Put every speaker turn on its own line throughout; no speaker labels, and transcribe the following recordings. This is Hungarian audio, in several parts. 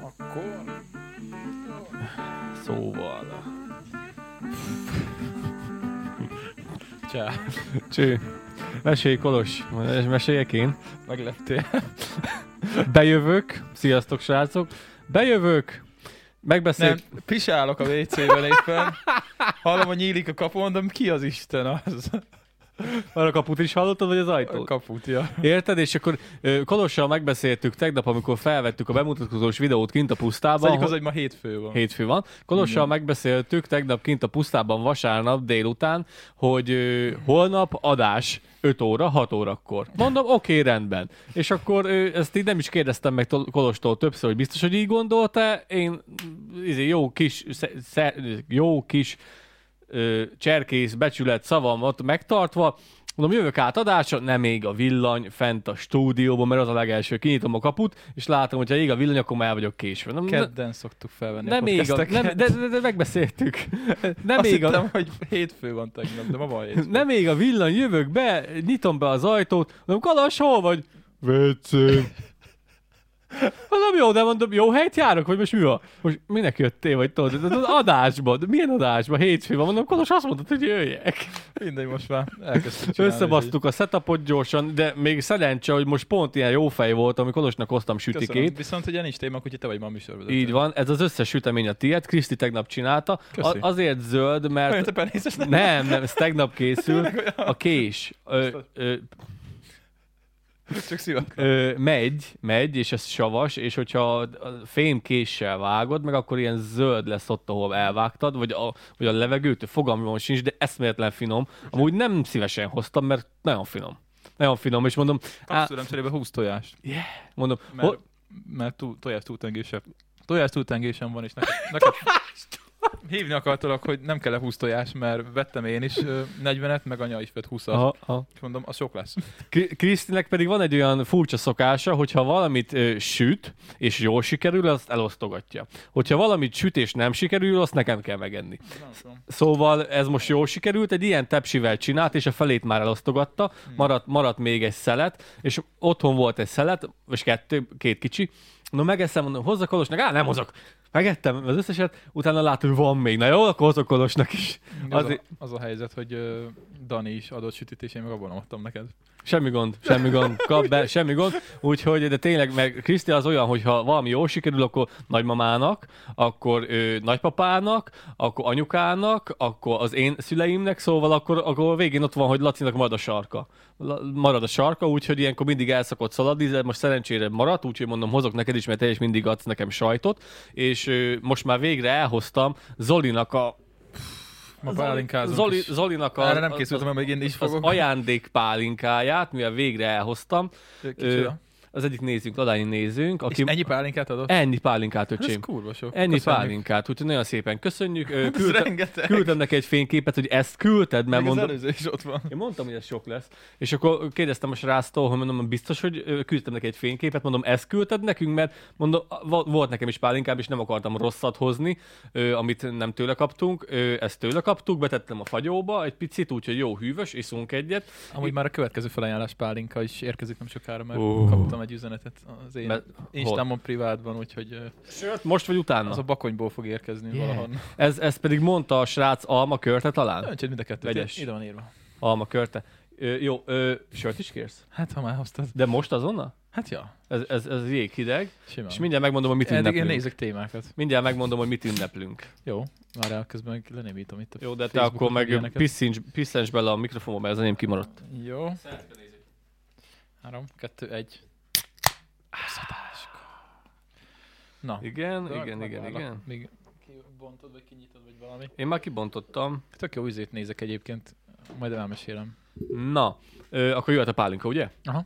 Akkor... Szóval... Csá. Cső. Mesélj, Kolos. Meséljek én. Megleptél. Bejövök. Sziasztok, srácok. Bejövök. Megbeszél...
Nem, pisálok a WC-ben éppen. Hallom, hogy nyílik a kapu, mondom, ki az Isten az?
Arra kaput is hallottad, vagy az
A
ajtót?
kaput, ja.
Érted? És akkor ö, Kolossal megbeszéltük tegnap, amikor felvettük a bemutatkozós videót kint a
Az
pusztában.
egyik
hogy-
az, hogy ma hétfő van.
Hétfő van. Kolossal megbeszéltük tegnap kint a pusztában vasárnap délután, hogy ö, holnap adás 5 óra, 6 órakor. Mondom, oké, rendben. És akkor ö, ezt így nem is kérdeztem meg Tol- Kolostól többször, hogy biztos, hogy így gondolta. Én mm, izé, jó kis, sze, sze, jó kis ö, cserkész becsület szavamat megtartva, Mondom, jövök át adásra, nem ég a villany fent a stúdióban, mert az a legelső, kinyitom a kaput, és látom, hogy ha ég a villany, akkor már el vagyok késve. Nem,
Kedden szoktuk felvenni
nem
a
még a,
podcasteket.
nem, de, de, de megbeszéltük. Nem
Azt
még,
hittem,
a,
hogy hétfő van tegnap, de ma van hétfő.
nem még a villany, jövök be, nyitom be az ajtót, mondom, Kalas, hol vagy? WC. Mondom, jó, de mondom, jó helyt járok, vagy most mi van? Most minek jöttél, vagy tudod, de az adásban, de milyen adásban, hétfőn van, mondom, Kalas azt mondtad, hogy jöjjek.
Mindegy, most már elkezdtük csinálni.
Összebasztuk a setupot gyorsan, de még szerencse, hogy most pont ilyen jó fej volt, amikor Kolosnak hoztam
úgyhogy Köszönöm.
sütikét.
Viszont ugye nincs téma, úgyhogy te vagy ma a műsorvezető.
Így van, ez az összes sütemény a tiéd, Kriszti tegnap csinálta. A-
Köszi.
azért zöld,
Olyan
mert
te penészes nem.
Nem, nem, ez tegnap készül. A kés ö, ö,
Csak szívat.
ö, megy, megy, és ez savas, és hogyha a fémkéssel vágod, meg akkor ilyen zöld lesz ott, ahol elvágtad, vagy a, vagy a levegőt, fogalmam sincs, de eszméletlen finom. Amúgy nem szívesen hoztam, mert nagyon finom. Nagyon finom, és mondom, á,
Kapsz tőlem cserébe 20 tojást.
mondom,
Mert,
ho-
mert tú, tojás túltengésebb. Tojás túltengésem van, és neked... neked... Hívni akartalak, hogy nem kell 20 tojás, mert vettem én is ö, 40-et, meg anya is vett 20-at.
aha, aha.
És Mondom, az sok lesz.
Kri- Krisztinek pedig van egy olyan furcsa szokása, hogyha valamit ö, süt, és jól sikerül, azt elosztogatja. Hogyha valamit süt, és nem sikerül, azt nekem kell megenni. Szóval ez most jól sikerült, egy ilyen tepsivel csinált, és a felét már elosztogatta, maradt, maradt még egy szelet, és otthon volt egy szelet, és kettő, két kicsi, no megeszem, mondom, hozzak kolosnak, á, nem hozok. Megettem az összeset, utána látom, hogy van még, na jó, akkor hozok kolosnak is.
Az, a,
Azért-
az a helyzet, hogy ö, Dani is adott sütítést, én meg abban adtam neked.
Semmi gond, semmi gond, kap be, semmi gond. Úgyhogy, de tényleg, meg Kriszti az olyan, hogy ha valami jól sikerül, akkor nagymamának, akkor ő, nagypapának, akkor anyukának, akkor az én szüleimnek, szóval akkor, akkor végén ott van, hogy Lacinak marad a sarka. La, marad a sarka, úgyhogy ilyenkor mindig el szokott szaladni, de most szerencsére maradt, úgyhogy mondom, hozok neked is, mert te is mindig adsz nekem sajtot, és ő, most már végre elhoztam Zolinak a
Ma
Zoli,
pálinkázunk
Zoli,
is.
Zolinak a,
Erre nem
az-
készültem,
az,
mert én is
az
fogok.
ajándékpálinkáját, mivel végre elhoztam,
Kicsoda.
ö, az egyik nézünk, Ladányi nézünk,
És
aki ennyi,
ennyi pálinkát adott?
ennyi pálinkát, öcsém.
Ez kurva sok.
Ennyi
Köszönjük.
pálinkát, úgyhogy nagyon szépen köszönjük. Ö,
Ez
Küldtem,
rengeteg.
küldtem neki egy fényképet, hogy ezt küldted, mert
Még az
mondom,
előző is ott van.
én mondtam, hogy ez sok lesz. És akkor kérdeztem a sráctól, hogy mondom, biztos, hogy ö, küldtem neki egy fényképet, mondom, ezt küldted nekünk, mert mondom, a- vo- volt nekem is pálinkám, és nem akartam rosszat hozni, ö, amit nem tőle kaptunk, ö, ezt tőle kaptuk, betettem a fagyóba egy picit, úgyhogy jó hűvös, iszunk egyet,
Amúgy már a következő felajánlás pálinka is érkezik nem sokára, mert
Ó.
kaptam egy üzenetet az én
Mert-
Instámon privátban, úgyhogy ö,
Sőt, most vagy utána?
az a bakonyból fog érkezni
Yeah.
valahonnan.
Ez, ez pedig mondta a srác Alma körte talán?
Öntsed mind a kettőt,
Vegyes.
ide van írva.
Alma körte. Ö, jó, ö, sört is kérsz?
Hát, ha már hoztad.
De most azonnal?
Hát ja,
Ez, ez, ez jéghideg,
simán.
és mindjárt megmondom, hogy mit
Eddig én
ünneplünk.
nézek témákat.
Mindjárt megmondom, hogy mit ünneplünk.
Jó, már el közben meg lenémítom itt a
Jó, de te
Facebookot,
akkor meg
ilyeneket.
piszincs, piszincs bele a mikrofonba, mert az enyém kimaradt.
Jó. Három, kettő, egy. Szatáska. Na.
Igen,
de
igen, igen,
megvárlak.
igen.
Még kibontod, vagy kinyitod, vagy valami.
Én már kibontottam.
Tök jó üzét nézek egyébként, majd elmesélem.
Na, ö, akkor jöhet a pálinka, ugye?
Aha.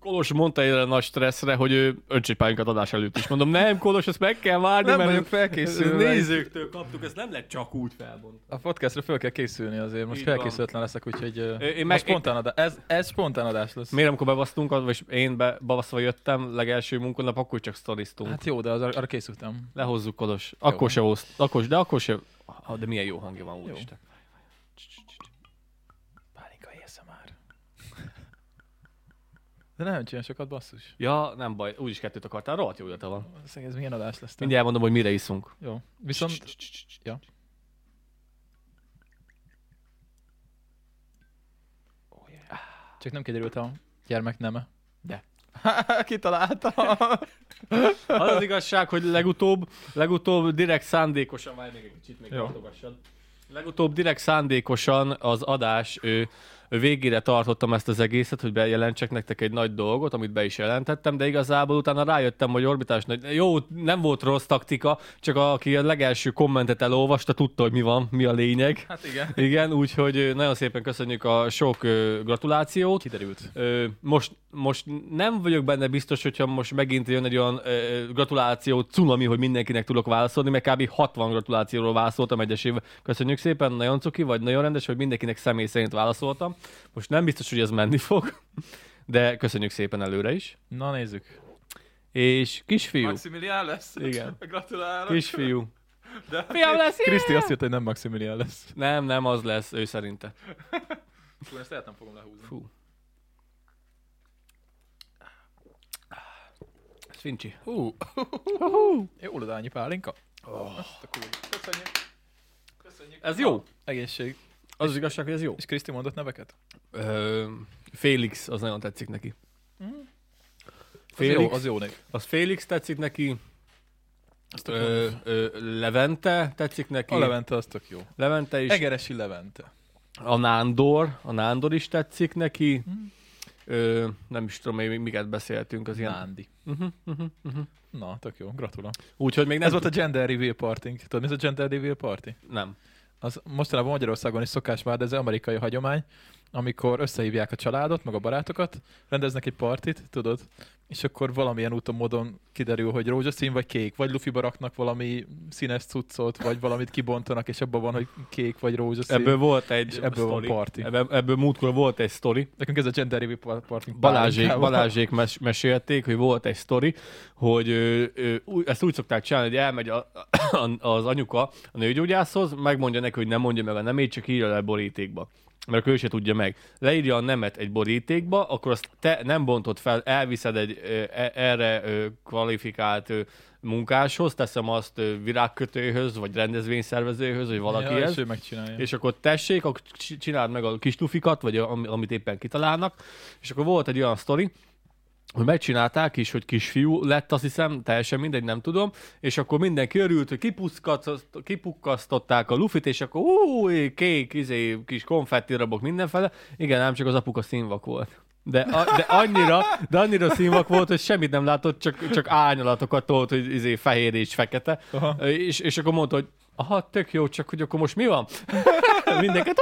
Kolos mondta erre a nagy stresszre, hogy ő öncsétpályunkat adás előtt is. Mondom, nem Kolos, ezt meg kell várni,
Nem
mert
vagyok felkészülve.
nézőktől kaptuk, ezt nem lehet csak úgy felbontani.
A podcastra föl kell készülni azért, most
Így van.
felkészületlen leszek, úgyhogy ö,
Ö, én
most
meg-
spontán adás, ez, ez spontán adás lesz.
Miért amikor bebasztunk, az- és én be, bebaszva jöttem, legelső munkanap, akkor csak sztoriztunk. Hát,
Hát jó, de az, arra készültem.
Lehozzuk Kolos. Akkor se oszt, akkor, se- de akkor se... Ah, de milyen jó hangja van, úristen.
Pálinka már. De nem csinál sokat, basszus.
Ja, nem baj, úgyis kettőt akartál, rohadt jó ötlete van.
Valószínűleg ez milyen adás lesz. te.
Mindjárt elmondom, hogy mire iszunk.
Jó. Viszont... Ja. Csak nem kiderült a gyermek neme.
De.
Kitalálta.
Az az igazság, hogy legutóbb, legutóbb direkt szándékosan, várj még egy kicsit, még
Jó.
tartogassad. Legutóbb direkt szándékosan az adás ő, ő végére tartottam ezt az egészet, hogy bejelentsek nektek egy nagy dolgot, amit be is jelentettem, de igazából utána rájöttem, hogy Orbitás nagy... Jó, nem volt rossz taktika, csak aki a legelső kommentet elolvasta, tudta, hogy mi van, mi a lényeg.
Hát igen.
Igen, úgyhogy ö, nagyon szépen köszönjük a sok ö, gratulációt.
Kiderült.
Ö, most, most nem vagyok benne biztos, hogyha most megint jön egy olyan ö, gratuláció cunami, hogy mindenkinek tudok válaszolni, mert kb. 60 gratulációról válaszoltam egyesével. Köszönjük szépen, nagyon cuki vagy, nagyon rendes, hogy mindenkinek személy szerint válaszoltam. Most nem biztos, hogy ez menni fog, de köszönjük szépen előre is.
Na nézzük.
És kisfiú,
Maximilián lesz?
Igen.
Gratulálok.
kisfiú.
De...
Fiam lesz,
Kriszti azt írta, hogy nem Maximilián lesz.
Nem, nem, az lesz, ő szerinte.
Fú, ezt lehet nem fogom lehúzni.
Fú. Ez fincsi.
Hú. Jó, Ludányi Pálinka. Oh. Azt a cool. Köszönjük. Köszönjük.
Ez jó.
Egészség.
Az az igazság, hogy ez jó.
És Kriszti mondott neveket?
Ö, Félix, az nagyon tetszik neki.
Az jó,
Félix,
az jó név.
az Félix tetszik neki,
Azt tök jó
ö,
név.
ö, Levente tetszik neki,
A Levente, az tök jó.
Levente is,
Egeresi Levente.
a Nándor, a Nándor is tetszik neki, ö, nem is tudom, még miket beszéltünk Hm? az ilyen. Mhm,
Nándi. Na, tök jó, gratulálok.
Úgyhogy még nem,
Ez volt a gender reveal party. Tudod, mi ez a gender reveal party?
nem.
az mostanában Magyarországon is szokás már, de ez amerikai hagyomány, amikor összehívják a családot, meg a barátokat, rendeznek egy partit, tudod, és akkor valamilyen úton, módon kiderül, hogy rózsaszín vagy kék, vagy lufiba raknak valami színes cuccot, vagy valamit kibontanak, és abban van, hogy kék vagy rózsaszín.
Ebből volt
És
egy
ebből van
sztori.
parti.
Ebből, ebből múltkor volt egy sztori,
Nekünk ez a gender review par- partunk.
Balázsék,
pálinkával.
Balázsék mes- mesélték, hogy volt egy sztori, hogy ö, ö, ú- ezt úgy szokták csinálni, hogy elmegy a, a, az anyuka a nőgyógyászhoz, megmondja neki, hogy nem mondja meg a nemét, csak írja le borítékba. Mert akkor ő se tudja meg. Leírja a nemet egy borítékba, akkor azt te nem bontod fel, elviszed egy ö, e- erre ö, kvalifikált ö, munkáshoz, teszem azt ö, virágkötőhöz, vagy rendezvényszervezőhöz, vagy
Ja,
valakihez.
és ő megcsinálja. És
És akkor tessék, akkor c- csináld meg a kis lufikat, vagy a- am- amit éppen kitalálnak. És akkor volt egy olyan sztori, hogy megcsinálták is, hogy kisfiú lett, azt hiszem, teljesen mindegy, nem tudom, és akkor mindenki örült, hogy kipuszkat- kipukkasztották a lufit, és akkor új, kék, izé, kis konfetti rabok mindenfele. Igen, ám csak az apuka színvak volt. De, a, de, annyira, de annyira színvak volt, hogy semmit nem látott, csak, csak árnyalatokat tolt, hogy izé, fehér és fekete.
Aha.
És, és akkor mondta, hogy aha, tök jó, csak hogy akkor most mi van? Mindenket.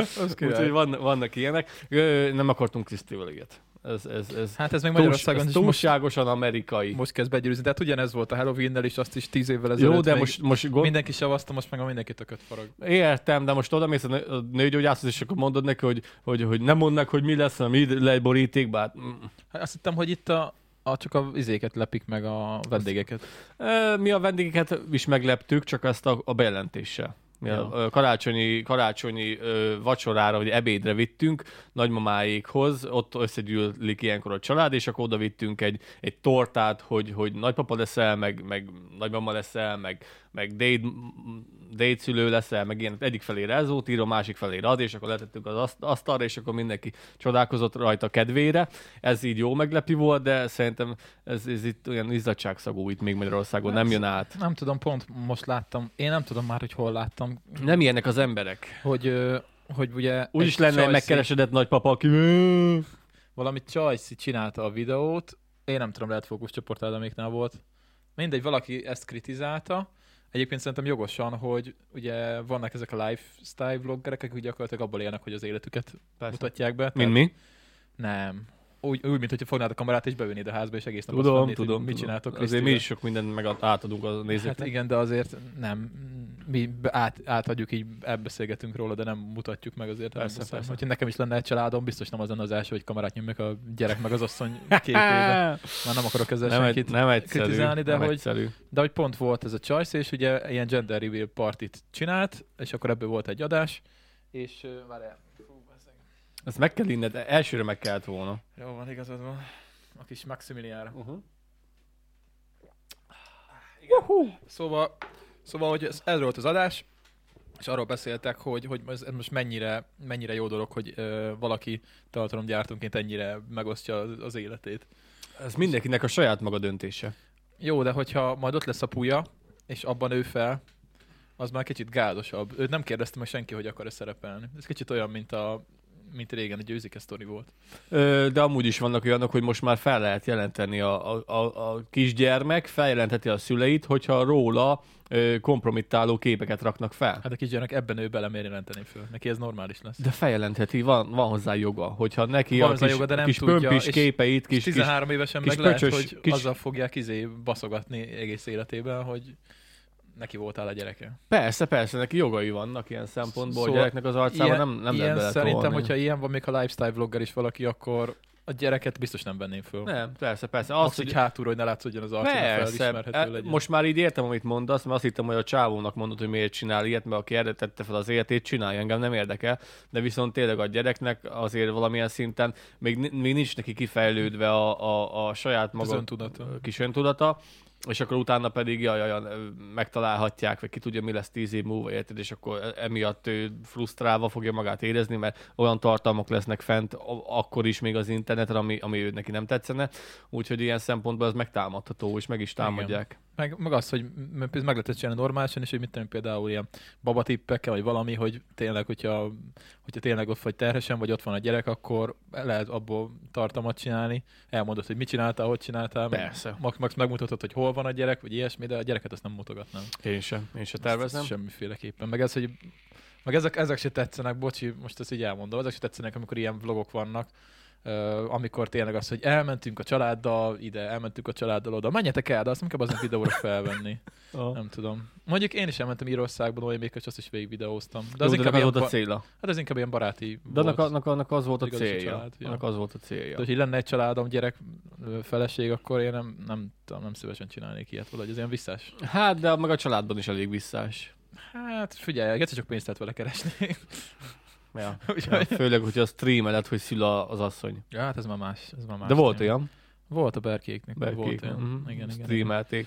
az
Úgyhogy
király.
van, vannak ilyenek. Ö, nem akartunk Krisztival ilyet. Ez, ez, ez
Hát ez meg
túls-
Magyarországon
ez
is most,
túlságosan amerikai.
most kezd begyűrűzni. De hát ugyanez volt a Halloween-nel is, azt is tíz évvel ezelőtt.
Jó, de
még
most, most gond...
Mindenki savazta, most meg a mindenki tököt farag.
értem, de most oda mész a nő- a nőgyógyászhoz, és akkor mondod neki, hogy, hogy, hogy nem mond meg, hogy mi lesz, hanem így le egy borítékba. Hát, mm.
Hát azt hittem, hogy itt a, a csak a izéket lepik meg a vendégeket.
Ö, Mi a vendégeket is megleptük, csak ezt a, a bejelentéssel. Mi a,
Jó.
ö, karácsonyi, karácsonyi ö, vacsorára, vagy ebédre vittünk nagymamáékhoz, ott összegyűlik ilyenkor a család, és akkor oda vittünk egy, egy tortát, hogy, hogy nagypapa leszel, meg, meg nagymama leszel, meg, meg déd, déd szülő leszel, meg ilyen egyik felére ez volt, írom, másik felére az, és akkor letettük az aszt- asztalra, és akkor mindenki csodálkozott rajta kedvére. Ez így jó meglepi volt, de szerintem ez, ez itt olyan izzadságszagú itt még Magyarországon, nem jön át.
Nem tudom, pont most láttam, én nem tudom már, hogy hol láttam,
Nem ilyenek az emberek.
hogy, ö, hogy ugye...
Úgy
egy
is lenne egy
csajszi-
megkeresedett nagypapa, aki...
Valami Csajci csinálta a videót, én nem tudom, lehet fókuszcsoport Ádaméknál volt. Mindegy, valaki ezt kritizálta, Egyébként szerintem jogosan, hogy ugye vannak ezek a lifestyle vloggerek, akik gyakorlatilag abból élnek, hogy az életüket
Persze.
mutatják be.
Mint
tehát-
mi?
Nem. úgy, úgy mint hogyha fognád a kamerát és beülnéd a házba, és egész nap azt
Tudom,
vennéd,
tudom.
hogy mit
tudom.
csináltok
Azért mi
Krisztivel.
is sok mindent meg átadunk a nézőknek.
Hát igen, de azért nem. Mi be- át, átadjuk, így elbeszélgetünk róla, de nem mutatjuk meg azért.
Persze,
Persze, persze.
persze.
Hogyha nekem is lenne egy családom, biztos nem az lenne az első, hogy kamerát nyomjak a gyerek meg az asszony képébe. Már nem akarok ezzel
nem, egy,
senkit.
nem egyszerű.
kritizálni, de
nem
hogy-
egyszerű.
De hogy pont volt ez a csajsz, és ugye ilyen gender reveal partit csinált, és akkor ebből volt egy adás, és ö, várjál. Fú, bazzeg.
Ezt meg kell inned, elsőre meg kellett volna.
Jó van, igazad van. A kis Maximiliára.
Uh-huh.
Szóval, szóval hogy ez, erről volt az adás, és arról beszéltek, hogy, hogy ez, ez most mennyire, mennyire jó dolog, hogy ö, valaki tartalomgyártónként ennyire megosztja az, az életét.
Ez mindenkinek a saját maga döntése.
Jó, de hogyha majd ott lesz a puja, és abban ő fel, az már kicsit gázosabb. Őt nem kérdezte meg senki, hogy akar-e szerepelni. Ez kicsit olyan, mint a mint régen egy győzike sztori volt.
Ö, de amúgy is vannak olyanok, hogy most már fel lehet jelenteni a, a, a, a kisgyermek, feljelentheti a szüleit, hogyha róla ö, kompromittáló képeket raknak fel.
Hát a kisgyerek ebben ő belemér jelenteni föl. Neki ez normális lesz.
De feljelentheti, van, van hozzá joga, hogyha neki
Van
a
hozzá
kis,
joga, de nem
kis
tudja,
pömpis
és-
képeit,
Kis,
kis, kis
13 évesen
kis
meg lehet,
pöcsös-
hogy
kis-
azzal fogják izé baszogatni egész életében, hogy neki voltál a gyereke.
Persze, persze, neki jogai vannak ilyen szempontból,
Szóval
szóval a gyereknek az arcába
ilyen,
nem, nem
ilyen
lehet beletolni.
szerintem, hogyha ilyen van, még ha lifestyle vlogger is valaki, akkor a gyereket biztos nem venném föl.
Nem, persze, persze.
Az,
Az,
hogy
hogy
hátulról, hogy ne látszódjon az arcod,
persze,
felismerhető
e,
legyen.
most már így értem, amit mondasz, mert azt hittem, hogy a csávónak mondod, hogy miért csinál ilyet, mert aki erre tette fel az életét, csinálja, engem nem érdekel, de viszont tényleg a gyereknek azért valamilyen szinten még, ni- még nincs neki kifejlődve a, a, a saját maga
öntudata.
kis öntudata, és akkor utána pedig jaj, jaj, jaj, megtalálhatják, vagy ki tudja, mi lesz tíz év múlva, érted, és akkor e- emiatt ő frusztrálva fogja magát érezni, mert olyan tartalmak lesznek fent a- akkor is még az interneten, ami, ami ő neki nem tetszene, úgyhogy ilyen szempontból ez megtámadható, és meg is támadják.
Meg, meg az, hogy m- m- meg lehetett csinálni normálisan, és hogy mit tudom, például ilyen babatippekkel, vagy valami, hogy tényleg, hogyha, hogyha tényleg ott vagy terhesen, vagy ott van a gyerek, akkor lehet abból tartalmat csinálni. Elmondod, hogy mit csináltál, hogy csináltál. meg
Persze.
Max, max megmutatod, hogy hol van a gyerek, vagy ilyesmi, de a gyereket azt nem mutogatnám.
Én sem, én sem
Azt-
tervezem.
azt Semmiféleképpen. Meg ez, hogy meg ezek, ezek se tetszenek, bocsi, most ezt így elmondom, ezek se tetszenek, amikor ilyen vlogok vannak, ö, amikor tényleg az, hogy elmentünk a családdal ide, elmentünk a családdal oda, menjetek el, de azt inkább azon videóra felvenni.
Nem.
Nem tudom. Mondjuk én is elmentem Írországban, olyan még, azt is végig videóztam. De
De
az,
az, Jó, de
inkább,
az
ilyen
volt a
ba-
céla.
hát az inkább ilyen baráti
De
volt.
annak, annak, annak az volt a
Igazi
célja.
család, ja.
Annak az volt a
De,
célja.
hogyha lenne egy családom, gyerek, ö, feleség, akkor én nem, nem, tudom, nem szívesen csinálnék ilyet, valahogy ez ilyen visszás.
Hát, de meg a családban is elég visszás.
Hát figyelj, egyszer csak pénzt lehet vele keresni.
Ja.
Úgyhogy-
Ja, főleg, hogyha streameled, hogy szül a- az asszony.
Ja, hát ez már más. Ez már más
De volt
téma.
olyan,
Volt a berkéknek.
Berkék.
Volt olyan. Igen,
Mhm.
igen. igen.
Streamelték.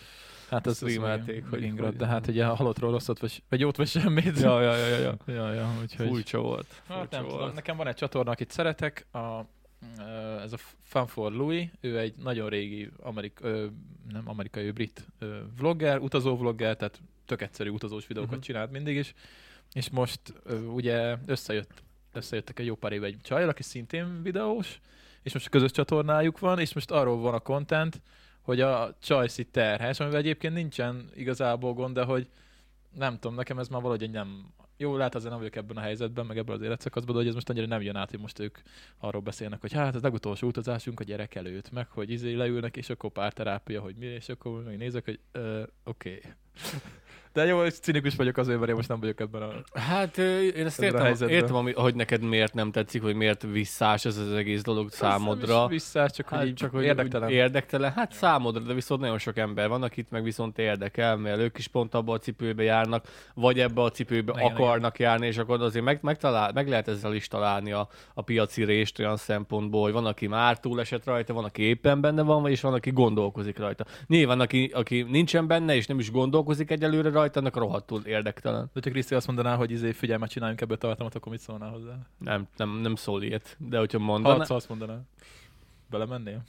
Hát ez
streamelték,
streamelték,
hogy-
hogy ingrad,
hogy-
de hát ugye a halottról rosszat, vagy, vagy jót, vagy semmit.
Ja, ja, ja, ja. ja.
ja, ja úgyhogy...
Furcsa volt.
Hát
Furcsa
nem tudom,
volt.
nekem van egy csatorna, akit szeretek, a, ö, ez a Fun for Louis, ő egy nagyon régi amerik, ö, nem amerikai, ő brit ö, vlogger, utazó vlogger, tehát tök egyszerű utazós videókat
Mhm.
uh-huh. csinált mindig is, és most ö, ugye összejött, összejöttek egy jó pár éve egy csajjal, aki szintén videós, és most közös csatornájuk van, és most arról van a content, hogy a csajszi terhes, amivel egyébként nincsen igazából gond, de hogy nem tudom, nekem ez már valahogy nem jó, lehet azért nem vagyok ebben a helyzetben, meg ebben az életszakaszban, de hogy ez most annyira nem jön át, hogy most ők arról beszélnek, hogy hát ez legutolsó utazásunk a gyerek előtt, meg hogy izé leülnek, és akkor párterápia, hogy mi, és akkor még nézek, hogy ö, oké. Okay. De jó, és cinikus vagyok azért, mert én most nem vagyok ebben a...
Hát ö, én ezt
Ebben a
értem,
helyzetben.
értem ami, hogy neked miért nem tetszik, hogy miért visszás ez az egész dolog számodra.
Vissza, csak, hát,
Hát
hogy
csak hogy
érdektelen.
úgy érdektelen. Hát számodra, de viszont nagyon sok ember van, akit meg viszont érdekel, mert ők is pont abba a cipőbe járnak, vagy ebbe a cipőbe
Igen,
akarnak járni, és akkor azért meg, megtalál, meg lehet ezzel is találni a, a piaci rést olyan szempontból, hogy van, aki már túlesett rajta, van, aki éppen benne van, vagy- és van, aki gondolkozik rajta. Nyilván, aki, aki nincsen benne, és nem is gondolkozik egyelőre rajta, annak rohadtul érdektelen.
De ha Kriszti azt mondaná, hogy izé, figyelj, már csináljunk ebből tartalmat, akkor mit szólnál hozzá?
Nem, nem, nem szól ilyet, de hogyha
Ha
mondaná...
egyszer azt mondaná, belemennél?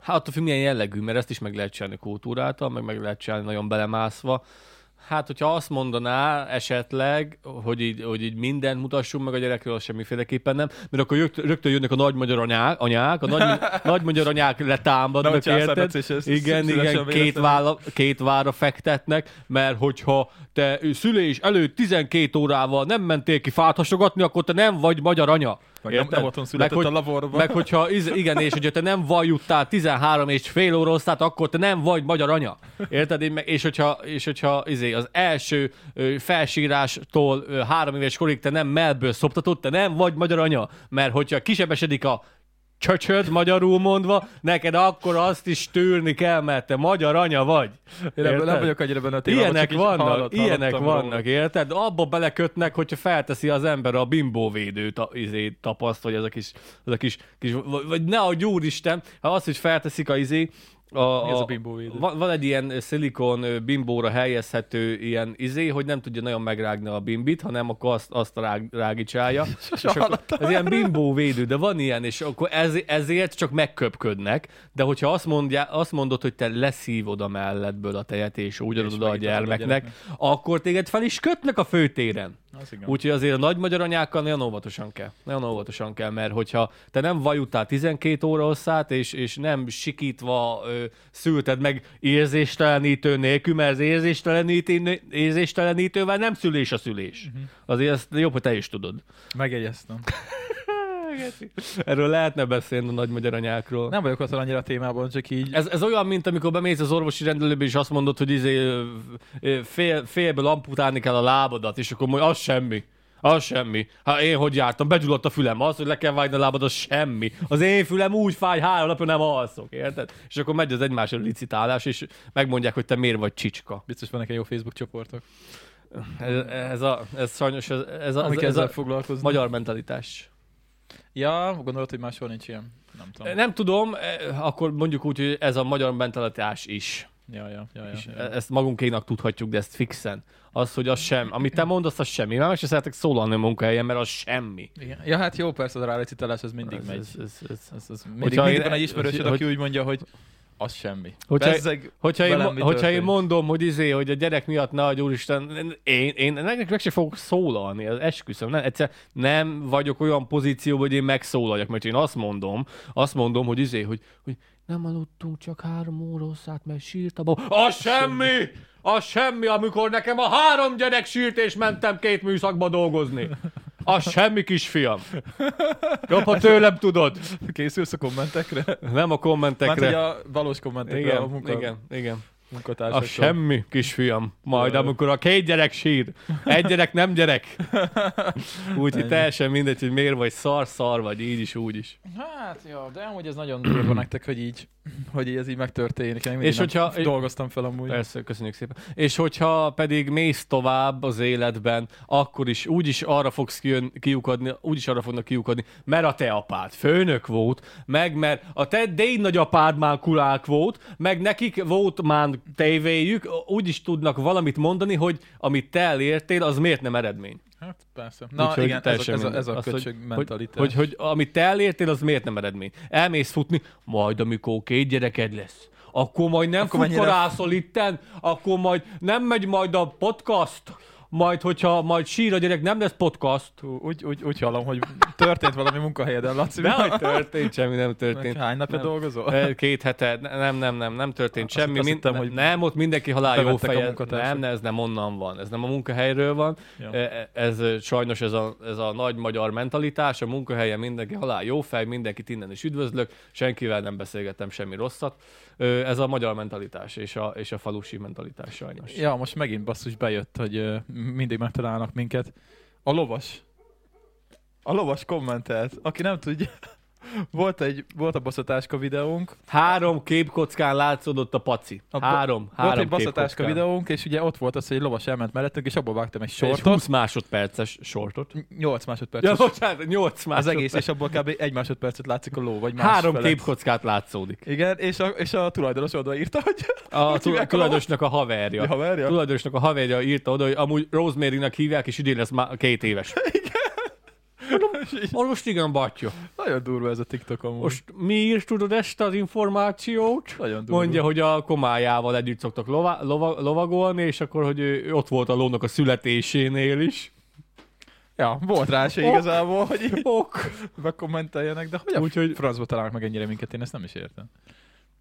Hát attól függ, milyen jellegű, mert ezt is meg lehet csinálni kultúráltal, meg meg lehet csinálni nagyon belemászva. Hát, hogyha azt mondaná esetleg, hogy így, hogy így mindent mutassunk meg a gyerekről, az semmiféleképpen nem, mert akkor rögt- rögtön jönnek a nagy magyar anyák, anyák a nagy, nagy magyar anyák letámadnak,
császár
érted?
Laci, és ezt
Igen,
szívesen
igen, két,
véletlenül.
vála, két vára fektetnek, mert hogyha te szülés előtt 12 órával nem mentél ki fát hasogatni, akkor te nem vagy magyar anya.
Meg nem,
Érted?
nem otthon született
Meg
meg,
hogy-
a laborban.
Meg hogyha, iz- igen, és hogyha te nem vajuttál 13 és fél órosztát, akkor te nem vagy magyar anya. Érted? Én meg- És hogyha, és hogyha izé, az első ö, felsírástól ö, három éves korig te nem melből szoptatod, te nem vagy magyar anya. Mert hogyha kisebesedik a csöcsöd, magyarul mondva, neked akkor azt is tűrni kell, mert te magyar anya vagy.
Én ebben nem
Érted?
vagyok annyira benne a témában,
Ilyenek
csak így
vannak,
hallott-
ilyenek
hallottam
vannak,
róla.
érted? Abba belekötnek, hogyha felteszi az ember a bimbóvédő ta, izé, tapaszt, vagy ez a kis, ez a kis, kis vagy, vagy ne a úristen, ha azt, hogy felteszik a izé, a,
Mi az a bimbóvédő?
Van, van egy ilyen ö, szilikon ö, bimbóra helyezhető ilyen izé, hogy nem tudja nagyon megrágni a bimbit, hanem akkor azt, azt rág, rágicsálja. és akkor ez ilyen bimbóvédő, de van ilyen, és akkor ez, ezért csak megköpködnek. De hogyha azt, mondja, azt mondod, hogy te leszívod a mellettből a tejet, és úgy adod
És
oda a
megnyitod a
gyermeknek, akkor téged fel is kötnek a főtéren.
Az igen.
Úgyhogy azért a nagy magyar anyákkal nagyon óvatosan kell. Nagyon óvatosan kell, mert hogyha te nem vajutál 12 óra hosszát, és, és nem sikítva ö, szülted meg érzéstelenítő nélkül, mert az érzéstelenítő, érzéstelenítővel nem szülés a szülés.
Mhm.
Uh-huh. Azért ezt jobb, hogy te is tudod.
Megjegyeztem. Hát,
Erről lehetne beszélni a nagy magyar anyákról.
Nem vagyok otthon annyira a témában, csak így.
Ez, ez olyan, mint amikor bemész az orvosi rendelőbe, és azt mondod, hogy izé, ö, ö, fél, félből amputálni kell a lábadat, és akkor mondja, az semmi. Az semmi. Hát én hogy jártam? Begyulladt a fülem. Az, hogy le kell vágni a lábad, az semmi. Az én fülem úgy fáj, három napja nem alszok, érted? És akkor megy az egymásra licitálás, és megmondják, hogy te miért vagy csicska.
Biztos vannak egy jó Facebook csoportok,
Ez, ez, a, ez sajnos, ez, ez, a,
amik
ez, ez
ezzel
a
foglalkoznak.
magyar mentalitás.
Ja, gondolod, hogy máshol nincs ilyen? Nem tudom.
Nem tudom, eh, akkor mondjuk úgy, hogy ez a magyar mentalitás is.
Ja, ja, ja, ja,
És e,
ja.
ezt magunkénak tudhatjuk, de ezt fixen. Az, hogy az sem. Amit te mondasz, az semmi. Már meg se szeretek szólalni a munkahelyen, mert az semmi.
Igen. Ja, hát jó, persze, az rálecitálás az mindig
ez,
megy.
Ez, ez, ez.
Ez, ez mindig,
Hogyha
mindig
én-
van egy ismerősöd,
hogy-
aki úgy mondja, hogy az semmi.
Hogyha-
Bezzeg,
Hogyha, én,
Velem
mo-
mi
hogyha én
történik?
mondom, hogy izé, hogy a gyerek miatt ne adj úristen, én, én ennek meg se fogok szólalni, az esküszöm. Nem, egyszer nem vagyok olyan pozícióban, hogy én megszólaljak, mert én azt mondom, azt mondom, hogy izé, hogy, hogy nem aludtunk csak három órószát, mert sírt a bab. Az semmi! Az semmi, amikor nekem a három gyerek sírt, és mentem két műszakba dolgozni. Az semmi, kisfiam. Jobb, ha tőlem tudod.
készülsz a kommentekre?
Nem a
Mert hogy
kommentekre.
a valós kommentekre
Igen,
a munka,
igen, igen. A
munkatársaktól.
semmi, kisfiam. Majd,
Jaj.
amikor a két gyerek sír. Egy gyerek nem gyerek. Úgyhogy
Ennyi.
teljesen mindegy, hogy miért vagy szar, szar vagy, így is, úgy is.
Hát jó, de amúgy ez nagyon durva nektek, hogy így, hogy így ez így megtörténik. Én és
És
hogyha...
hogyha-
dolgoztam fel amúgy.
Persze, köszönjük szépen. És hogyha pedig mész tovább az életben, akkor is úgyis arra fogsz kijön, kiukadni, úgyis arra fognak kiukadni, mert a te apád főnök volt, meg mert a te déd nagyapád már kulák volt, meg nekik volt már tévéjük, úgyis tudnak valamit mondani, hogy amit te elértél, az miért nem eredmény.
Hát persze. Na
Úgyhogy
igen, ez a,
teljesen
ez a,
mindegy.
ez a
Azt, hogy-
köcsög mentalitás.
Hogy, hogy amit te elértél, az miért nem eredmény? Elmész futni, majd amikor két gyereked lesz, akkor majd nem
Akkor
akkor
mennyire-
futkarászol itten, akkor majd nem megy majd a podcast, majd hogyha majd sír a gyerek, nem lesz podcast.
Hú, úgy, úgy, úgy hallom, hogy történt valami munkahelyeden, Laci.
Nehogy történt, semmi nem történt.
Hány napja
Nem.
dolgozol?
Ö, Két hete, Ne- nem, nem, nem, nem történt
Azt-
semmi.
azt
Mind,
hittem,
nem,
hogy
nem, ott mindenki halál jó
bevettek a
feje.
munkatársak.
Nem, nem, ez nem onnan van. Ez nem a munkahelyről van.
Ja.
E- Ez ö, sajnos ez a, ez a nagy magyar mentalitás. A munkahelyen mindenki halál jó fej, mindenkit innen is üdvözlök, senkivel nem beszélgettem semmi rosszat. Ö, Ez a magyar mentalitás és a, és a falusi mentalitás sajnos.
Ja, most megint basszus bejött, hogy ö, mindig megtalálnak minket. A lovas. A lovas kommentelt. Aki nem tudja, volt egy, volt a baszatáska videónk,
Három képkockán látszódott a paci.
A ba-
Három,
Három volt
három
egy baszatáska
képkockán.
videónk, és ugye ott volt az, hogy egy lovas elment mellettünk, és abból vágtam egy
És
sortot.
20 másodperces sortot.
8 másodperc.
Ja, bocsánat, 8
az egész,
másodperces.
és abból kb. egy másodpercet látszik a ló, vagy más
Három
felett.
képkockát látszódik.
Igen, és a, és a tulajdonos oda írta, hogy
A
Hogy hívják a
tu- tulajdonosnak a haverja.
ja. haverja. Tulaj...
tulajdonosnak a haverja írta oda, hogy amúgy Rosemary-nek hívják, és idén lesz már két éves. Most igen, batya.
Nagyon durva ez a TikTok amúgy.
Most miért tudod ezt az információt?
Nagyon durva.
Mondja, hogy a komájával együtt szoktak lova, lova, lovagolni, és akkor, hogy ő, ő ott volt a lónak a születésénél is.
Ja, volt rá se
Ok.
igazából, hogy így
Ok.
bekommenteljenek, de hogy a
Úgyhogy-
Úgyhogy... francba találnak meg ennyire minket, én ezt nem is értem.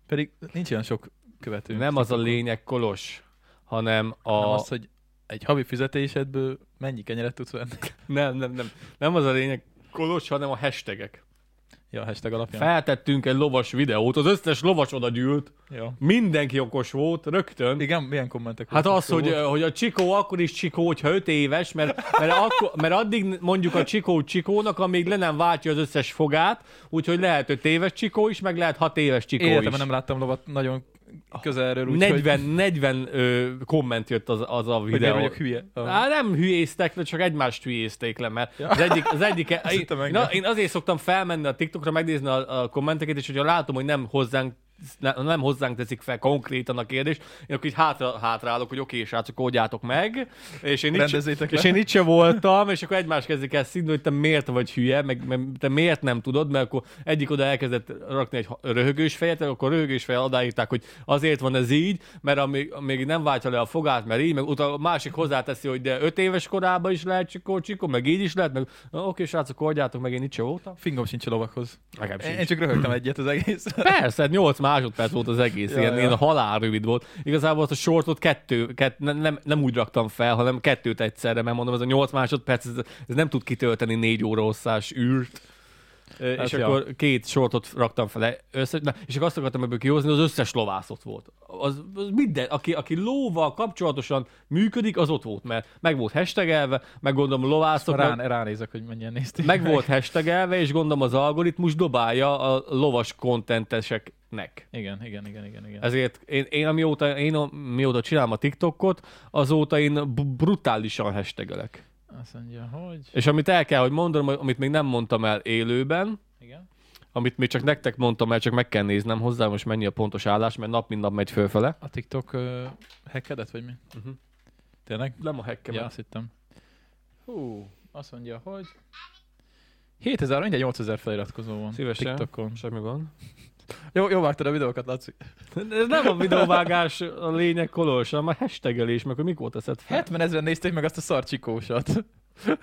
Pedig nincs olyan sok követő.
Nem az a lényeg, Kolos, hanem a...
Hanem az, hogy egy havi fizetésedből mennyi kenyeret tudsz venni.
Nem, nem, nem. Nem az a lényeg, kolos, hanem a hashtagek.
Ja, hashtag alapján.
Feltettünk egy lovas videót, az összes lovas oda gyűlt,
Ja.
mindenki okos volt, rögtön.
Igen, milyen kommentek
Hát
voltak,
az,
jó
hogy,
volt?
hogy a Csikó akkor is Csikó, hogyha 5 éves, mert, mert, akkor, mert addig mondjuk a Csikó Csikónak, amíg le nem váltja az összes fogát, úgyhogy lehet 5 éves Csikó is, meg lehet 6 éves Csikó is.
Életemben nem láttam lovat nagyon közelről, úgyhogy
40, 40 ö, komment jött az, az a
hogy miért
videó.
vagyok hülye.
Á, nem hülyéztek le, csak egymást hülyézték le, mert az egyik... Az egyik én,
hittem engem.
na, én azért szoktam felmenni a TikTokra, megnézni a, a kommenteket, és hogyha látom, hogy nem hozzánk ne- nem hozzánk teszik fel konkrétan a kérdést, én akkor így hátra, hátrálok, hogy oké, srácok, oldjátok meg, és én, itt, se-
Rendezzétek
és
le.
én itt se voltam, és akkor egymás kezdik el szidni, hogy te miért vagy hülye, meg, meg te miért nem tudod, mert akkor egyik oda elkezdett rakni egy ha- röhögős fejet, akkor röhögős fejjel odáírták, hogy azért van ez így, mert amíg, amíg nem váltja le a fogát, mert így, meg utána a másik hozzáteszi, hogy de öt éves korában is lehet csikó, csikó, meg így is lehet, meg na, oké, srácok, oldjátok meg, én itt se voltam.
Fingom sincs a lovakhoz.
Nekem
Én
sincs.
csak röhögtem egyet az egész.
Persze, 8 másodperc volt az egész,
Ja,
ilyen,
ja.
ilyen halál rövid volt. Igazából azt a sortot kettő, kett, nem, nem, nem úgy raktam fel, hanem kettőt egyszerre, mert mondom, ez a 8 másodperc, ez, ez nem tud kitölteni 4 óra hosszás űrt. Ö,
Hát
és
ja.
akkor két sortot raktam fel össze, na, és akkor azt akartam ebből kihozni, az összes lovászot volt. Az, az minden, aki, aki lóval kapcsolatosan működik, az ott volt, mert meg volt hashtagelve, meg gondolom lovászok, meg,
Rán, ránézek, hogy mennyien nézték.
meg volt hashtagelve, és gondolom az algoritmus dobálja a lovas kontenteseknek.
Igen, igen, igen, igen, igen.
Ezért én, én amióta, én amióta csinálom a TikTokot, azóta én b- brutálisan hashtagelek.
Azt mondja, hogy...
És amit el kell, hogy mondanom, amit még nem mondtam el élőben,
Igen.
amit még csak nektek mondtam el, csak meg kell néznem hozzá, most mennyi a pontos állás, mert nap mint nap megy fölfele.
A TikTok uh, hackedett, vagy mi?
Mhm.
Tényleg?
Nem a
Ja,
hekkemet.
azt hittem. Hú, azt mondja, hogy... 7000, mindjárt 8000 feliratkozó van
Szívesen.
TikTokon.
Semmi van.
Jó, jó vágtad a videókat, Laci.
Ez nem a videóvágás a lényeg kolos, hanem a hashtagelés, meg hogy mikor teszed fel.
70 ezeren nézték meg azt a szarcsikósat.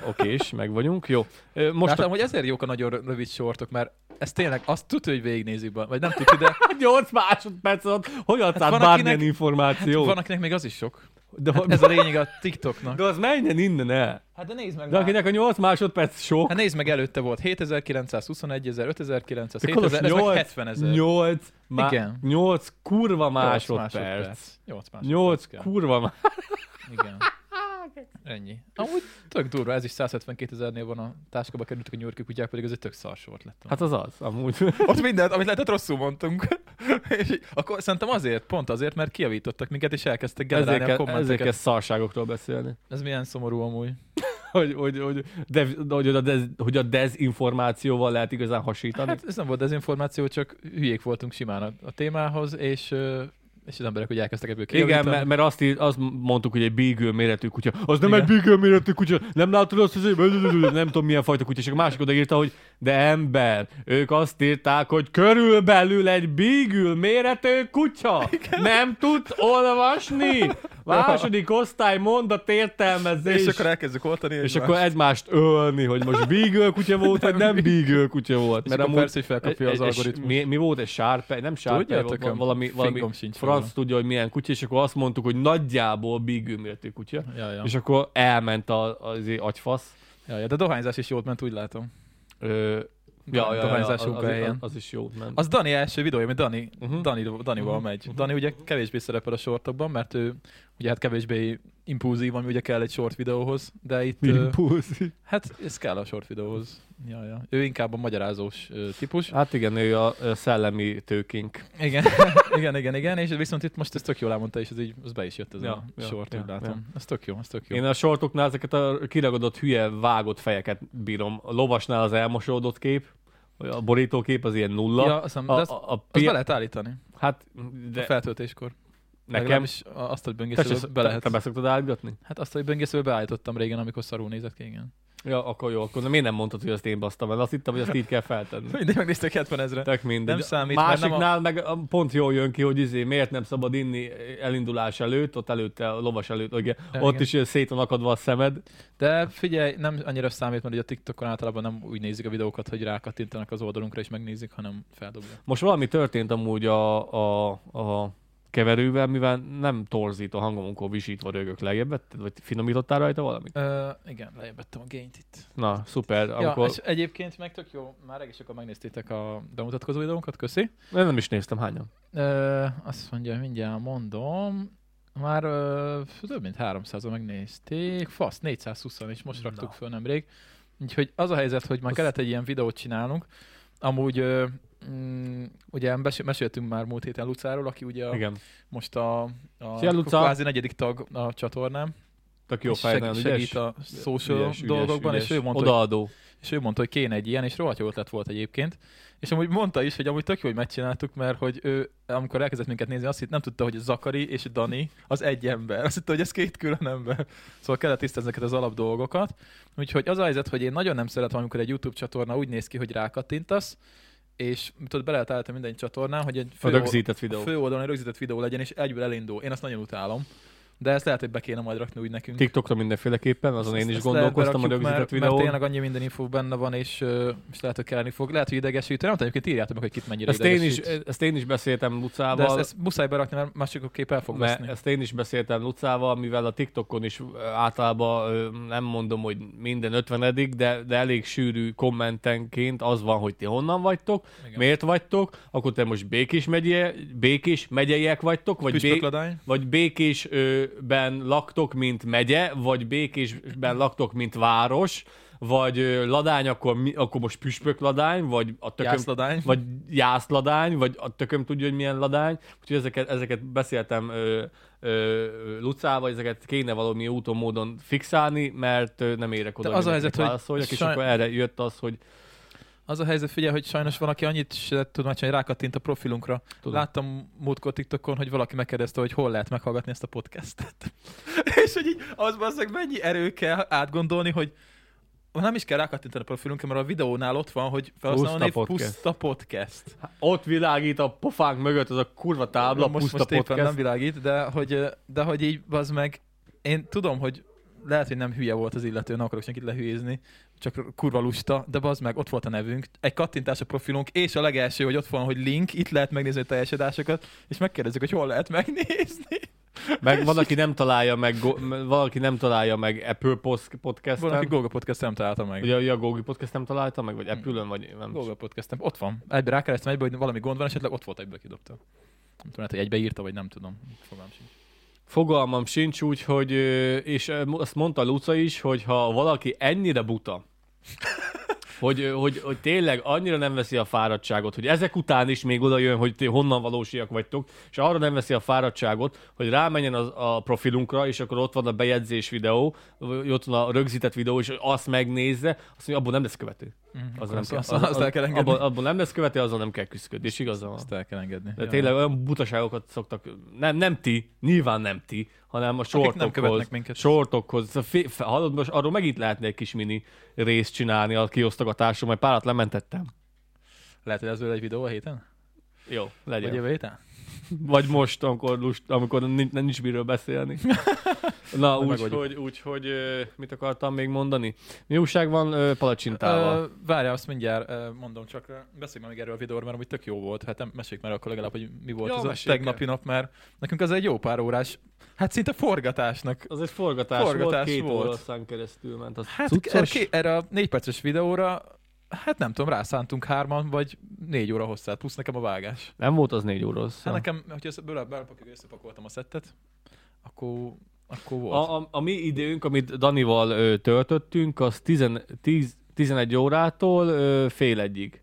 Oké, és meg vagyunk. Jó. Ö,
Most
Most
Láttam, hogy ezért jók a nagyon rövid sortok, mert ez tényleg, azt tudja, hogy végignézik, be, vagy nem tudja, de
8 másodperc alatt hogyan hát
van,
bármilyen
akinek- Hát
információ.
van, akinek még az is sok.
de,
Hát ez a lényeg a TikToknak.
de az menjen innen el.
Hát de nézd meg
De akinek a 8 másodperc sok,
Hát nézd meg, előtte volt 7900, 21000, 5900,
akkor
7000, ez meg
8,
70 ezer.
8, má-
Igen.
8 kurva másodperc.
8 másodperc.
8
kell.
kurva má-
Igen. Ennyi. Amúgy tök durva, ez is 172 ezernél van a táskába kerültek a nyurki kutyák, pedig ez egy tök szarsort lett.
Hát az az, amúgy.
Hát, Ott mindent, amit lehetett, rosszul mondtunk. és így- akkor szerintem azért, pont azért, mert kijavítottak minket, és elkezdtek generálni
Ezért,
ezért, a
kell, ezért
kommenteket.
kell
Ezért
szarságokról beszélni.
ez milyen szomorú amúgy.
Hogy, hogy, hogy, de, hogy, a dez, hogy a dezinformációval lehet igazán hasítani.
Hát ez nem volt dezinformáció, csak hülyék voltunk simán a, a témához, és, ö, és az emberek ugye elkezdtek ebből kijavítani.
Igen, mert, mert azt, ír, azt mondtuk, hogy egy bígő méretű kutya. Az nem
Igen.
egy bígő méretű kutya, nem látod azt, hogy nem tudom milyen fajta kutya. És a másik odaírta, hogy de ember, ők azt írták, hogy körülbelül egy bígül méretű kutya. Nem tud olvasni. Második osztály mondat értelmezés.
és akkor elkezdjük oltani.
és akkor egymást ölni, hogy most bígő kutya volt, vagy nem bígő kutya volt.
mert amúgy... persze, hogy felkapja az
Egy- egy-
algoritmus.
Mi, mi volt egy sárpej? Nem sárpej,
Tudjátok,
volt
ám,
valami, valami
fingom sincs
franc
róla.
tudja, hogy milyen kutya, és akkor azt mondtuk, hogy nagyjából bígő méretű kutya.
Ja, ja.
És akkor elment a- az é- agyfasz.
ja, ja, de dohányzás is jót ment, úgy látom.
Ö, ja, ja, ja,
dohányzásunk
az- az-
helyen.
az is jót ment.
Az Dani első videója, ami Dani,
Mhm.
uh-huh. Dani, Danival uh-huh. megy. Dani ugye kevésbé szerepel a sortokban, mert ő ugye hát kevésbé impulzív, ami ugye kell egy short videóhoz, de itt... ö,
Impulzív.
hát ez kell a short videóhoz. Ja, ja. Ő inkább a magyarázós ö, típus.
Hát igen, ő a a szellemi tőkénk.
Igen, igen, igen, igen, és viszont itt most ez tök jól elmondta, és ez így, az be is jött ez ja,
Ja,
a
ja,
short,
ja,
úgy látom.
ja.
Ez tök jó, ez tök jó.
Én a sortoknál ezeket a kiragadott, hülye, vágott fejeket bírom. A lovasnál az elmosódott kép, a borítókép az ilyen nulla.
ja, azt, hiszem, de
a,
azt,
a, a
azt
pi-
be lehet állítani
Hát,
de... a
de
feltöltéskor.
nekem...
Legalábbis a- azt, hogy
Te, se,
böngészőbe be
te,
lehet.
te be szoktad állítgatni?
Hát azt, hogy böngészőbe beállítottam régen, amikor szarul nézett ki, igen.
Ja, akkor jó, akkor miért nem mondtad, hogy azt én basztam el? Azt hittem, hogy azt így kell feltenni.
Mindig megnéztek 70 ezre.
Tök mindegy.
Nem számít, mert nem a-
Másiknál meg a... pont jól jön ki, hogy izé, miért nem szabad inni elindulás előtt, ott előtte, a lovas előtt, ugye,
Ja,
ott
igen.
is ilyen szét van akadva a szemed.
De figyelj, nem annyira számít, mert ugye a TikTokon általában nem úgy nézik a videókat, hogy rákattintanak az oldalunkra és megnézik, hanem feldobják.
Most valami történt amúgy a, a, a keverővel, mivel nem torzít a hangom, amikor visítva rögök lejjebb, vetted, vagy finomítottál rajta valamit?
Ö, igen, lejjebb vettem a gényt itt.
Na, szuper.
Amikor... Ja,
Amikor...
és egyébként meg tök jó, már egész sokan megnéztétek a bemutatkozó videónkat, köszi.
Én nem is néztem hányan.
Ö, azt mondja, mindjárt mondom, már ö, több mint 300-on megnézték, fasz, 420 és most
Na.
raktuk föl nemrég. Úgyhogy az a helyzet, hogy már
Az-
kellett egy ilyen videót csinálnunk. Amúgy ö, mm, ugye bes- meséltünk már múlt héten Lucáról, aki ugye a,
Igen.
most a, a
Szia, Luca!
kvázi negyedik tag a csatornám.
Tök jó
és
fej,
segít,
nagyon
segít
ügyes.
a social
Ügyes, ügyes,
dolgokban,
ügyes.
és ő mondta, hogy
Odaadó.
és ő mondta, hogy kéne egy ilyen, és rohadt jó ötlet volt egyébként. És amúgy mondta is, hogy amúgy tök jó, hogy megcsináltuk, mert hogy ő, amikor elkezdett minket nézni, azt hitt, nem tudta, hogy Zakari és Dani az egy ember. Azt hitte, hogy ez két külön ember. Szóval kellett tisztázni ezeket az alap dolgokat. Úgyhogy az a helyzet, hogy én nagyon nem szeretem, amikor egy YouTube csatorna úgy néz ki, hogy rákattintasz, és tudod, be lehet állítani minden csatornán, hogy egy
A
fő,
rögzített
a
videó.
fő oldalon egy rögzített videó legyen, és egyből elindul. Én azt nagyon utálom. De ezt lehet, hogy be kéne majd rakni úgy nekünk.
TikTokra mindenféleképpen, azon én
Ezt-
is
ezt
gondolkoztam a
lerakjuk,
rögzített
mert, mert
videón.
tényleg annyi minden info benne van, és, ö, és lehet, hogy kelleni fog. Lehet, hogy idegesít. Nem tudom, egyébként írjátok meg, hogy kit mennyire
Ezt én, is,
idegesít.
ezt én is beszéltem
De ezt,
Lucával,
ezt muszáj berakni, mert másokképp el fog
mert
veszni.
ezt én is beszéltem Lucával, mivel a TikTokon is ö, általában ö, nem mondom, hogy minden ötvenedik, de, de elég sűrű kommentenként az van, hogy ti honnan vagytok,
Igen.
Igen. miért vagytok, akkor te most Békés, megye, Békés megyeiek vagytok, vagy, Bé,
Püspökladány.
vagy Békésben laktok, mint megye, vagy Békésben laktok, mint város, vagy ö, Ladány, akkor, mi, akkor most Püspök Ladány, vagy a tököm,
Jászladány.
vagy jászladány, vagy a tököm tudja, hogy milyen ladány. Úgyhogy ezeket, ezeket beszéltem ö, ö, Lucával, ezeket kéne valami úton, módon fixálni, mert ö, nem érek oda,
De
hogy
az a helyzet,
mindenkinek
hogy
válaszoljak, és
saj-
akkor erre jött az, hogy
Az a helyzet, figyelj, hogy sajnos van, aki annyit se tud megcsinálni, rákattint a profilunkra.
Tudom.
Láttam múltkor TikTokon, hogy valaki megkérdezte, hogy hol lehet meghallgatni ezt a podcastet. és hogy így az bazzeg mennyi erő kell átgondolni, hogy nem is kell rákattintani a profilunkra, mert a videónál ott van, hogy felhasználó
Puszta
név
podcast.
puszta podcast.
ott világít a pofánk mögött az a kurva tábla,
most,
puszta
most éppen
podcast.
nem világít, de hogy, de hogy így, az meg, én tudom, hogy lehet, hogy nem hülye volt az illető, nem akarok senkit lehülyézni, csak kurva lusta, de bazd meg, ott volt a nevünk, egy kattintás a profilunk, és a legelső, hogy ott van, hogy link, itt lehet megnézni a teljes adásokat, és megkérdezzük, hogy hol lehet megnézni.
Meg van, aki nem találja meg, go- valaki nem találja meg Apple Post-
Van, aki
podcasten.
Google Podcast nem találta meg.
Ugye ugye a Google Podcast nem találta meg, vagy Apple-ön, vagy nem.
Google Podcast nem, ott van. Egybe rákerestem, egybe, hogy valami gond van, esetleg ott volt, egybe kidobta. Nem tudom, lehet, hogy egybe írta, vagy nem tudom. Fogalmam sincs.
Fogalmam sincs, úgyhogy, ö, és ö, mo- azt mondta Luca is, hogy ha valaki ennyire buta, hogy, ö, hogy, hogy tényleg annyira nem veszi a fáradtságot, hogy ezek után is még oda jön, hogy ti honnan valósiak vagytok, és arra nem veszi a fáradtságot, hogy rámenjen az, a profilunkra, és akkor ott van a bejegyzés videó, vagy ott van a rögzített videó, és azt megnézze, azt mondja, abból nem lesz követő. Az Mhm. nem
azt-
kell,
azt- azt el kell engedni.
abból, abból nem lesz követő, azzal nem kell küzdködni, és igazam van.
Ezt el kell engedni.
De
Jaj.
tényleg olyan butaságokat szoktak, nem, nem ti, nyilván nem ti, hanem a
nem
sortokhoz,
követnek minket.
sortokhoz. Szóval Fé, fe- hallod, most arról megint lehetne egy kis mini részt csinálni a kiosztogatásról, majd párat lementettem.
Lehet, hogy ez belőle egy videó a héten?
Jó, legyen.
Vagy
Vagy,
jövő héten?
Vagy most, amikor, lust, amikor nincs, nincs miről beszélni. Na,
Majd
úgyhogy, úgyhogy ö, mit akartam még mondani? Mi újság van ö, palacsintával?
Ö, Várjál, azt mindjárt ö, mondom, csak ö, beszélj már még erről a videóról, mert amúgy tök jó volt. Hát nem mesék már akkor legalább, hogy mi volt
Jó,
az a
meséljük
tegnapi nap, mert nekünk az egy jó pár órás, hát szinte forgatásnak.
az egy forgatás,
forgatás
volt, két
volt.
óra szán keresztül ment. Az
Hát erre,
cuccos.
ki- erre a négy perces videóra, hát nem tudom, rászántunk hárman, vagy négy óra hosszát, plusz nekem a vágás.
Nem volt az négy óra.
Hát
hosszú.
nekem, hogyha össze- bőle- belepakoljuk, összepakoltam a szettet, akkor, akkor volt.
A, a, a mi időnk, amit Danival ö, töltöttünk, az 10, 10, 11 órától ö, fél egyig.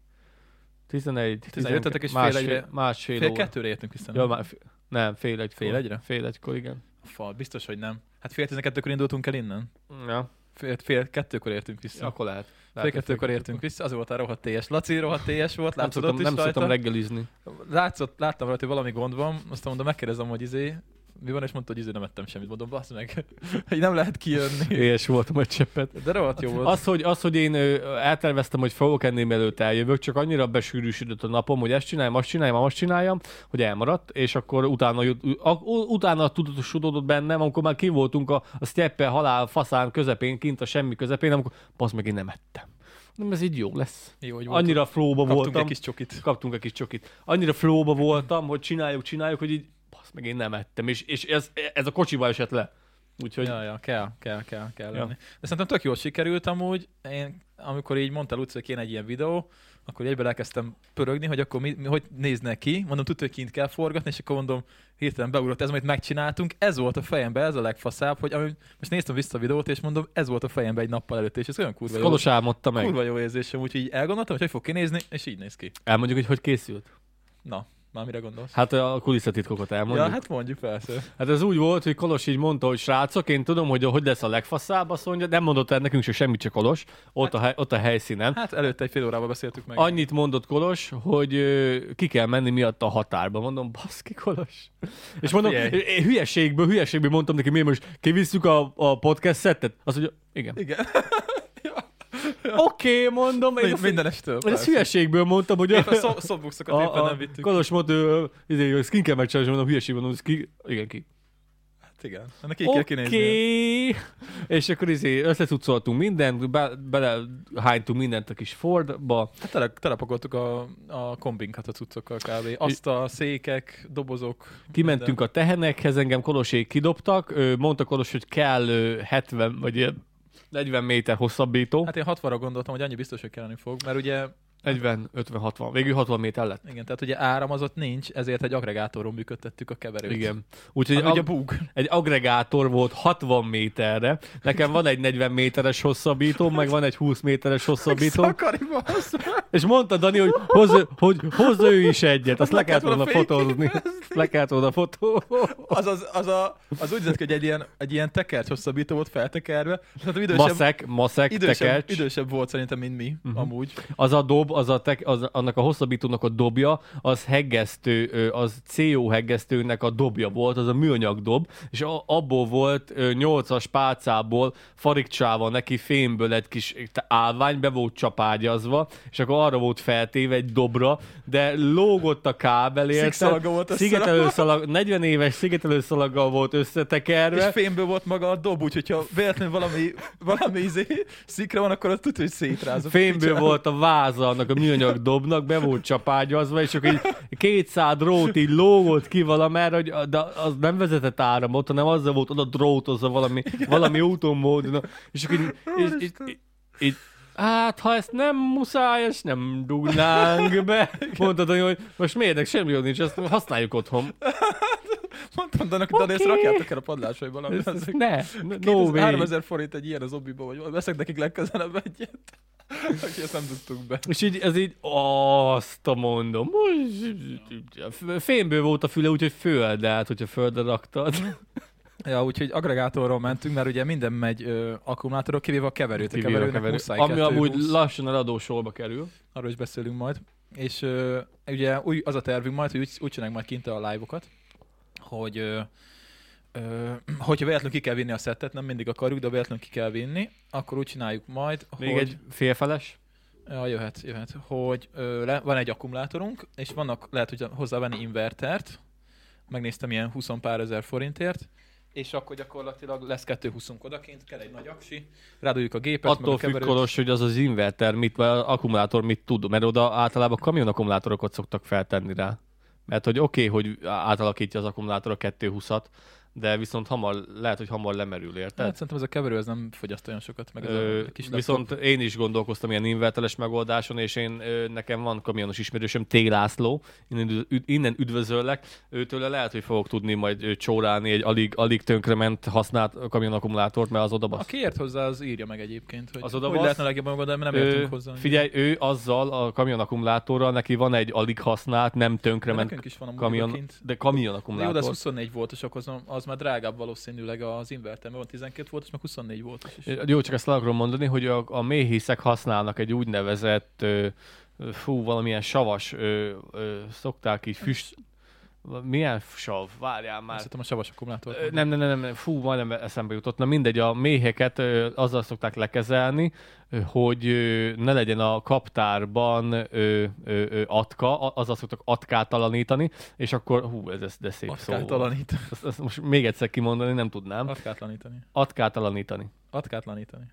11,
11 és fél
másfél,
egyre-
másfél
fél
óra.
kettőre értünk vissza.
Ja, már, f- nem, fél egykor.
Fél egyre?
Fél egykor, igen.
Fal, biztos, hogy nem. Hát fél tizenkettőkor indultunk el innen.
Ja,
Fél, fél kettőkor értünk vissza.
akkor lehet. lehet
Fél
hogy
kettőkor értünk vissza, az volt a rohadt TS. Laci rohadt TS volt,
Nem
látszott ott
szoktam,
is
nem szoktam
rajta.
reggelizni.
Látszott, láttam rajta, hogy valami gond van, aztán mondom, megkérdezem, hogy izé, mi van, és mondta, hogy izé nem ettem semmit. Mondom, basz meg, hogy nem lehet kijönni.
Éhes voltam egy cseppet.
De rohadt jó volt.
Az, hogy, az, hogy én ö, elterveztem, hogy fogok enni, mielőtt eljövök, csak annyira besűrűsödött a napom, hogy ezt csináljam, azt csináljam, azt csináljam, hogy elmaradt, és akkor utána, jut, u- a, u- utána tudatosodott bennem, amikor már ki voltunk a, a steppe halál faszán közepén, kint a semmi közepén, amikor basz meg én nem ettem. Nem, ez így jó lesz.
Jó, hogy volt.
Annyira flóba
Kaptunk egy
voltam.
kis csokit.
Kaptunk egy kis csokit. Annyira flóba voltam, hogy csináljuk, csináljuk, hogy így basz azt meg én nem ettem, és, és ez, ez a kocsiba esett le. Úgyhogy
Ja, ja, kell, kell, kell, kell
Ja.
ja. lenni. De szerintem tök jól sikerült amúgy. Én, amikor így mondtál Luci, hogy kéne egy ilyen videó, akkor egyben elkezdtem pörögni, hogy akkor mi, mi, hogy nézne ki. Mondom, tudod, hogy kint kell forgatni, és akkor mondom, hirtelen beugrott ez, amit megcsináltunk. Ez volt a fejembe, ez a legfaszább, hogy ami, most néztem vissza a videót, és mondom, ez volt a fejembe egy nappal előtt, és ez olyan kurva
ezt
jó,
Kolos álmodta meg.
kurva jó érzésem, úgyhogy így elgondoltam, hogy hogy fog kinézni, és így néz ki.
Elmondjuk, hogy hogy készült.
Na, már mire gondolsz?
Hát a kulisszatitkokat elmondjuk.
Ja, hát mondjuk persze.
Hát ez úgy volt, hogy Kolos így mondta, hogy srácok, én tudom, hogy hogy lesz a legfaszább, azt mondja, nem mondott el nekünk se semmit, csak Kolos, ott, hát, a, hely, ott a helyszínen.
Hát előtte egy fél órával beszéltük meg.
Annyit mondott Kolos, hogy ö, ki kell menni miatt a határba. Mondom, baszki Kolos. És mondom,
Hát figyelj.
én hülyeségből, hülyeségből mondtam neki, mi most kivisszük a, a podcast szettet? Azt mondja, igen.
Igen.
Oké, okay, mondom. Én
Mind,
azt,
minden estől.
én ezt hülyeségből mondtam, hogy...
Épp a szob- szobbuxokat éppen nem vittük.
Kolos mondta, ö, izé, ezt ki kell megcsinálni, és mondom, hülyeség mondom, ez ki... Igen, ki.
Hát igen. Ennek így kell kinézni.
Oké. És akkor izé összecucoltunk mindent, be, belehánytunk mindent a kis Fordba.
Hát tele, telepakoltuk a, a kombinkat a cuccokkal kb. Azt a székek, dobozok.
Kimentünk a tehenekhez, engem Kolosék kidobtak. Ő, mondta Kolos, hogy kell ö, 70 vagy ilyen 40 méter hosszabbító.
Hát én 60-ra gondoltam, hogy annyi biztos, hogy kelleni fog, mert ugye,
40, 50, 60. Végül 60 méter lett.
igen, tehát ugye áram az ott nincs, ezért egy agregátoron működtettük a keverőt.
Igen.
Ami
Úgyhogy
Hát ugye
ag-
bug.
egy agregátor volt 60 méterre. Nekem van egy 40 méteres hosszabbító, meg van egy 20 méteres hosszabbító.
Szakariba az.
És mondta Dani, hogy hozz, hogy hozz ő is egyet, azt le
Azt le
kellett
kellett
volna
volna
fotózni. Le kellett volna fotózni.
Az, az, az, a, az úgy nézett ki, hogy egy ilyen, egy ilyen tekert hosszabbító volt feltekerve. Tehát idősebb,
Maszek, maszek,
idősebb,
tekercs.
idősebb volt szerintem, mint mi, uh-huh. amúgy.
Az a dob, az a tek, az, annak a hosszabbítónak a dobja, az heggesztő, ö, az CO heggesztőnek a dobja volt, az a műanyag dob, és a, abból volt ö, 8-as pálcából farigcsával neki fémből egy kis eh, állvány, be volt csapágyazva, és akkor arra volt feltéve egy dobra, de lógott a kábel, érted?
Szikszalaga volt a
Szigetelőszalag, 40 éves szigetelőszalaggal volt összetekerve,
És fémből volt maga a dob, úgyhogy ha véletlenül valami, valami izé, szikra van, akkor ott tudja, hogy szétrázok.
Fémből
Így-
volt a váza annak a műanyag dobnak, be volt csapágyazva, és akkor így 200 drót így lógott ki valamerre, hogy a- de az nem vezetett áramot, hanem azzal volt oda drótozva valami, valami úton módon. És akkor így, így, így, így, így Hát, ha ezt nem muszáj, és nem dugnánk be. Mondtad, hogy hogy most miért, ennek semmi jog nincs, ezt használjuk otthon.
Mondtam, de annak, okay. Dani, ezt
Oké.
rakjátok el a padlás, vagy valami.
Ezt, ezt
Ezek
ne, no
2000,
way.
3000 forint egy ilyen az obiba, vagy veszek nekik legközelebb egyet. Aki ezt nem tudtuk be.
És így, ez így, azt a mondom, fémből volt a füle, úgyhogy föld, de hát, hogyha földre raktad.
Ja, úgyhogy agregátorról mentünk, mert ugye minden megy ö, akkumulátorról, kivéve a keverőt.
Kivéve a keverő. Ami amúgy lassan eladósolba kerül.
arról is beszélünk majd. És ö, ugye új, az a tervünk majd, hogy úgy, úgy csináljuk majd kint a live-okat, hogy ö, ö, hogyha véletlenül ki kell vinni a szettet, nem mindig akarjuk, de ha véletlenül ki kell vinni, akkor úgy csináljuk majd,
Még
hogy...
egy félfeles.
Ja, jöhet, jöhet. Hogy ö, le, van egy akkumulátorunk, és vannak, lehet, hogy hozzávenni invertert, megnéztem ilyen 20 pár ezer forintért, és akkor gyakorlatilag lesz 220 odakint, kell egy nagy aksi, ráduljuk a gépet, meg
Attól
a
függ,
keverőt.
Kolos, hogy az az inverter, mit, vagy az akkumulátor mit tud, mert oda általában kamion akkumulátorokat szoktak feltenni rá. Mert hogy oké, okay, hogy átalakítja az akkumulátor a 220-at, de viszont hamar, lehet, hogy hamar lemerül, érted?
Hát szerintem ez a keverő ez nem fogyaszt olyan sokat, meg ez
Ö,
a kis laptop.
viszont én is gondolkoztam ilyen inverteles megoldáson, és én ö, nekem van kamionos ismerősöm, T. László, innen, üd- innen üdvözöllek, őtőle lehet, hogy fogok tudni majd ö, csórálni egy alig, alig tönkrement használt kamionakkumulátort, mert az oda basz.
Aki ért hozzá, az írja meg egyébként, hogy
Az
az oda
oda basz.
hogy lehetne legjobban gondolni, mert nem
Ö,
értünk hozzá.
figyelj, ő azzal a kamionakkumulátorral, neki van egy alig használt, nem
de
tönkrement
nekünk is van a
kamion,
kamion... kint.
de
De jó, de
kamionakkumulátor.
az 24 voltos, akkor az, az már drágább valószínűleg az inverter, mert van 12 voltos, meg 24 voltos is.
Jó, csak ezt le akarom mondani, hogy a, a méhészek használnak egy úgynevezett, ö, ö, fú, valamilyen savas, ö, ö, szokták így füst... Milyen sav? Várjál
Már...
már.
Szerintem a savas akkumulátor.
Ö, Nem, nem, nem, nem, fú, majdnem eszembe jutott. Na mindegy, a méheket ö, azzal szokták lekezelni, ö, hogy ö, ne legyen a kaptárban ö, ö, ö, atka, a- azzal szoktak atkátalanítani, és akkor, hú, ez, ez de szép szó. volt.
Atkátlanít.
Ezt, ezt most még egyszer kimondani nem tudnám.
Atkátlanítani.
Atkátalanítani.
Atkátlanítani.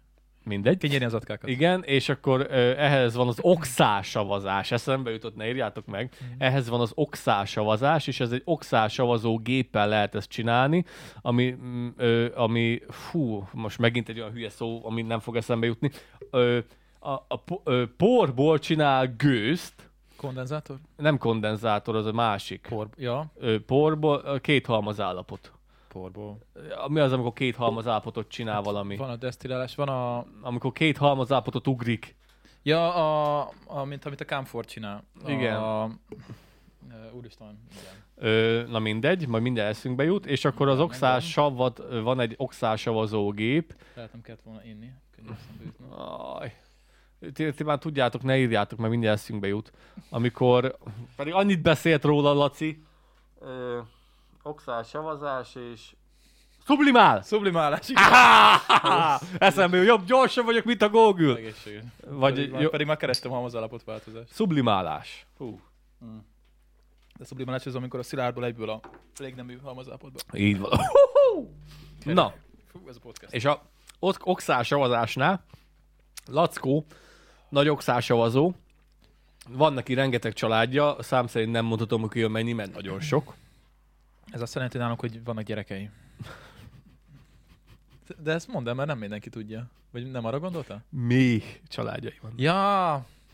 mindegy.
Kinyírni az atkákat.
Igen, és akkor ö, ehhez van az oxásavazás, eszembe jutott, ne írjátok meg.
Mhm.
Ehhez van az oxásavazás, és ez egy oxásavazó géppel lehet ezt csinálni, ami, mm, ö, ami fú, most megint egy olyan hülye szó, ami nem fog eszembe jutni. Ö, a, a po- ö, porból csinál gőzt,
Kondenzátor?
nem kondenzátor, az a másik. Por.
Por, ja,
Ö, porból ö, két halmazállapot.
porból.
Ö, Mi az, amikor két halmazállapotot csinál valami?
Hát Van a desztillálás, van a...
Amikor két halmazállapotot ugrik.
Ja, a, a mint amit a Camford csinál. A,
Igen.
A, Ö, úristen, igen.
Ö, na mindegy, majd minden eszünkbe jut, és akkor az
Nem,
oxás savat, ö, van egy oxásavazó gép.
Lehet nem kellett volna inni. Könnyű eszembe jutna.
Aj. Ti, ti, már tudjátok, ne írjátok, mert minden eszünkbe jut. Amikor, pedig annyit beszélt róla Laci. Ö, oxás savazás és... Sublimál!
Sublimálás, igen.
Áhá! Eszembe jut, jobb, gyorsabb vagyok, mint a Google.
Egészséged.
Vagy
pedig,
jó,
már, pedig már kerestem halmazalapot változást.
sublimálás.
Hú. Hm. De szublimálás az, amikor a szilárdból egyből a légnemű halmazalapotba.
Így van. Na,
Fú, ez a podcast.
És a ott okszásavazásnál Lackó, nagy okszásavazó, van neki rengeteg családja, szám szerint nem mondhatom, hogy jön mennyi, mert nagyon sok.
Ez azt jelenti nálunk, hogy vannak gyerekei. De ezt mondd el, mert nem mindenki tudja. Vagy nem arra gondoltál?
Mi családjai van.
Ja,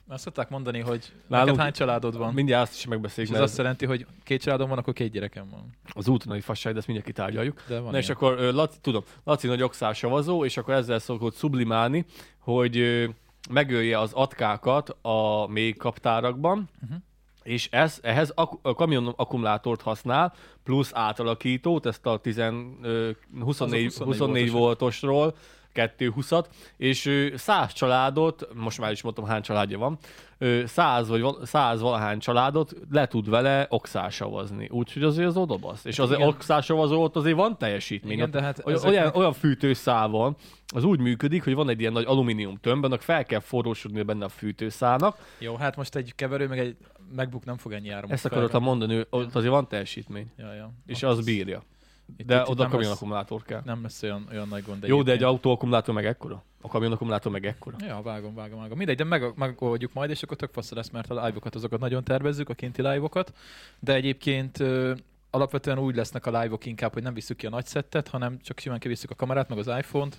azt szokták mondani, hogy
Nálunk-
neked hány családod van.
Mindjárt azt is megbeszéljük,
És ez
mert
azt
az,
jelenti, hogy két családom van, akkor két gyerekem van.
az úton, hogy fasság, de ezt mindjárt kitárgyaljuk.
De van
Na és akkor ö, Laci, tudom, Laci nagy okszásavazó, és akkor ezzel szokott sublimálni, hogy ö, megölje az atkákat a mély kaptárakban, uh-huh. és ez, ehhez ak- a kamion akkumulátort használ, plusz átalakítót, ezt a 10, ö, 24, 24, 24
24
voltosról, 220-at, és ö, 100 családot, most már is mondtam hány családja van, ö, 100 vagy val- 100 valahány családot le tud vele oxásavazni. Úgyhogy azért az odabasz. És az
Hát Igen.
oxásavazó ott azért van teljesítmény.
Igen,
Ott
de hát
oly-
ezek-
olyan, olyan fűtőszál van, az úgy működik, hogy van egy ilyen nagy alumínium tömb, annak fel kell forrósodni benne a fűtőszálnak.
Jó, hát most egy keverő, meg egy megbuk nem fog ennyi áramot.
Ezt akartam mondani, hogy ott azért van teljesítmény,
Ja, ja.
és az bírja.
Itt-
De
itt- itt
oda
nem
kamion
lesz-
akkumulátor kell.
Nem lesz olyan, olyan nagy gond.
Jó, de egy
egyébként.
autóakkumulátor meg ekkora. A kamion akkumulátor meg ekkora.
Ja, vágom, vágom, vágom. Mindegy, de meg, megoldjuk majd, és akkor tök fasz lesz, mert a live-okat azokat nagyon tervezzük, a kinti live-okat. De egyébként ö, alapvetően úgy lesznek a live-ok inkább, hogy nem visszük ki a nagy szettet, hanem csak simán kivisszük a kamerát, meg az iPhone-t,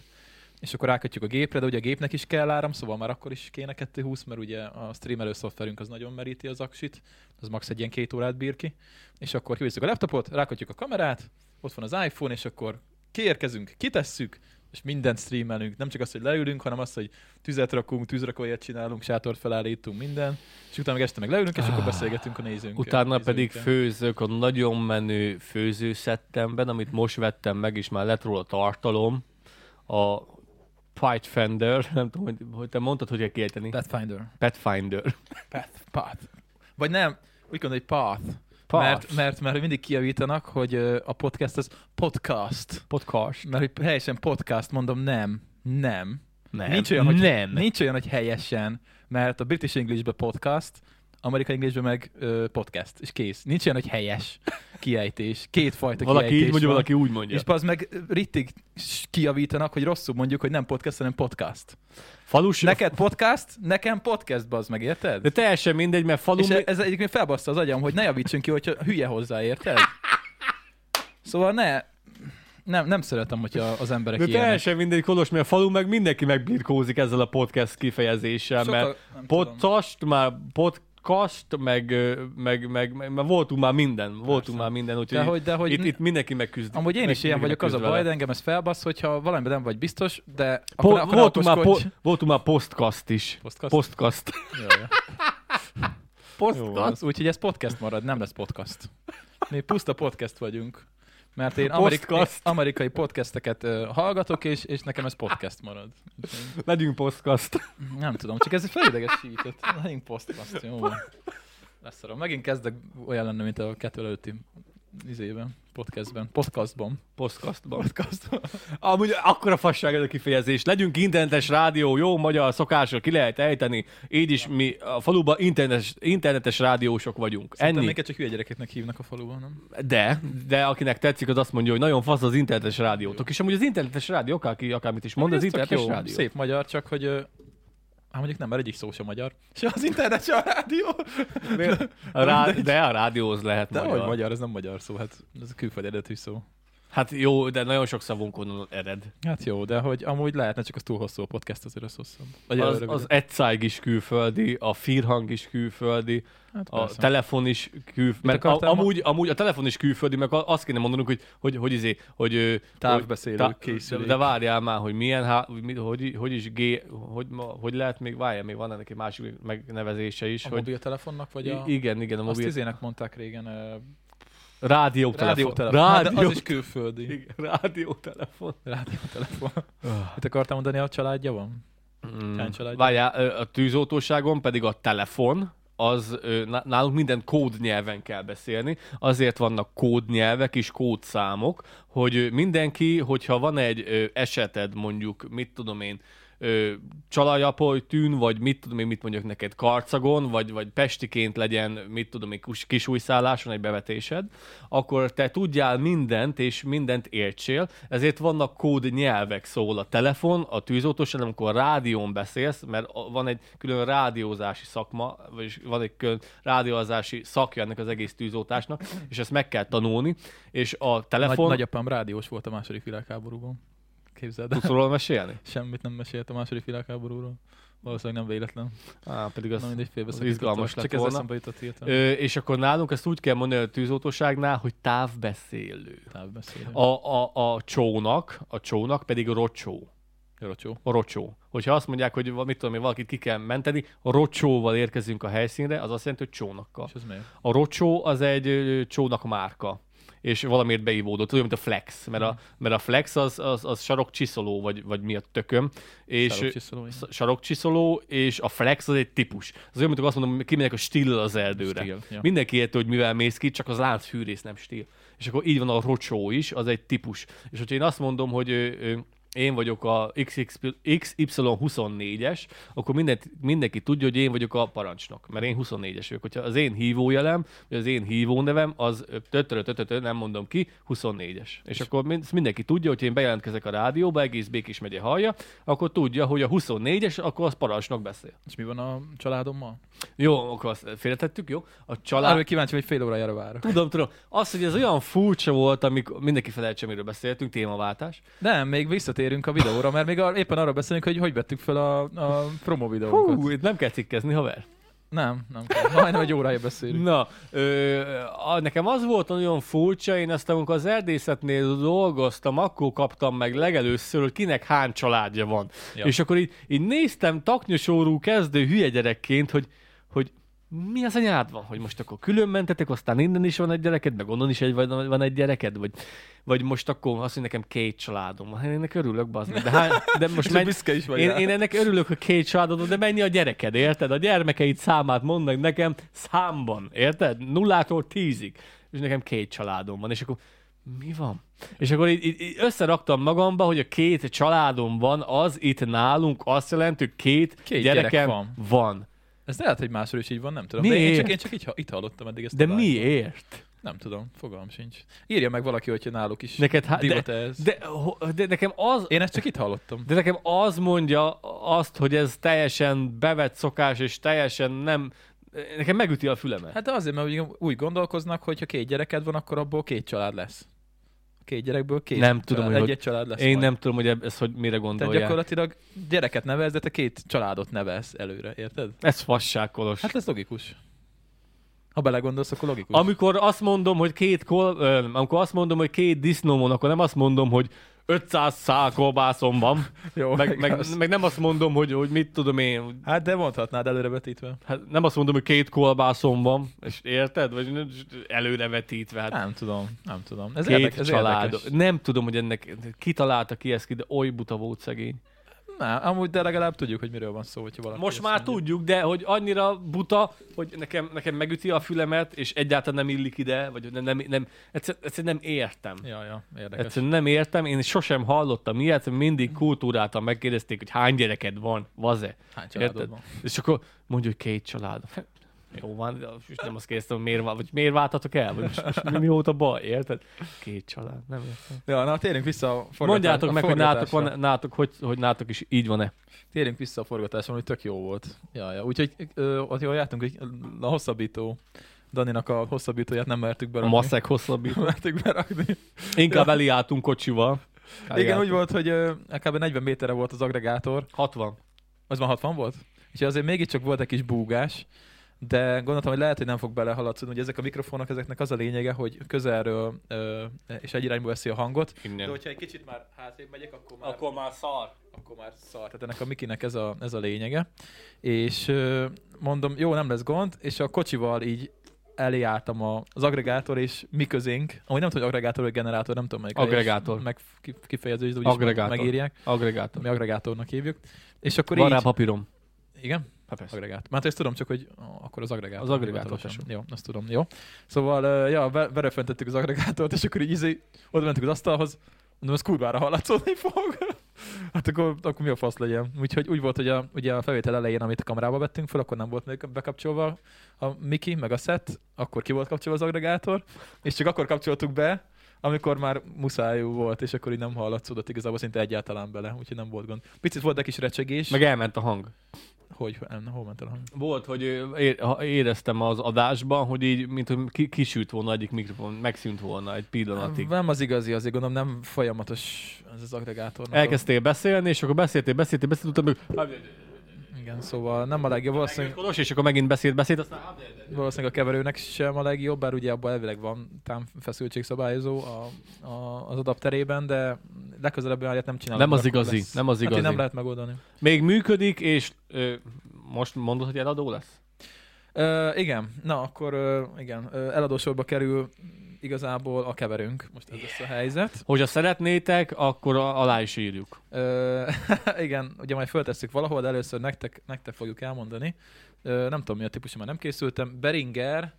és akkor rákötjük a gépre, de ugye a gépnek is kell áram, szóval már akkor is kéne 220, mert ugye a streamelő szoftverünk az nagyon meríti az aksit, az max egy ilyen két órát bír ki, és akkor kivisszük a laptopot, rákötjük a kamerát, ott van az iPhone, és akkor kiérkezünk, kitesszük, és mindent streamelünk, nem csak azt, hogy leülünk, hanem azt, hogy tüzet rakunk, tűzrakóját csinálunk, sátort felállítunk, minden, és utána meg este meg leülünk, és akkor beszélgetünk a nézőnkkel.
Ah. Utána pedig
nézőinkkel.
főzök a nagyon menő főzőszettemben, amit most vettem meg, és már lett róla tartalom. A Fight Fender, nem tudom, hogy, hogy te mondtad, hogy kell kiejteni.
Pathfinder.
Pathfinder.
Path. Path. Vagy nem, úgy gondolom, hogy path.
Path.
Mert, mert, mert mindig kijavítanak, hogy ö, a podcast az podcast.
Podcast.
Mert hogy helyesen podcast, mondom nem. Nem.
Nem.
Nincs olyan, hogy,
nem.
Nincs olyan, hogy helyesen, mert a British Englishbe podcast, amerikai Englishbe meg ö, podcast, és kész. Nincs olyan, hogy helyes kiejtés. Kétfajta
valaki
kiejtés
így mondja,
van.
valaki úgy mondja.
És az meg rittig s- kijavítanak, hogy rosszul mondjuk, hogy nem podcast, hanem podcast.
Falus.
Neked podcast, nekem podcast, bazd meg, érted?
De teljesen mindegy, mert falu...
És ez egyébként felbassza az agyam, hogy ne javítsunk ki, hogyha hülye hozzá, érted? Szóval ne, nem, nem szeretem, hogyha az emberek
de
ilyenek.
teljesen mindegy, Kolos, mert falu meg mindenki megbirkózik ezzel a podcast kifejezéssel,
Sokan-
mert
nem tudom.
podcast, már podcast, meg, ö, meg, meg, meg, meg voltunk már minden, voltunk már minden, úgyhogy
De hogy- de hogy
itt,
ne-
itt, mindenki megküzd.
Amúgy én is
mindenki
ilyen vagyok, az a baj,
megküzd vele.
de engem ez felbassz, hogyha valamiben nem vagy biztos, de
Po-
akkor, ne- akkor ne
voltunk, már po-
okoskodj.
voltunk már podcast is.
Podcast?
Podcast.
Jaj, jaj.
Podcast.
Az, Úgyhogy ez podcast marad, nem lesz podcast. Mi puszta podcast vagyunk. Mert én
Podcast.
amerik- amerikai podcasteket ö, hallgatok, és, és nekem ez podcast marad.
Legyünk podcast.
Nem tudom, csak ez egy felidegesített. Megint podcast, jó van. Leszarom. Megint kezdek olyan lenni, mint a kettő előtti izében. Podcastben. Podcastban.
Podcastban.
Podcastban.
Amúgy akkora fasság ez a kifejezés. Legyünk internetes rádió, jó magyar szokásra ki lehet ejteni. Így is mi a faluban internetes, internetes rádiósok vagyunk.
Ennyi.
Ennyi.
Minket csak hülye gyerekeknek hívnak a faluban, nem?
De, de akinek tetszik, az azt mondja, hogy nagyon fasz az internetes rádiótok. És amúgy az internetes rádió, akárki akármit is mond,
Hát Ez
az
tök
internetes
jó,
rádió.
Szép magyar, csak hogy... ö, Hát mondjuk nem, mert egyik szó sem magyar. Se az internet, se a rádió.
A rá, de a rádióhoz lehet
De
magyar.
hogy magyar, ez nem magyar szó, hát ez külföldi eredetű szó.
Hát jó, de nagyon sok szavunkon ered.
Hát jó, de hogy amúgy lehetne, csak az túl hosszú a podcast, azért az hosszabb. Vagy
Az,
elrövidebb.
az egyszájg is külföldi, a firhang is külföldi,
hát
a
persze.
telefon is külföldi. Mert a,
akartál ma?
amúgy, amúgy a telefon is külföldi, meg a- azt kéne mondanunk, hogy, hogy, hogy, izé, hogy ö,
Távbeszélő
de,
készülék.
de várjál már, hogy milyen, há, mi, hogy, hogy is G, hogy, ma- hogy lehet még, várjál, még van ennek egy másik megnevezése is,
A
hogy
mobiltelefonnak, vagy a...
I- igen, igen, a
Azt
mobil.
izének mondták régen, ö,
Rádiótelefon.
rádiótelefon. Hát, de
Rádió...
az is külföldi.
Igen, rádiótelefon.
Rádiótelefon. Mit akartam mondani, a családja van?
Mm.
Hány családja?
Várjál, ö, a tűzoltóságon pedig a telefon, az ö, na- nálunk minden kódnyelven kell beszélni, azért vannak kódnyelvek és kódszámok, hogy ö, mindenki, hogyha van egy ö, eseted, mondjuk, mit tudom én, ö, Csalajapolytűn, vagy mit tudom én, mit mondjak neked, Karcagon, vagy, vagy Pestiként legyen, mit tudom én, kus- kisújszálláson egy bevetésed, akkor te tudjál mindent, és mindent értsél, ezért vannak kódnyelvek, szól a telefon, a tűzoltóság, amikor a rádión beszélsz, mert a- van egy külön rádiózási szakma, vagyis van egy külön rádiózási szakja ennek az egész tűzoltásnak, és ezt meg kell tanulni, és a
Nagy,
telefon... Nagy,
nagyapám rádiós volt a második világháborúban. Képzeld el.
Tudsz róla mesélni?
Semmit nem mesélt a második világháborúról. Valószínűleg nem véletlen.
Á, pedig
Na
az...
mindegy, szóval félbe
az
szakítottam.
izgalmas lett
Csak ez
volna.
eszembe jutott írtam.
Ö, és akkor nálunk ezt úgy kell mondani a tűzoltóságnál, hogy távbeszélő.
Távbeszélő.
A, a, a csónak, a csónak pedig rocsó.
Rocsó.
a rocsó. Hogyha azt mondják, hogy va- mit tudom én, valakit ki kell menteni, a rocsóval érkezünk a helyszínre, az azt jelenti, hogy csónakkal.
És ez miért?
A rocsó az egy ö, csónak márka és valamiért beívódott, tudom, mint a flex, mert
Mhm.
a, mert a flex az, az, az sarokcsiszoló, vagy, vagy mi a tököm, és,
Sarokcsiszoló, igen.
sz- sarokcsiszoló, és a flex az egy típus. Az olyan, mint amikor azt mondom, hogy kimegyek a still az erdőre.
Still, ja.
Mindenki érti, hogy mivel mész ki, csak az láncfűrész nem still. És akkor így van a rocsó is, az egy típus. És hogyha én azt mondom, hogy ö, ö, én vagyok a XY24-es, akkor mindent, mindenki tudja, hogy én vagyok a parancsnok, mert én 24-es vagyok. Hogyha az én hívójelem, vagy az én hívónevem, az ö, tötörö, tötörö, nem mondom ki, 24-es. És akkor mind, ezt mindenki tudja, hogy én bejelentkezek a rádióba, egész Békés megye hallja, akkor tudja, hogy a 24-es, akkor az parancsnok beszél.
És mi van a családommal?
Jó, akkor azt félretettük, jó? A
Arra
család...
vagyok kíváncsi, hogy fél órájára várok.
Tudom, tudom. Az, hogy ez olyan furcsa volt, amikor mindenki felejtse, amiről beszéltünk, témaváltás.
Nem, még visszatérünk a videóra, mert még ar- éppen arra beszélünk, hogy hogy vettük fel a, a promo videónkat.
Hú, itt nem kell cikkezni, haver.
Nem, nem kell. Majdnem egy órája beszélünk.
Na, ö, a, nekem az volt nagyon furcsa, én ezt amikor az erdészetnél dolgoztam, akkor kaptam meg legelőször, hogy kinek hány családja van.
Ja.
Ja. És akkor így, így néztem taknyosórú kezdő hülye gyerekként, hogy, hogy mi az anyád van, hogy most akkor külön mentetek, aztán innen is van egy gyereked, meg onnan is egy, vagy- van egy gyereked, vagy, vagy most akkor azt, hogy nekem két családom van. Hát én ennek örülök, bazd. meg, De, hány, de most
És
menj,
büszke is vagy
én,
rá.
én, ennek örülök, hogy két családod van, de mennyi a gyereked, érted? A gyermekeid számát mondd meg nekem számban, érted? Nullától tízig. És nekem két családom van, és akkor mi van? És akkor így, így, így összeraktam magamba, hogy a két családom van, az itt nálunk azt jelenti, hogy két,
Két
két
gyerek
gyerekem
van.
van. van.
Ez lehet, hogy máshol is így van, nem tudom. De én
Miért?
csak, én csak így, ha- itt hallottam eddig ezt a
De
vágyat.
miért?
Nem tudom, fogalmam sincs. Írja meg valaki, hogyha náluk is
Neked há-
divat
de,
ez.
de, ho- de nekem az,
Én ezt csak itt hallottam.
De nekem az mondja azt, hogy ez teljesen bevett szokás, és teljesen nem... Nekem megüti a fülemet.
Hát de azért, mert úgy, úgy gondolkoznak, hogy ha két gyereked van, akkor abból két család lesz. Két gyerekből két
Nem
család,
tudom, hogy
egy,
hogy-
egy család lesz
Én
majd.
nem tudom, hogy eb- ezt hogy mire
Tehát
gondolják.
gyakorlatilag gyereket nevez, de te két családot nevez előre, érted?
Ez fasság, Kolos.
Hát ez logikus. Ha belegondolsz, akkor logikus.
Amikor azt mondom, hogy két kol, ö, amikor azt mondom, hogy két disznómon, akkor nem azt mondom, hogy 500 szál kolbászom van,
Jó,
meg, meg,
igaz.
meg, nem azt mondom, hogy, hogy mit tudom én,
Hát de mondhatnád előrevetítve.
hát nem azt mondom, hogy két kolbászom van, és érted? Vagy előrevetítve, hát
Nem tudom, nem tudom. Ez
két
érdekes, ez
család.
Érdekes.
Nem tudom, hogy ennek kitalálta ki ezt ki, de oly buta volt szegény.
Na, amúgy, de legalább tudjuk, hogy miről van szó, hogyha valaki
Most
azt
már
mondja.
tudjuk, de hogy annyira buta, hogy nekem, nekem megüti a fülemet, és egyáltalán nem illik ide, vagy nem, nem, nem egyszerűen egyszer nem értem.
Ja, ja, érdekes. Mm.
Egyszerűen nem értem, én sosem hallottam ilyet, mindig kultúráltan megkérdezték, hogy hány gyereked van, vaze.
Hány
Érted?
családod van?
És akkor mondja, hogy két család. Jó van, de most nem azt kérdeztem, hogy miért, vá- vagy miért váltatok el, vagy most, most mi, mióta baj, érted? Két család, nem értem.
Ja, na térjünk vissza a forgatás-
Mondjátok
a
meg, hogy nátok,
forgatásra.
van, nátok, hogy, hogy nátok is így van-e.
Térjünk vissza a forgatáson, hogy tök jó volt. Ja, ja. Úgyhogy ö, ott jól jártunk, hogy a hosszabbító, Daninak a hosszabbítóját nem mertük
A
berakni.
maszek hosszabbít.
Nem mertük berakni.
Inkább eliálltunk kocsival.
Igen, úgy volt, hogy ö, kb. 40 méterre volt az agregátor,
60.
az már 60 volt? Úgyhogy azért mégiscsak volt egy kis búgás, de gondoltam, hogy lehet, hogy nem fog belehaladszódni. Ugye ezek a mikrofonok, ezeknek az a lényege, hogy közelről ö, és egy irányba veszi a hangot. De
Innen.
hogyha egy kicsit már hátrébb megyek, akkor már,
Akkor már szar.
akkor már szar. Tehát ennek a Mikinek ez a, ez a lényege. És ö, mondom, jó, nem lesz gond, és a kocsival így elé álltam a- az agregátor és mi közénk. Amúgy nem tudom, hogy agregátor vagy generátor, nem tudom melyik.
Agregátor.
Meg ki- kifejezés, de úgyis
Agregátor.
megírják.
Agregátor.
Mi agregátornak hívjuk. És akkor
Van
így...
rá papírom.
Igen?
Hát persze.
Agregát. Már ezt tudom, csak hogy a- akkor az agregát.
Az agregátor,
hivatalosan. Jó, azt tudom, jó. Szóval, ö, ja, be- beröföntettük az agregátort, és akkor így izé, oda mentünk az asztalhoz, mondom, ez kurvára hallatszódni fog. hát akkor, akkor mi a fasz legyen? Úgyhogy úgy volt, hogy a, ugye a felvétel elején, amit a kamerába vettünk fel, akkor nem volt még bekapcsolva a Miki, meg a set, akkor ki volt kapcsolva az agregátor, és csak akkor kapcsoltuk be, amikor már muszáj volt, és akkor így nem hallatszódott igazából szinte egyáltalán bele, úgyhogy nem volt gond. Picit volt egy kis recsegés, meg...
Meg elment a hang.
hogy nem, hol ment el a hang?
Volt, hogy ö, é- ha- éreztem az adásban, hogy így, mint hogy ki- kisült volna egyik mikrofon, megszűnt volna egy pillanatig.
Nem az igazi, azért gondolom nem folyamatos ez az agregátornak. a-
Elkezdtél beszélni, és akkor beszéltél, beszéltél, beszéltél, utána meg...
Igen, szóval nem a legjobb, valószínűleg,
Kolos, és akkor megint beszélt, beszélt, aztán...
valószínűleg a keverőnek sem a legjobb, bár ugye abban elvileg van tám feszültségszabályozó a, a, az adapterében, de legközelebb olyan ilyet nem csinálok.
Nem az
mert akkor
igazi, nem az
Hát így
igazi.
nem lehet megoldani.
Még működik, és ö, most mondod, hogy eladó lesz?
Ö, igen, na akkor ö, igen, ö, eladósorba kerül igazából a keverünk, most ez lesz a helyzet.
Hogyha szeretnétek, akkor a- alá is írjuk.
Ö, igen, ugye majd föltesszük valahol, de először nektek, nektek fogjuk elmondani. Ö, nem tudom, mi a típusa, már nem készültem. Beringer,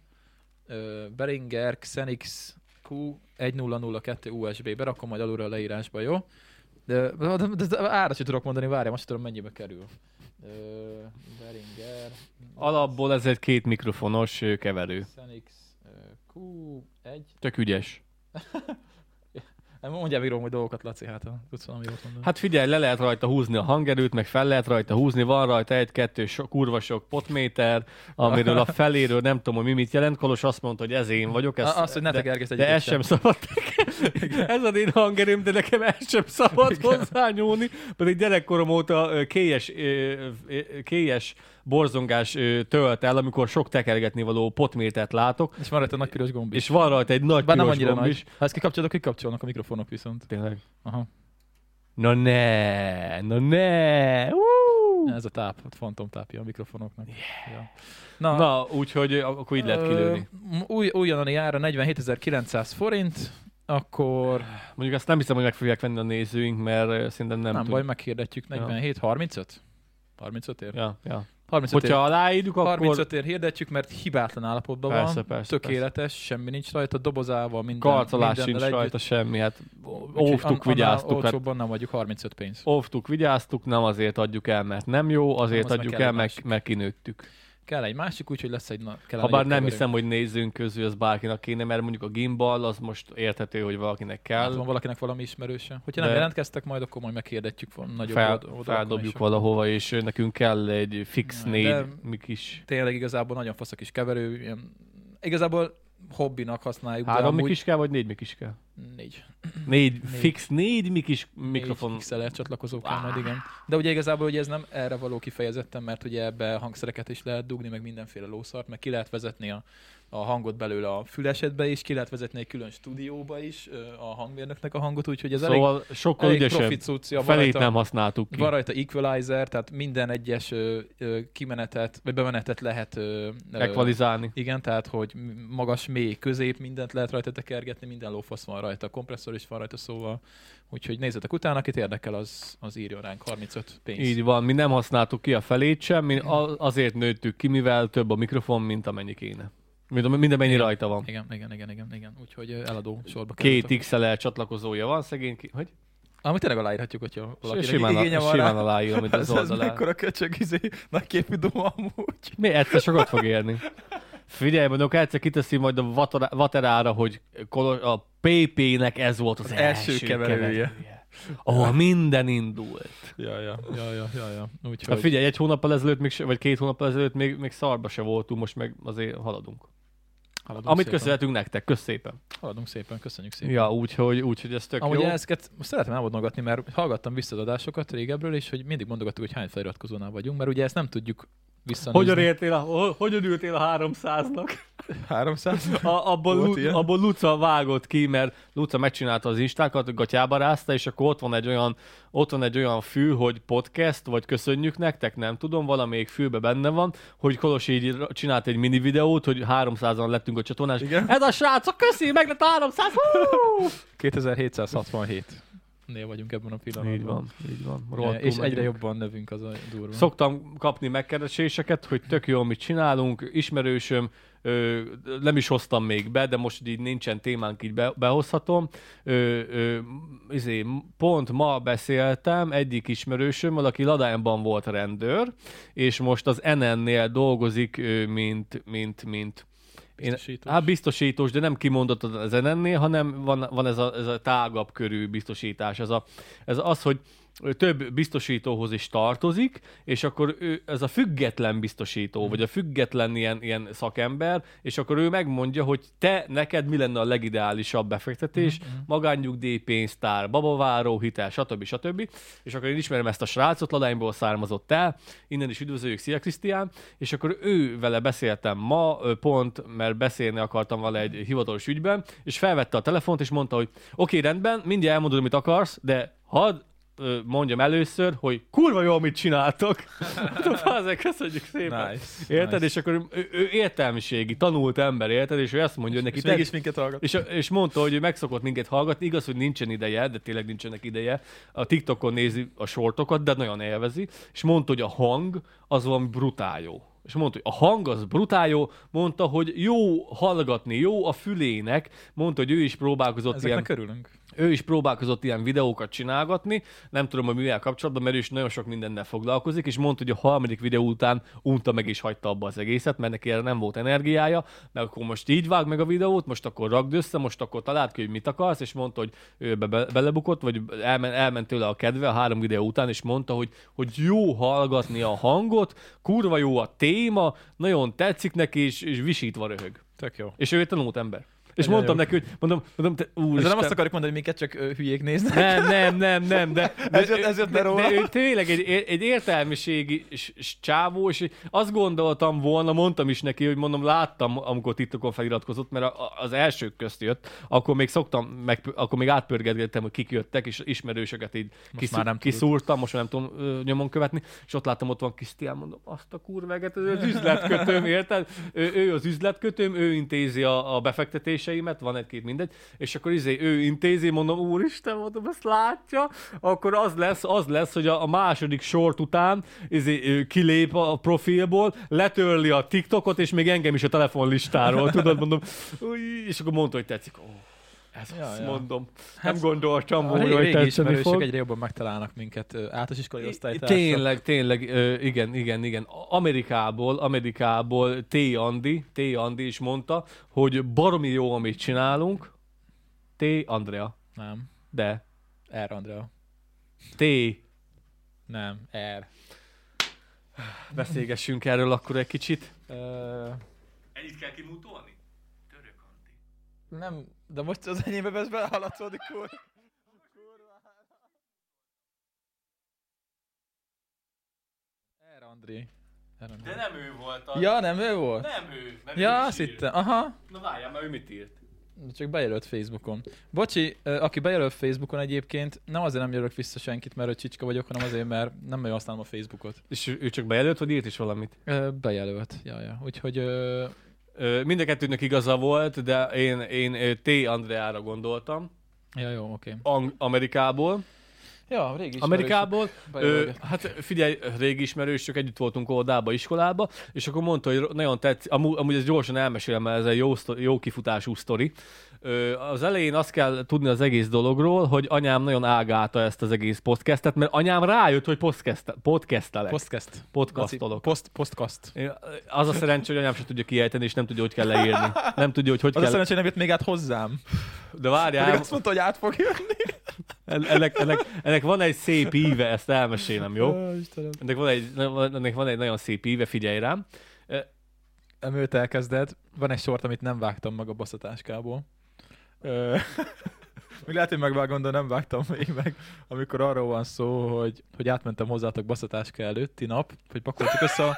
ö, Beringer Xenix Q1002 USB, berakom majd alulra a leírásba, jó? De, de, de, de, de ára sem tudok mondani, várjál, most tudom, mennyibe kerül. Ö, Beringer
Alapból ez egy két mikrofonos ö, keverő.
Xenix ö, Q1.
Tök ügyes.
Hát Mondjál még róla, hogy dolgokat, Laci, hát ha tudsz valami jót mondani.
Hát figyelj, le lehet rajta húzni a hangerőt, meg fel lehet rajta húzni, van rajta egy-kettő so, kurva sok potméter, amiről a feléről nem tudom, hogy mi mit jelent. Kolos azt mondta, hogy ez én vagyok, ez,
A- azt, hogy ne tekergesd
de
egyiket
ez
sem.
sem szabad. ez az én hangerőm, de nekem ez sem szabad hozzányúlni. Pedig gyerekkorom óta ö, kélyes, ö, ö, kélyes borzongás ö, tölt el, amikor sok tekergetni való potmétert látok,
És maradt a nagy piros gomb is.
és van rajta egy nagy
Bár nem
piros
annyira
gomb
nagy.
is.
Ha ezt kikapcsolod, kikapcsolnak a mikrofonok viszont.
Tényleg.
Aha.
Na ne, na ne, uh!
Ez a táp, a fantom tápja a mikrofonoknak. Yeah. Ja. Na,
Na, úgyhogy ö, akkor így lehet kilőni.
ö, m- Új, újonnan jár a 47.900 forint, akkor nem,
Mondjuk azt nem hiszem, hogy meg fogják venni a nézőink, mert ö, szerintem nem,
nem
tud-
baj, meghirdetjük 47, 35? 35 ér?
Ja, ja.
35 ér.
Hogyha aláírjuk, akkor
35 ér hirdetjük, mert hibátlan állapotban
Persze,
van,
persze,
tökéletes, semmi nincs rajta, dobozával, minden,
karcolás sincs
mindennel
rajta semmi, hát
Úgyhogy an-
óvtuk,
annál
vigyáztuk. Hát,
Olcsóbban nem adjuk 35 pénz.
óvtuk, vigyáztuk, nem azért adjuk el, mert nem jó, azért
azt meg
adjuk
kell
el,
egy
mert,
másik.
mert kinőttük.
Kell egy másik, úgyhogy lesz egy... Na, kell
Ha bár nem hiszem, hogy nézőnk közül ez bárkinek kéne, mert mondjuk a gimbal az most érthető, hogy valakinek
Hát
kell.
van valakinek valami ismerőse. Hogyha nem
De-
jelentkeztek, majd akkor majd meghirdetjük van nagyobb
Fel,
old- oldalakon is.
feldobjuk valahova, és ö, nekünk kell egy fix
De-
négy mi kis
Tényleg igazából nagyon fasz a kis keverő, ilyen... igazából hobbinak használjuk,
Három
de
mik
amúgy...
is kell, vagy négy mik is kell?
Négy.
Négy, fix, négy mik is mikrofon.
Négy XLR csatlakozó kell majd, igen. De ugye igazából ugye ez nem erre való kifejezetten, mert ugye ebbe hangszereket is lehet dugni, meg mindenféle lószart, meg ki lehet vezetni a a hangot belőle a fülesedbe is, ki lehet vezetni egy külön stúdióba is ö, a hangmérnöknek a hangot, úgyhogy ez elég,
Szóval sokkal
elég
ügyesebb.
profi cuccia. Van
Felét
rajta,
nem használtuk ki.
van rajta equalizer, tehát minden egyes ö, ö, kimenetet, vagy bemenetet lehet ö, ö,
Ekvalizálni.
igen, tehát hogy m- magas, mély, közép, mindent lehet rajta tekergetni, minden lófasz van rajta, kompresszor is van rajta, szóval. Úgyhogy nézzetek utána, akit érdekel, az, az írjon ránk 35 pénz.
Így van, mi nem használtuk ki a felét sem, mi a- azért nőttük ki, mivel több a mikrofon, mint amennyi kéne. Mind, minden mennyi rajta van.
Igen, igen, igen, igen, igen. Úgyhogy ö, eladó sorba került.
Két XLR csatlakozója van, szegény ki... Hogy?
Amit tényleg aláírhatjuk, hogyha
Valaki
valakinek
simán,
igénye
a,
van
simán
rá.
aláírom, mint az
Ez, ez
oldalán.
mekkora köcsög, izé, nagyképű duma amúgy.
Mi egyszer sokat fog érni. Figyelj, mondok, egyszer kiteszi majd a vatora- vaterára, hogy kolo- a PP-nek ez volt az,
Az első
első,
keverője.
keverője. Ahol minden indult.
Ja, ja, ja, ja, ja, ja.
Hát
Úgyhogy...
figyelj, egy hónappal ezelőtt, még, se- vagy két hónappal ezelőtt még, még szarba se voltunk, most meg azért haladunk.
Haladunk
Amit
szépen.
köszönhetünk nektek, kösz szépen.
Haladunk szépen, köszönjük szépen.
Ja, úgyhogy úgy, hogy ez tök
Amúgy
jó.
ezeket most szeretem elmondogatni, mert hallgattam vissza az adásokat régebről, és hogy mindig mondogattuk, hogy hány feliratkozónál vagyunk, mert ugye ezt nem tudjuk visszanézni.
Hogyan értél a, ho- hogyan ültél a 300-nak?
300?
A, abból,
Volt
Lu,
ilyen?
abból Luca vágott ki, mert Luca megcsinálta az instákat, gatyába rázta, és akkor ott van egy olyan, ott van egy olyan fű, hogy podcast, vagy köszönjük nektek, nem tudom, valamelyik fűbe benne van, hogy Kolos így ra- csinált egy mini videót, hogy 300-an lettünk a csatornás.
Igen.
Ez a srác, köszi, meg lett 300, hú!
2767 nél vagyunk ebben a pillanatban.
Így van, így van.
Rohadtul
Rohadtul
és egyre
megyünk.
jobban növünk az a durva.
Szoktam kapni megkereséseket, hogy tök jó, mit csinálunk, ismerősöm, ö, nem is hoztam még be, de most így nincsen témánk, így be, behozhatom. Ö, ö, izé, pont ma beszéltem egyik ismerősömmel, aki Ladányban volt rendőr, és most az NN-nél dolgozik, ö, mint, mint, mint én,
Biztosítós.
hát biztosítós, de nem kimondott az NN-nél, hanem van, van ez, a, ez a tágabb körű biztosítás. Ez, a, ez az, hogy több biztosítóhoz is tartozik, és akkor ő, ez a független biztosító, vagy a független ilyen, ilyen szakember, és akkor ő megmondja, hogy te, neked mi lenne a legideálisabb befektetés,
Mhm,
magányugdíj, pénztár, babaváró, hitel, stb. stb. És akkor én ismerem ezt a srácot, Ladányból származott el, innen is üdvözöljük, szia Krisztián, és akkor ő vele beszéltem ma, ö, pont, mert beszélni akartam vele egy hivatalos ügyben, és felvette a telefont, és mondta, hogy oké, rendben, mindjárt elmondod, amit akarsz, de hadd ö, mondjam először, hogy kurva jó, amit csináltok. Hát Azért köszönjük szépen.
Nice.
Érted?
Nice.
És akkor ő- ő, ő értelmiségi, tanult ember, érted? És ő ezt mondja, hogy
És
neki tetszik.
mégis minket hallgat.
És, és mondta, hogy ő megszokott minket hallgatni, igaz, hogy nincsen ideje, de tényleg nincsenek ideje. A TikTokon nézi a sortokat, de nagyon élvezi, és mondta, hogy a hang az van brutál jó. És mondta, hogy a hang az brutál jó, mondta, hogy jó hallgatni, jó a fülének, mondta, hogy ő is próbálkozott ilyen
Ezeknek körülünk.
ő is próbálkozott ilyen videókat csinálgatni, nem tudom, hogy mivel kapcsolatban, mert ő is nagyon sok mindennel foglalkozik, és mondta, hogy a harmadik videó után unta meg és hagyta abba az egészet, mert neki erre nem volt energiája, mert akkor most így vág meg a videót, most akkor ragd össze, most akkor találd ki, hogy mit akarsz, és mondta, hogy ő be- be- belebukott, vagy elmen, elment tőle a kedve a három videó után, és mondta, hogy, hogy jó hallgatni a hangot, kurva jó a téma, nagyon tetszik neki, és, és visítva röhög.
Tök jó.
És ő egy tanult ember. És
Nagyon
mondtam
jó.
neki, hogy mondom, mondom, te úr,
Ezzel nem azt akarjuk mondani, hogy minket csak ö, hülyék néznek.
nem, nem, nem, nem, de, de,
Ez jött- ez jött le
de,
róla.
de ő tényleg egy, egy értelmiségi s- s- csávó, és azt gondoltam volna, mondtam is neki, hogy mondom, láttam, amikor TikTokon feliratkozott, mert a, a- az elsők közt jött, akkor még szoktam, meg, akkor még átpörgetgettem, hogy kik jöttek, és ismerősöket így kiszú,
már nem tudod.
kiszúrtam, most már nem tudom ö, nyomon követni, és ott láttam, ott van Krisztián, mondom, azt a kurveget, ez az üzletkötőm, érted? Ő, ő az üzletkötőm, ő intézi a, a befektetéseimet, van egy-két mindegy, és akkor izé, ő intézi, mondom, úristen, mondom, ezt látja, akkor az lesz, az lesz, hogy a, a második sort után izé, ő kilép a profilból, letörli a TikTokot, és még engem is a telefonlistáról, tudod, mondom, új, és akkor mondta, hogy tetszik. Ó, ez
Ja,
ja, azt
ja. Hát,
ja. mondom. Nem gondoltam
A
volna, hogy
régi
tetszeni
ismerősök
fog.
egyre jobban megtalálnak minket ö, általános iskolai osztálytársak.
Tényleg, tényleg, ö, igen, igen, igen. A- Amerikából, Amerikából T. Andi, T. Andi is mondta, hogy baromi jó, amit csinálunk. T. Andrea,
Nem.
de
R. Andrea.
T.
Nem. R.
Beszélgessünk erről akkor egy kicsit.
Ö,
Ennyit kell kimutolni? Török Andi.
nem, de most az enyémbe vesz be, haladszódik úr. R. André. Erre nem.
De nem ő volt a...
Ja, nem ő volt?
Nem ő, mert
ja,
ő
azt
is írt.
hittem. Aha.
Na várjál, mert ő mit írt?
Csak bejelölt Facebookon. Bocsi, ö, aki bejelölt Facebookon egyébként, nem azért nem jelölök vissza senkit, mert ő csicska vagyok, hanem azért, mert nem nagyon használom a Facebookot.
És ő ő csak bejelölt, vagy írt is valamit?
Ö, Bejelölt, ja, ja. Úgyhogy ö,
Ö, Mind a kettőnek igaza volt, de én, én ö, T. Andreára gondoltam,
Ja, jó, oké.
Ang- Amerikából.
Ja, régi ismerős.
Amerikából. Ö,
Bejelölget.
hát figyelj, régi ismerősök, együtt voltunk óvodába, iskolába, és akkor mondta, hogy nagyon tetszik, amúgy, amúgy ezt gyorsan elmesélem, mert ez egy jó, sztori, jó kifutású sztori. Ö, az elején azt kell tudni az egész dologról, hogy anyám nagyon ágálta ezt az egész podcastet, mert anyám rájött, hogy podcast, podcastelek, Post-
Podcast.
podcastolok.
Post, postcast.
Én- Az a szerencsé, hogy anyám sem tudja kiejteni, és nem tudja, hogy kell leírni. Nem tudja, hogy hogy
Az a
kell.
szerencsé, hogy nem jött még át hozzám.
De várjál,
Pedig azt mondta, hogy át fog jönni.
en- ennek, ennek, ennek van egy szép íve, ezt elmesélem, jó?
Ó, Istenem.
Ennek van egy, ennek van egy nagyon szép íve, figyelj rám.
Emőt elkezded. Van egy sort, amit nem vágtam meg a baszatáskából. Ö, Még lehet, hogy megvágom, de nem vágtam még meg. Amikor arról van szó, hogy, hogy átmentem hozzátok baszatáska előtti nap, hogy pakoltuk össze a,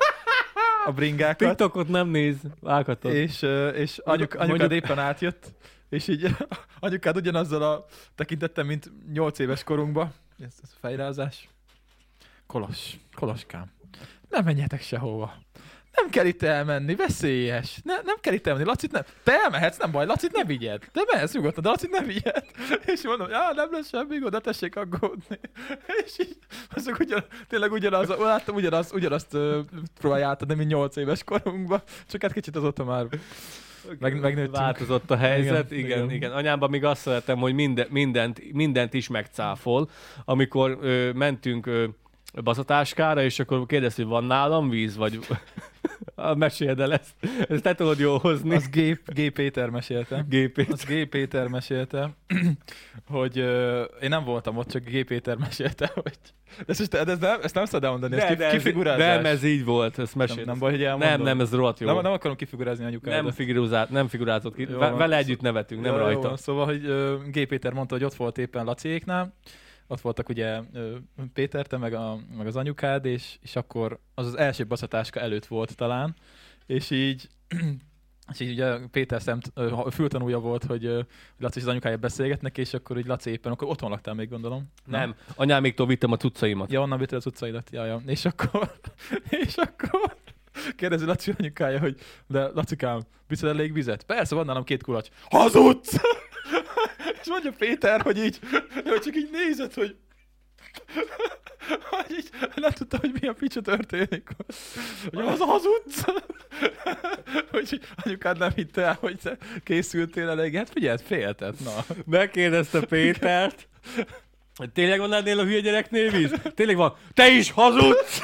a bringákat.
TikTokot nem néz, vághatod.
És, ö, és anyuk,
Mondjuk-
anyukád
mondjuk-
éppen átjött, és így anyukád ugyanazzal a tekintettem, mint 8 éves korunkba. Ez, ez fejrázás. Kolos, koloskám. Nem menjetek sehova. Nem kell itt elmenni, veszélyes. Ne, nem kell itt elmenni, Lacit nem. Te elmehetsz, nem baj, Lacit ne vigyed. Te mehetsz nyugodtan, de Lacit ne vigyed. És mondom, ja, nem lesz semmi gond, de tessék aggódni. És így, azok ugyan, tényleg ugyanaz, láttam, ugyanaz, ugyanazt ö, próbálja átadni, mint 8 éves korunkban. Csak hát kicsit azóta már meg- megnőttünk.
Változott a helyzet, igen,
Igen,
igen. igen.
igen.
Anyámban még azt szeretem, hogy minden, mindent, mindent is megcáfol. Amikor ö, mentünk ö, bazatáskára, és akkor kérdezte, hogy van nálam víz, vagy Ah, meséld el ezt. Ezt te tudod jól hozni.
Az G. G. Péter mesélte.
gépét.
Az G. Péter mesélte, hogy ö, én nem voltam ott, csak G. Péter mesélte, hogy... De ezt, most- de ezt nem, ezt nem szabad elmondani, ez, ki,
de, ez,
kifigurázás.
nem, ez így volt, ezt
nem,
mesél.
nem baj, hogy elmondom.
nem, nem, ez rohadt jó.
nem, nem akarom kifigurázni anyukádat.
nem, figurázott, nem figurázott ki.
Jó
Ve-
van.
Vele együtt nevetünk, nem
Ja,
rajta.
van. Szóval, hogy ö, G. Péter mondta, hogy ott volt éppen Laciéknál, ott voltak ugye ö, Péter, te meg, a, meg az anyukád, és, és akkor az az első baszatáska előtt volt talán, és így és így ugye Péter szemt, ö, ha- fültanúja volt, hogy ö, Laci és az anyukája beszélgetnek, és akkor így Laci éppen, akkor otthon laktál még gondolom.
Nem, anyámiktól vittem a cuccaimat.
Ja, onnan vitted az utcaidat, ja, ja. És akkor, és akkor kérdezi Laci anyukája, hogy de Lacikám, viszed elég vizet? Persze, van nálam két kulacs. Hazudsz! és mondja Péter, hogy így, hogy csak így nézett, hogy hogy így nem tudta, hogy mi a picsa történik. Hogy az hazudsz? hogy így anyukád nem hitte el, hogy te készültél elég. Hát figyeld, féltett, na.
Megkérdezte Pétert, hogy tényleg van ennél a hülye gyereknél víz? Tényleg van. Te is hazudsz!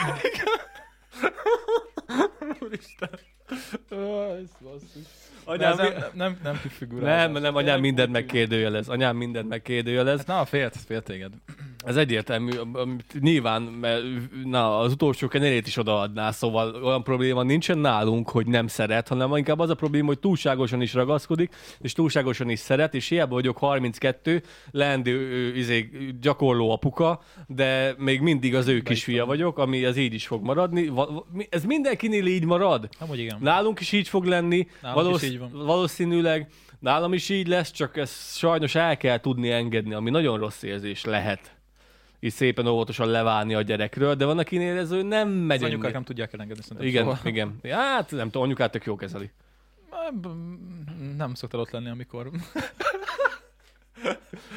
Aj, ez basszus.
Anyám,
nem,
mi-
nem, nem, nem kifigurálás.
nem, nem, anyám mindent megkérdőjelez. Anyám mindent megkérdőjelez.
Ez nem a félt, fél téged.
Ez egyértelmű. amit Nyilván, mert na, az utolsó kenyerét is odaadná, szóval olyan probléma nincsen nálunk, hogy nem szeret, hanem inkább az a probléma, hogy túlságosan is ragaszkodik, és túlságosan is szeret, és hiába vagyok 32, leendő ö, izé, gyakorló apuka, de még mindig az ő kisfia vagyok, ami ez így is fog maradni. Va- va- mi- Ez mindenkinél így marad.
Amúgy igen.
Nálunk is így fog lenni,
Nálunk is
valósz-
így van.
valószínűleg nálam is így lesz, csak ezt sajnos el kell tudni engedni, ami nagyon rossz érzés lehet. Így szépen óvatosan leválni a gyerekről, de van, akinél ez ő nem megy
Az anyukák
ennyire.
nem tudják elengedni szerintem.
Igen,
soha.
igen. Hát nem tudom, anyukát tök jó kezeli.
Á, b- Nem szoktál ott lenni, amikor...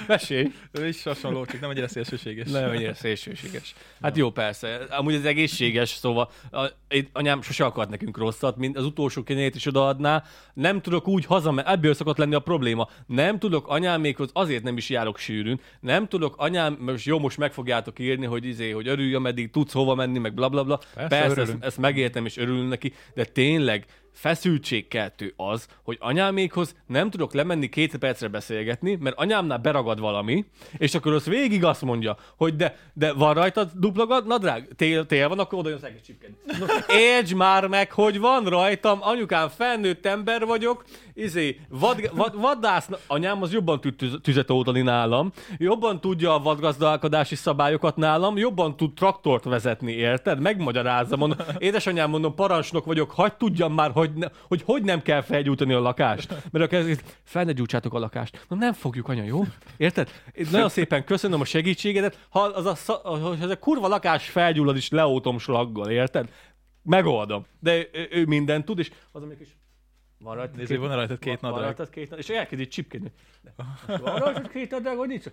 Mesélj!
Ő is hasonló, csak nem ennyire szélsőséges.
Nem ennyire szélsőséges. Hát jó, persze. Amúgy ez egészséges, szóval a, itt anyám sose akart nekünk rosszat, mint az utolsó kenyerét is odaadná. Nem tudok úgy hazamenni, ebből szokott lenni a probléma. Nem tudok anyámékhoz, azért nem is járok sűrűn. Nem tudok anyám, most jó, most meg fogjátok írni, hogy izé, hogy örülj, ameddig tudsz hova menni, meg blablabla. Bla, bla.
Persze,
Persze, persze
örülünk.
ezt, ezt megértem, és örülünk neki, de tényleg feszültségkeltő az, hogy anyámékhoz nem tudok lemenni két percre beszélgetni, mert anyámnál beragad valami, és akkor az végig azt mondja, hogy de, de van rajtad dupla gad- nadrág? Tél, tél van, akkor oda jön csipkedni. No, Értsd már meg, hogy van rajtam, anyukám, felnőtt ember vagyok, izé, vad, vad, vadászna, anyám az jobban tud tüz- tüzet oldani nálam, jobban tudja a vadgazdálkodási szabályokat nálam, jobban tud traktort vezetni, érted? Megmagyarázza, mondom, édesanyám, mondom, parancsnok vagyok, hagyd tudjam már, hogy, ne, hogy hogy nem kell felgyújtani a lakást. Mert akkor ez fel ne gyújtsátok a lakást. Na nem fogjuk, anya, jó? Érted? Én Nagyon szépen köszönöm a segítségedet. Ha az a, sza- ha ez a kurva lakás felgyullad is leótom slaggal, érted? Megoldom. De ő, ő mindent tud, és az, amik is van rajta
Nézzél, van rajtad két nadrág.
van- Van rajtad két nadrág. És elkezdi csipkedni. Van rajtad két nadrág, vagy nincs?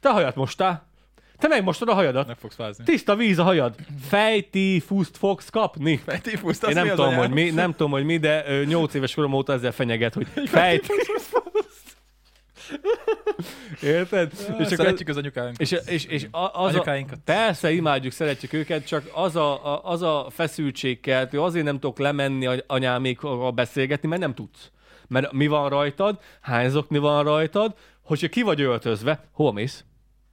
Te hajat mostál. Te megmostad a hajadat.
Nem fogsz fázni.
Tiszta víz a hajad. Fejti fúzt fogsz kapni.
Fejtifuszt,
Én nem tudom, hogy mi, nem tudom, hogy mi, de ö, 8 éves korom óta ezzel fenyeget, hogy fejt. Érted?
És
akkor-
szeretjük az anyukánkat.
és, és, és a, az a,
Anyukáinkat.
persze imádjuk, szeretjük őket, csak az a, a, az a feszültségkeltő, azért nem tudok lemenni a- anyámékkal beszélgetni, mert nem tudsz. Mert mi van rajtad, hány zokni van rajtad, hogyha ki vagy öltözve, hova mész?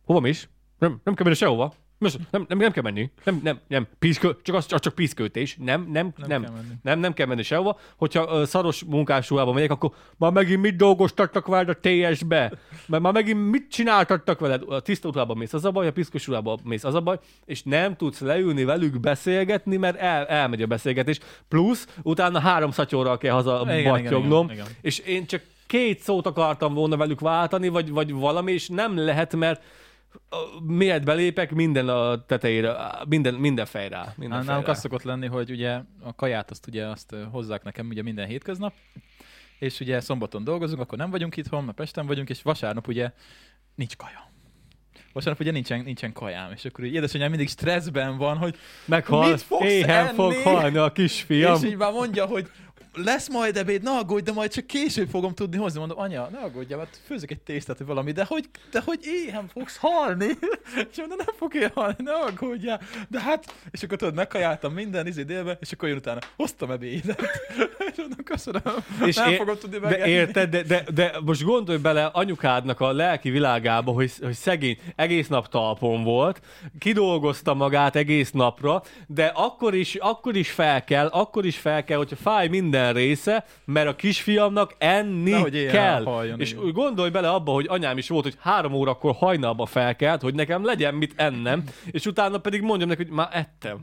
Hova mész? Nem, nem kell menni sehova. Most Nem, nem, nem kell menni. Nem, nem, nem. Píszkő, csak az, az csak píszkőtés. Nem, nem, nem. Nem,
kell menni.
nem, nem kell menni sehova. Hogyha ö, szaros munkásruhába megyek, akkor már megint mit dolgoztattak veled a TS-be? Már, már megint mit csináltattak veled? A tiszta ruhába mész, az a baj, a piszkos ruhába mész, az a baj, és nem tudsz leülni velük beszélgetni, mert el, elmegy a beszélgetés. Plusz, utána három szatyorral kell haza
Igen, igen,
battyognom,
igen, igen.
és én csak két szót akartam volna velük váltani, vagy, vagy valami, és nem lehet, mert ö, miért belépek, minden a tetejére, á, minden, minden fejrá. Minden
Á,
fejrá.
Nálunk az szokott lenni, hogy ugye a kaját azt ugye azt ö, hozzák nekem ugye minden hétköznap, és ugye szombaton dolgozunk, akkor nem vagyunk itthon, mert Pesten vagyunk, és vasárnap ugye nincs kaja. Vasárnap ugye nincsen, nincsen kajám, és akkor így édesanyám mindig stresszben van, hogy
Meghal,
Mit fogsz
éhen
enni?
fog halni a
ja. és
kisfiam.
így már mondja, hogy lesz majd ebéd, ne aggódj, de majd csak később fogom tudni hozni. Mondom, anya, ne aggódj, hát főzök egy tésztát, vagy valami, de hogy, de hogy éhen fogsz halni? És mondom, nem fog halni, ne aggódjál. De hát, és akkor tudod, megkajáltam minden izé délbe, és akkor jön utána, hoztam ebédet. És mondom, köszönöm, és nem
ér-
fogom tudni
de
megenni.
érted, de, de, de, most gondolj bele anyukádnak a lelki világába, hogy, hogy szegény egész nap talpon volt, kidolgozta magát egész napra, de akkor is, akkor is fel kell, akkor is fel kell, hogyha fáj minden része, mert a kisfiamnak enni
Nehogy éjjel
kell.
haljon,
és
igen.
úgy gondolj bele abba, hogy anyám is volt, hogy három órakor hajnalba felkelt, hogy nekem legyen mit ennem, és utána pedig mondjam neki, hogy már ettem.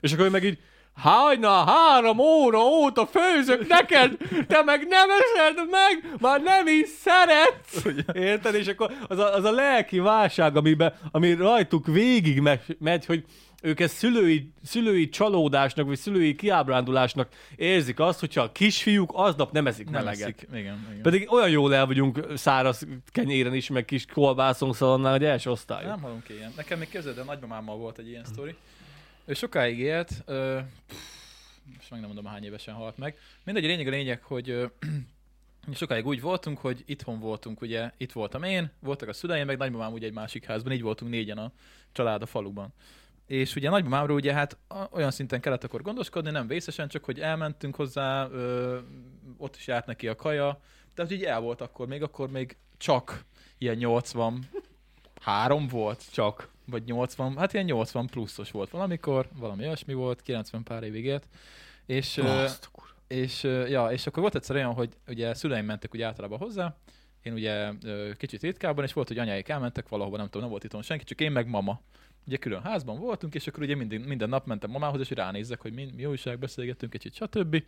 És akkor ő meg így, hajna három óra óta főzök neked, te meg nem eszed meg, már nem is szeretsz. Érted? És akkor az a, az a lelki válság, amiben, ami rajtuk végig me- megy, hogy ők ezt szülői, szülői csalódásnak, vagy szülői kiábrándulásnak érzik azt, hogyha a kisfiúk aznap nem ezik
nem
meleget.
eszik. Igen, igen.
Pedig olyan jól el vagyunk száraz kenyéren is, meg kis kolbászon szalonnál, hogy első osztály.
Nem halunk ki ilyen. Nekem még képzeld, de nagymamámmal volt egy ilyen sztori. Ő sokáig élt, ö, pff, most meg nem mondom, hány évesen halt meg. Mindegy, a lényeg a lényeg, hogy ö, sokáig úgy voltunk, hogy itthon voltunk, ugye itt voltam én, voltak a szüleim, meg nagymamám ugye egy másik házban, így voltunk négyen a család a faluban. És ugye nagymamámról ugye hát a- olyan szinten kellett akkor gondoskodni, nem vészesen, csak hogy elmentünk hozzá, ö, ott is járt neki a kaja, tehát így el volt akkor, még akkor még csak ilyen 80 három volt,
Csak.
vagy 80, hát ilyen 80 pluszos volt valamikor, valami olyasmi volt, 90 pár évig élt, és, ö,
Azt a kurva.
és, ö, ja, és akkor volt egyszer olyan, hogy ugye szüleim mentek ugye általában hozzá, én ugye ö, kicsit ritkában, és volt, hogy anyáik elmentek valahova, nem tudom, nem volt itthon senki, csak én meg mama. Ugye külön házban voltunk, és akkor ugye minden, minden nap mentem mamához, és ránézzek, hogy mi, mi újság, beszélgettünk kicsit, stb.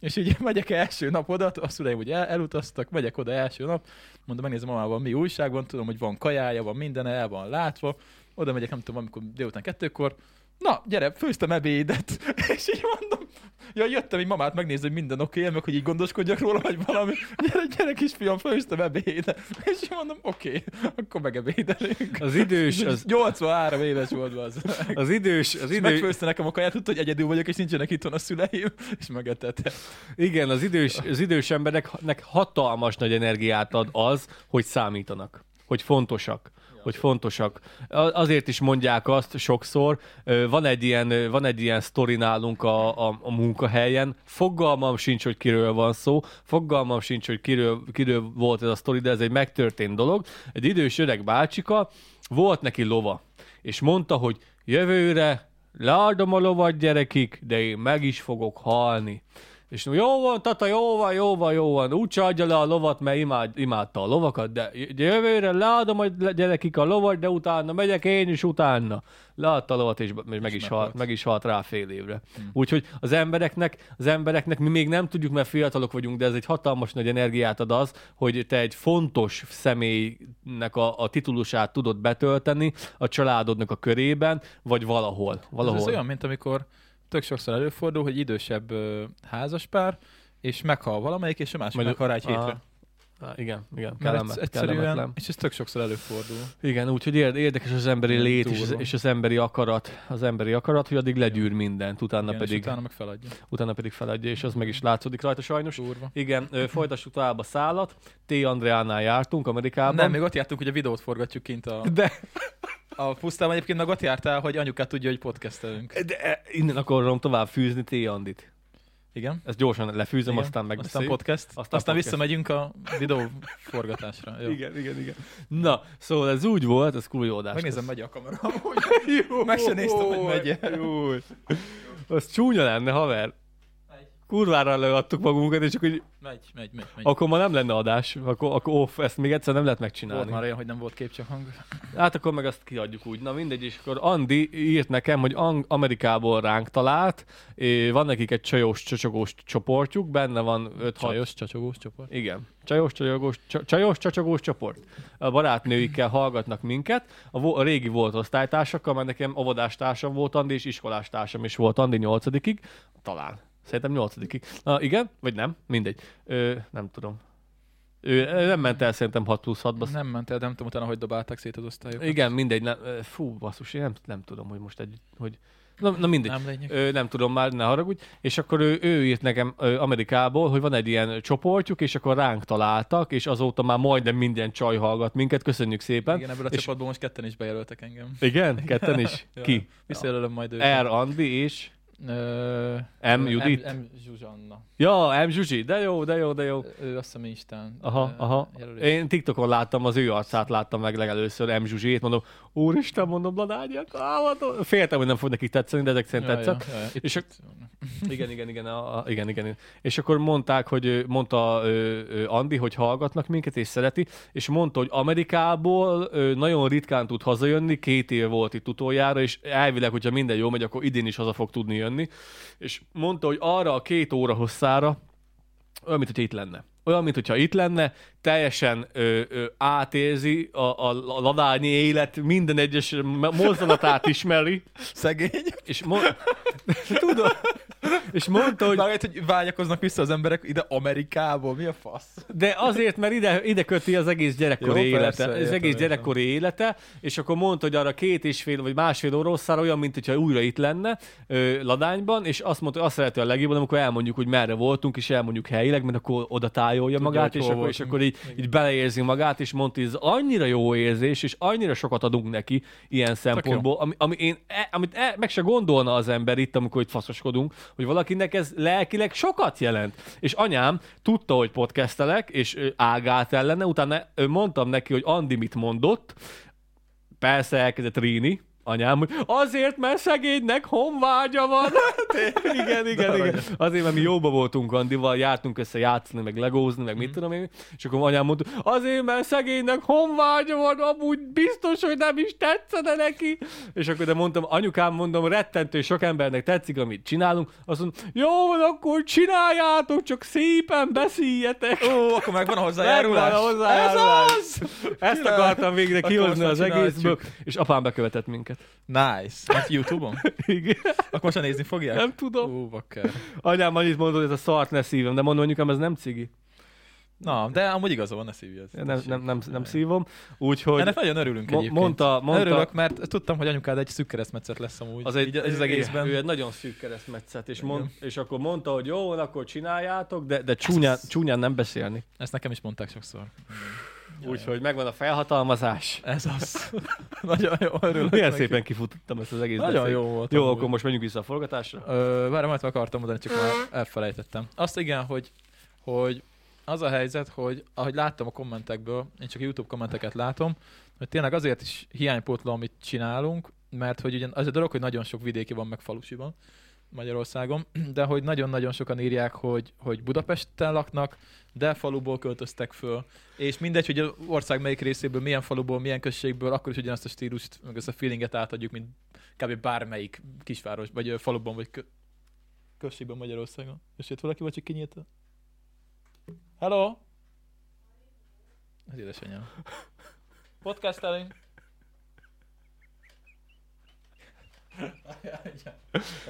És így megyek első nap oda, a szüleim ugye el, elutaztak, megyek oda első nap, mondom, megnézem mamával, mi újság van, tudom, hogy van kajája, van minden, el van látva. Oda megyek, nem tudom, amikor délután kettőkor, na, gyere, főztem ebédet. És így mondom, ja, jöttem egy mamát megnézni, hogy minden oké, okay, meg hogy így gondoskodjak róla, vagy valami. Gyere, gyere, kisfiam, főztem ebédet. És így mondom, oké, okay, akkor megebédelünk.
Az idős, az,
83 éves volt az.
az idős, az
És
idős,
megfőzte nekem a kaját, tudta, hogy egyedül vagyok, és nincsenek itthon a szüleim, és megetette.
igen, az idős, az idős embereknek hatalmas nagy energiát ad az, hogy számítanak, hogy fontosak hogy fontosak. A- Azért is mondják azt sokszor, ö, van egy ilyen, ö, van egy ilyen sztori nálunk a, a, a munkahelyen, fogalmam sincs, hogy kiről van szó, fogalmam sincs, hogy kiről, kiről volt ez a sztori, de ez egy megtörtént dolog. Egy idős öreg bácsika, volt neki lova, és mondta, hogy jövőre leadom a lovat gyerekik, de én meg is fogok halni. És jó van, tata, jó van, jó van, jó van, úgyse adja le a lovat, mert imád, imádta a lovakat, de j- jövőre leadom a gyerekik a lovat, de utána megyek én is utána. Leadta a lovat, és, és meg, is halt, Hm.
meghalt.
meg is halt rá fél évre. Úgyhogy az embereknek, az embereknek mi még nem tudjuk, mert fiatalok vagyunk, de ez egy hatalmas nagy energiát ad az, hogy te egy fontos személynek a, a titulusát tudod betölteni a családodnak a körében, vagy valahol.
Ez,
valahol.
ez olyan, mint amikor tök sokszor előfordul, hogy idősebb ö, házaspár, és meghal valamelyik, és a másik
Majd-
meghal rá egy
Aha.
hétre.
Á, igen, igen,
Mert
kellemet, kellemetlen.
egyszerűen, és ez tök sokszor előfordul.
Igen, úgyhogy érd- érdekes az emberi
Ilyen
lét és az,
durva.
és az emberi akarat, az emberi akarat, hogy addig legyűr mindent, utána,
Igen,
igen, pedig,
És utána meg feladja.
utána pedig feladja, és az meg is látszódik rajta sajnos.
Durva.
Igen, ö, folytassuk tovább a szállat. T. Andreánál jártunk Amerikában.
Nem, még ott jártunk, hogy a videót forgatjuk kint a,
Hát De,
a pusztában. Egyébként meg ott jártál, hogy anyukát tudja, hogy podcastelünk.
de innen akarom tovább fűzni T. Andit.
Igen.
Ezt gyorsan
Igen.
lefűzöm, Igen. aztán
Aztán
megbeszéljük.
podcast, aztán,
podcast.
aztán visszamegyünk a videó forgatásra. Jó.
Igen, igen, igen. Na, szóval ez úgy volt, ez kuljódás.
Megnézem, megy a kamera. Jó, meg se néztem, hogy megy
Jó. Az csúnya lenne, haver. Kurvára leadtuk magunkat, és akkor, így-
Megy, megy, megy. megy.
akkor ma nem lenne adás, akkor, akkor off, ezt még egyszer nem lehet
Volt
megcsinálni.
már olyan, hogy nem volt kép, csak hang.
Hát akkor meg azt kiadjuk úgy. Na mindegy, és akkor Andi írt nekem, hogy Ang- Amerikából ránk talált, és van nekik egy csajos, csacsogós csoportjuk, benne van 5-6
Csajos, csacsogós csoport.
igen. Csajos, csajogós, csa- csajos, csacsogós csoport. A barátnőikkel hallgatnak minket. A, vo- a régi volt osztálytársakkal, mert nekem óvodástársam volt Andi, és iskolástársam is volt Andi nyolcadikig. Talán. Szerintem nyolcadikig. Na, igen? Vagy nem? Mindegy. Ö, nem tudom. Ő ő nem ment el szerintem 6 plusz 6-ba.
Nem ment el, nem tudom utána, hogy dobálták szét az osztályokat.
Igen, mindegy. Nem, ö, fú, basszus, én nem, nem tudom, hogy most egy... Hogy... Na, na mindegy.
Nem lényeg.
Ő, nem tudom már, ne haragudj. És akkor ő, ő írt nekem ö, Amerikából, hogy van egy ilyen csoportjuk, és akkor ránk találtak, és azóta már majdnem minden csaj hallgat minket. Köszönjük szépen.
Igen, ebből a
és,
csoportból most ketten is bejelöltek engem.
igen? Ketten is?
Ja.
Ki?
Visszajelölöm majd őt.
R. Andi és
Ö,
M. Judit.
Er- M. M. Zsuzsanna.
Ja, M. Zsuzsi, de jó, de jó, de jó.
Ő azt hiszem Instán.
Aha,
ö,
aha.
jelölés.
Én TikTokon láttam, az ő arcát láttam meg legelőször, M. Zsuzsét, mondom, úristen, mondom, Ladányát, álmodom. Féltem, hogy nem fog nekik tetszeni, de ezek
Ja,
szerint tetszett.
ja, ja, ja. Itt-
És a-
itt-
Igen, igen, igen, a, a, igen, igen. És akkor mondták, hogy ö, mondta ö, ö, Andi, hogy hallgatnak minket, és szereti, és mondta, hogy Amerikából ö, nagyon ritkán tud hazajönni, két év volt itt utoljára, és elvileg, hogyha minden jól megy, akkor idén is haza fog tudni jönni. És mondta, hogy arra a két óra hosszára, olyan, mint hogyha itt lenne. Olyan, mint hogyha itt lenne, teljesen ö, ö, átérzi a, a, a ladányi élet, minden egyes mozdulatát ismeri,
Szegény.
és, mo- Tudod? és mondta, hogy
Már hogy vágyakoznak vissza az emberek ide Amerikából, mi a fasz?
De azért, mert ide, ide köti az egész gyerekkori
Jó,
Jó,
persze,
élete. Persze, az
értem,
egész
értem.
gyerekkori élete, és akkor mondta, hogy arra két és fél vagy másfél óra hosszára olyan, mint hogyha újra itt lenne ö, Ladányban, és azt mondta, hogy azt szereti a legjobban, amikor elmondjuk, hogy merre voltunk, és elmondjuk helyileg, mert akkor oda tájolja
Tudja,
magát,
hogy
és
hol
akkor, és
voltunk.
akkor így, így beleérzi magát, és mondta, hogy ez annyira jó érzés, és annyira sokat adunk neki ilyen szempontból, ami, ami én, e, amit e, meg se gondolna az ember itt, amikor itt faszoskodunk, hogy valakinek ez lelkileg sokat jelent. És anyám tudta, hogy podcastelek, és ö, ágált ellene, utána ö, mondtam neki, hogy Andi mit mondott, persze elkezdett ríni, anyám, hogy azért, mert szegénynek honvágya van. Hát, igen, igen, igen. Azért, mert mi jóba voltunk Andival, jártunk össze játszani, meg legózni, meg mit tudom én. És akkor anyám mondta, azért, mert szegénynek honvágya van, amúgy biztos, hogy nem is tetszene neki. És akkor de mondtam, anyukám, mondom, rettentő sok embernek tetszik, amit csinálunk. Azt mondom, jó van, akkor csináljátok, csak szépen beszéljetek.
Ó, akkor meg van a hozzájárulás.
Megvan a hozzájárulás. Ez az! Ezt
Király.
akartam végre
Akkor
kihozni
most
az
már
egészből, és apám bekövetett minket.
Nice. Hát Youtube-on?
Igen,
Akkor most már nézni fogják?
nem tudom.
Ó, bakker.
Anyám annyit mondod, hogy ez a szart ne szívem, de mondom, anyukám, ez nem cigi.
Na, de amúgy igaza van, ne szívja ezt.
Nem, nem, nem, nem szívom. Úgyhogy
Ennek nagyon örülünk
mo-
egyébként.
mondta, mondta,
Örülök, mert tudtam, hogy anyukád egy szűk keresztmetszet lesz amúgy.
az, egy,
így, az egészben.
Ő egy nagyon szűk keresztmetszet, és, mond, és akkor mondta, hogy jó, van, akkor csináljátok, de, de csúnyán, csúnyán nem beszélni.
Ezt nekem is mondták sokszor.
Úgyhogy megvan a felhatalmazás.
Ez az. nagyon jó, örülök.
Milyen
neki.
szépen kifutottam ezt az egész
Nagyon
beszéd.
jó volt.
Jó,
amúgy.
akkor most menjünk vissza a forgatásra.
Ö, Várj, majd meg akartam mondani, csak már elfelejtettem. Azt igen, hogy, hogy az a helyzet, hogy ahogy láttam a kommentekből, én csak YouTube kommenteket látom, hogy tényleg azért is hiánypótló, amit csinálunk, mert hogy ugyan az a dolog, hogy nagyon sok vidéki van, meg falusiban Magyarországon, de hogy nagyon-nagyon sokan írják, hogy, hogy Budapesten laknak, de faluból költöztek föl. És mindegy, hogy az ország melyik részéből, milyen faluból, milyen községből, akkor is ugyanazt a stílust, meg ezt a feelinget átadjuk, mint kb. bármelyik kisváros, vagy ö, faluban, vagy kö- községben Magyarországon. És itt valaki vagy csak kinyílt? Hello! Az édesanyám. Podcastelünk!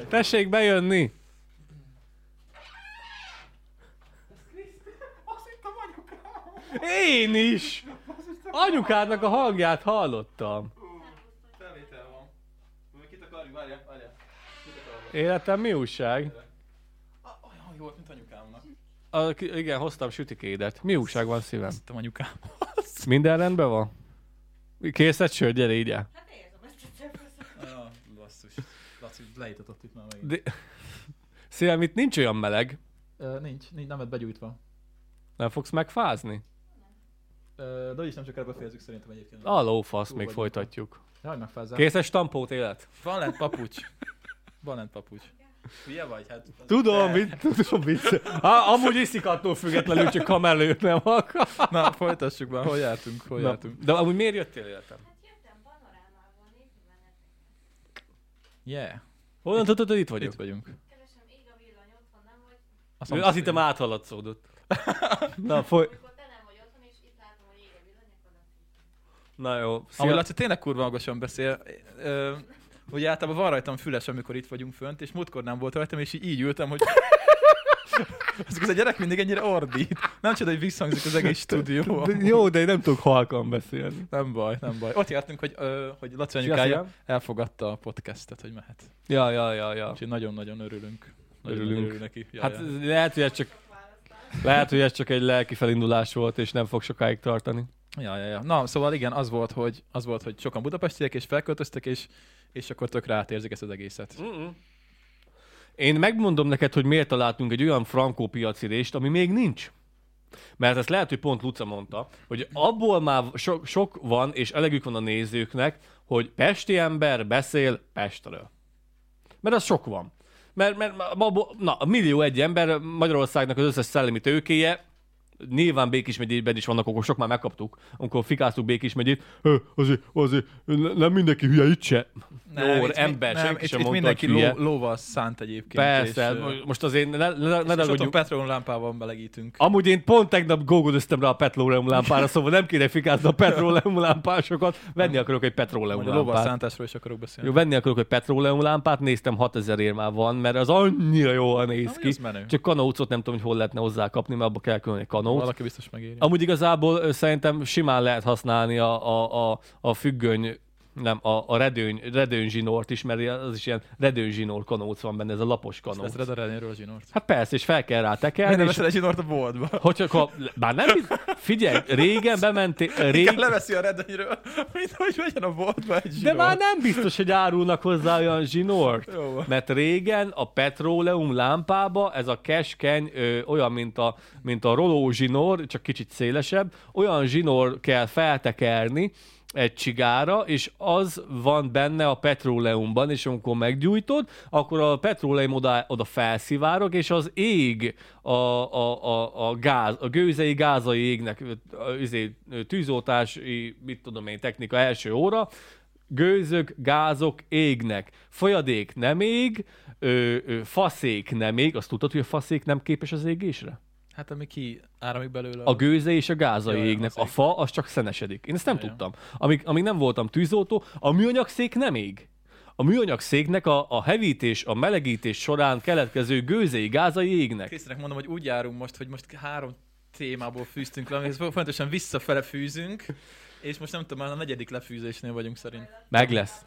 Tessék bejönni! Én is! Anyukádnak a hangját hallottam.
Felvétel van. Még kitakarjuk, várjál, várjál. Kitakarom.
Életem mi újság?
Ah, Olyan jó volt, mint anyukámnak.
A, ki- igen, hoztam sütikédet. Mi újság van szívem?
Azt anyukám.
Minden rendben van? Készed sör, gyere így el.
Hát érzem ezt a cseppeszet.
Ja, basszus. Laci, leítatott itt már megint.
De... Szívem, itt nincs olyan meleg.
Ö, nincs, nincs, nem lett begyújtva.
Nem fogsz megfázni?
Ö, de úgyis nem sokára befejezzük szerintem egyébként.
A lófasz, még folytatjuk.
Jaj, megfázzál.
Készes tampót élet?
Van lent papucs. Van lent papucs. Hülye vagy? Hát,
Tudom, mit, tudom, mit. Há, amúgy iszik attól függetlenül, csak kamelőt nem akar.
Na, folytassuk már, hol jártunk, hol
Na,
jártunk.
De amúgy miért jöttél életem?
Hát jöttem panorámával nézni benneteket.
Yeah,
Honnan tudod, hogy itt
itt
vagyok?
vagyunk.
Keresem ég a villany, otthon nem vagy.
Azt
Ő Azt hittem áthaladszódott. Na, foly...
Amikor te nem vagy otthon, és itt látom, hogy ég a villany, akkor nem tudom.
Na jó.
Amúgy
Szia.
Laci tényleg kurva hangosan beszél. Ö, ugye általában van rajtam füles, amikor itt vagyunk fönt, és múltkor nem volt rajtam, és így, így ültem, hogy... Ezek az a gyerek mindig ennyire ordít. Nem csoda, hogy visszhangzik az egész stúdió.
De Jó, de én nem tudok halkan beszélni.
Nem baj, nem baj. Ott jártunk, hogy, ö, hogy Laci
Szia,
anyukája
szia.
elfogadta a podcastet, hogy mehet.
Ja, ja, ja, ja.
Úgyhogy nagyon-nagyon örülünk. Nagyon
Örülünk.
örül neki. Ja,
Hát
ja.
ez- lehet, hogy ez csak
Sok választás.
Lehet, hogy ez csak egy lelki felindulás volt, és nem fog sokáig tartani.
Ja, ja, ja. Na, szóval igen, az volt, hogy, az volt, hogy sokan budapestiek, és felköltöztek, és, és akkor tök rátérzik ezt az egészet.
Én megmondom neked, hogy miért találtunk egy olyan frankó piacirést, ami még nincs. Mert ezt lehet, hogy pont Luca mondta, hogy abból már so- sok van, és elegük van a nézőknek, hogy pesti ember beszél Pestről. Mert az sok van. Mert, mert abból, na, a millió egy ember Magyarországnak az összes szellemi tőkéje, nyilván Békés megyében is vannak okosok, már megkaptuk, amikor fikáztuk Békés megyét, "Ö, azért, azért, ne- nem mindenki hülye itt se. Jó,
itt mi-
ember,
nem,
senki
itt,
sem
itt
mondta, hogy
mindenki
hülye.
ló, lóval szánt egyébként.
Persze,
és, ö,
mo- most azért ne, ne, ne
és otthon
ragadjunk.
Petron lámpával belegítünk.
Amúgy én pont tegnap gógodöztem rá a petróleum lámpára, szóval nem kéne fikázni a petróleum lámpásokat. Venni akarok egy petróleum
Majd a lóval
lámpát.
szántásról is akarok beszélni.
Jó, venni akarok egy petróleum lámpát, néztem 6000 ér már van, mert az annyira jól néz
Amúgy
ki.
Hát, az menő.
Csak kanócot nem tudom, hogy hol lehetne hozzá kapni, mert abba kell külön egy kanóc.
Valaki biztos megéri.
Amúgy igazából ö, szerintem simán lehet használni a, a, a, a függöny, nem, a, a redőny, redőny zsinort is, mert az is ilyen redőny zsinór kanóc van benne, ez a lapos kanóc.
Ez Red Arenairől a zsinort.
Hát persze, és fel kell rá
Miért
tekerni,
nem
és
veszel egy zsinort a boltba?
Hogyha akkor, bár nem, figyelj, régen bementél,
Igen,
rég,
leveszi a redőnyről, mint hogy vegyen a boltba egy
de
zsinort.
már nem biztos, hogy árulnak hozzá olyan zsinort.
Jó van.
Mert régen a petróleum lámpába ez a keskeny ö, olyan, mint a, mint a roló zsinór, csak kicsit szélesebb, olyan zsinór kell feltekerni egy csigára, és az van benne a petróleumban, és amikor meggyújtod, akkor a petróleum oda, oda felszivárog, és az ég a, a, a, a, gáz, a gőzei gázai égnek, ö, ö, izé, ö, tűzoltási, mit tudom én, technika első óra, gőzök, gázok égnek, folyadék nem ég, ö, ö, faszék nem ég, azt tudtad, hogy a faszék nem képes az égésre?
Hát ami ki áramlik belőle.
A gőze és a gázai
Jaj,
égnek,
az
a
ég.
fa az csak szenesedik. Én ezt nem
Jaj, jaj.
tudtam. Amíg, amíg nem voltam tűzoltó, a műanyag szék nem ég. A műanyag széknek a, a hevítés, a melegítés során keletkező gőzei, gázai égnek.
Krisztinek mondom, hogy úgy járunk most, hogy most három témából fűztünk le, és fontosan visszafele fűzünk, és most nem tudom, már a negyedik lefűzésnél vagyunk szerint.
Meg lesz.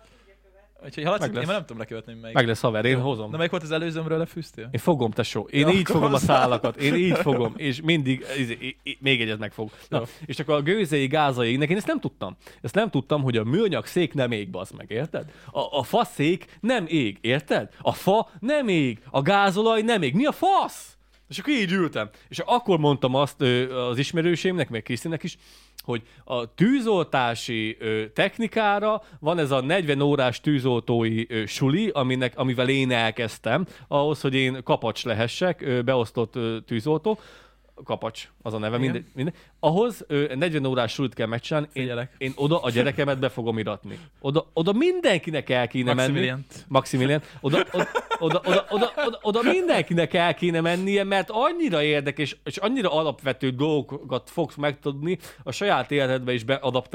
Úgyhogy ha Laci,
Meg
én
lesz.
már nem tudom lekövetni, hogy melyik.
Meg lesz haver, én hozom.
Na, melyik volt az előzőmről lefűztél?
Én fogom, tesó. Én
Ja,
így
akkor
fogom a
hozzá.
szálakat. Én így fogom. És mindig, izé, í- í- még egyet megfog. Na,
Jó.
és akkor a gőzei, gázai, nek én ezt nem tudtam. Ezt nem tudtam, hogy a műanyag szék nem ég, bazd meg, érted? A, a fa szék nem ég, érted? A fa nem ég, a gázolaj nem ég. Mi a fasz? És akkor így ültem. És akkor mondtam azt ö, az ismerősémnek, meg Krisztinek is, hogy a tűzoltási ö, technikára van ez a 40 órás tűzoltói ö, suli, aminek, amivel én elkezdtem, ahhoz, hogy én kapacs lehessek, ö, beosztott ö, tűzoltó. Kapacs, az a neve, minden, minden. Ahhoz ö, 40 órás sulit kell megcsinálni, én,
Figyelek.
én oda a gyerekemet be fogom iratni. Oda, oda mindenkinek el kéne menni.
Maximiliant.
Maximilian. Oda, oda, oda, oda, oda, oda, oda mindenkinek el kéne mennie, mert annyira érdekes, és annyira alapvető dolgokat fogsz megtudni, a saját életedbe is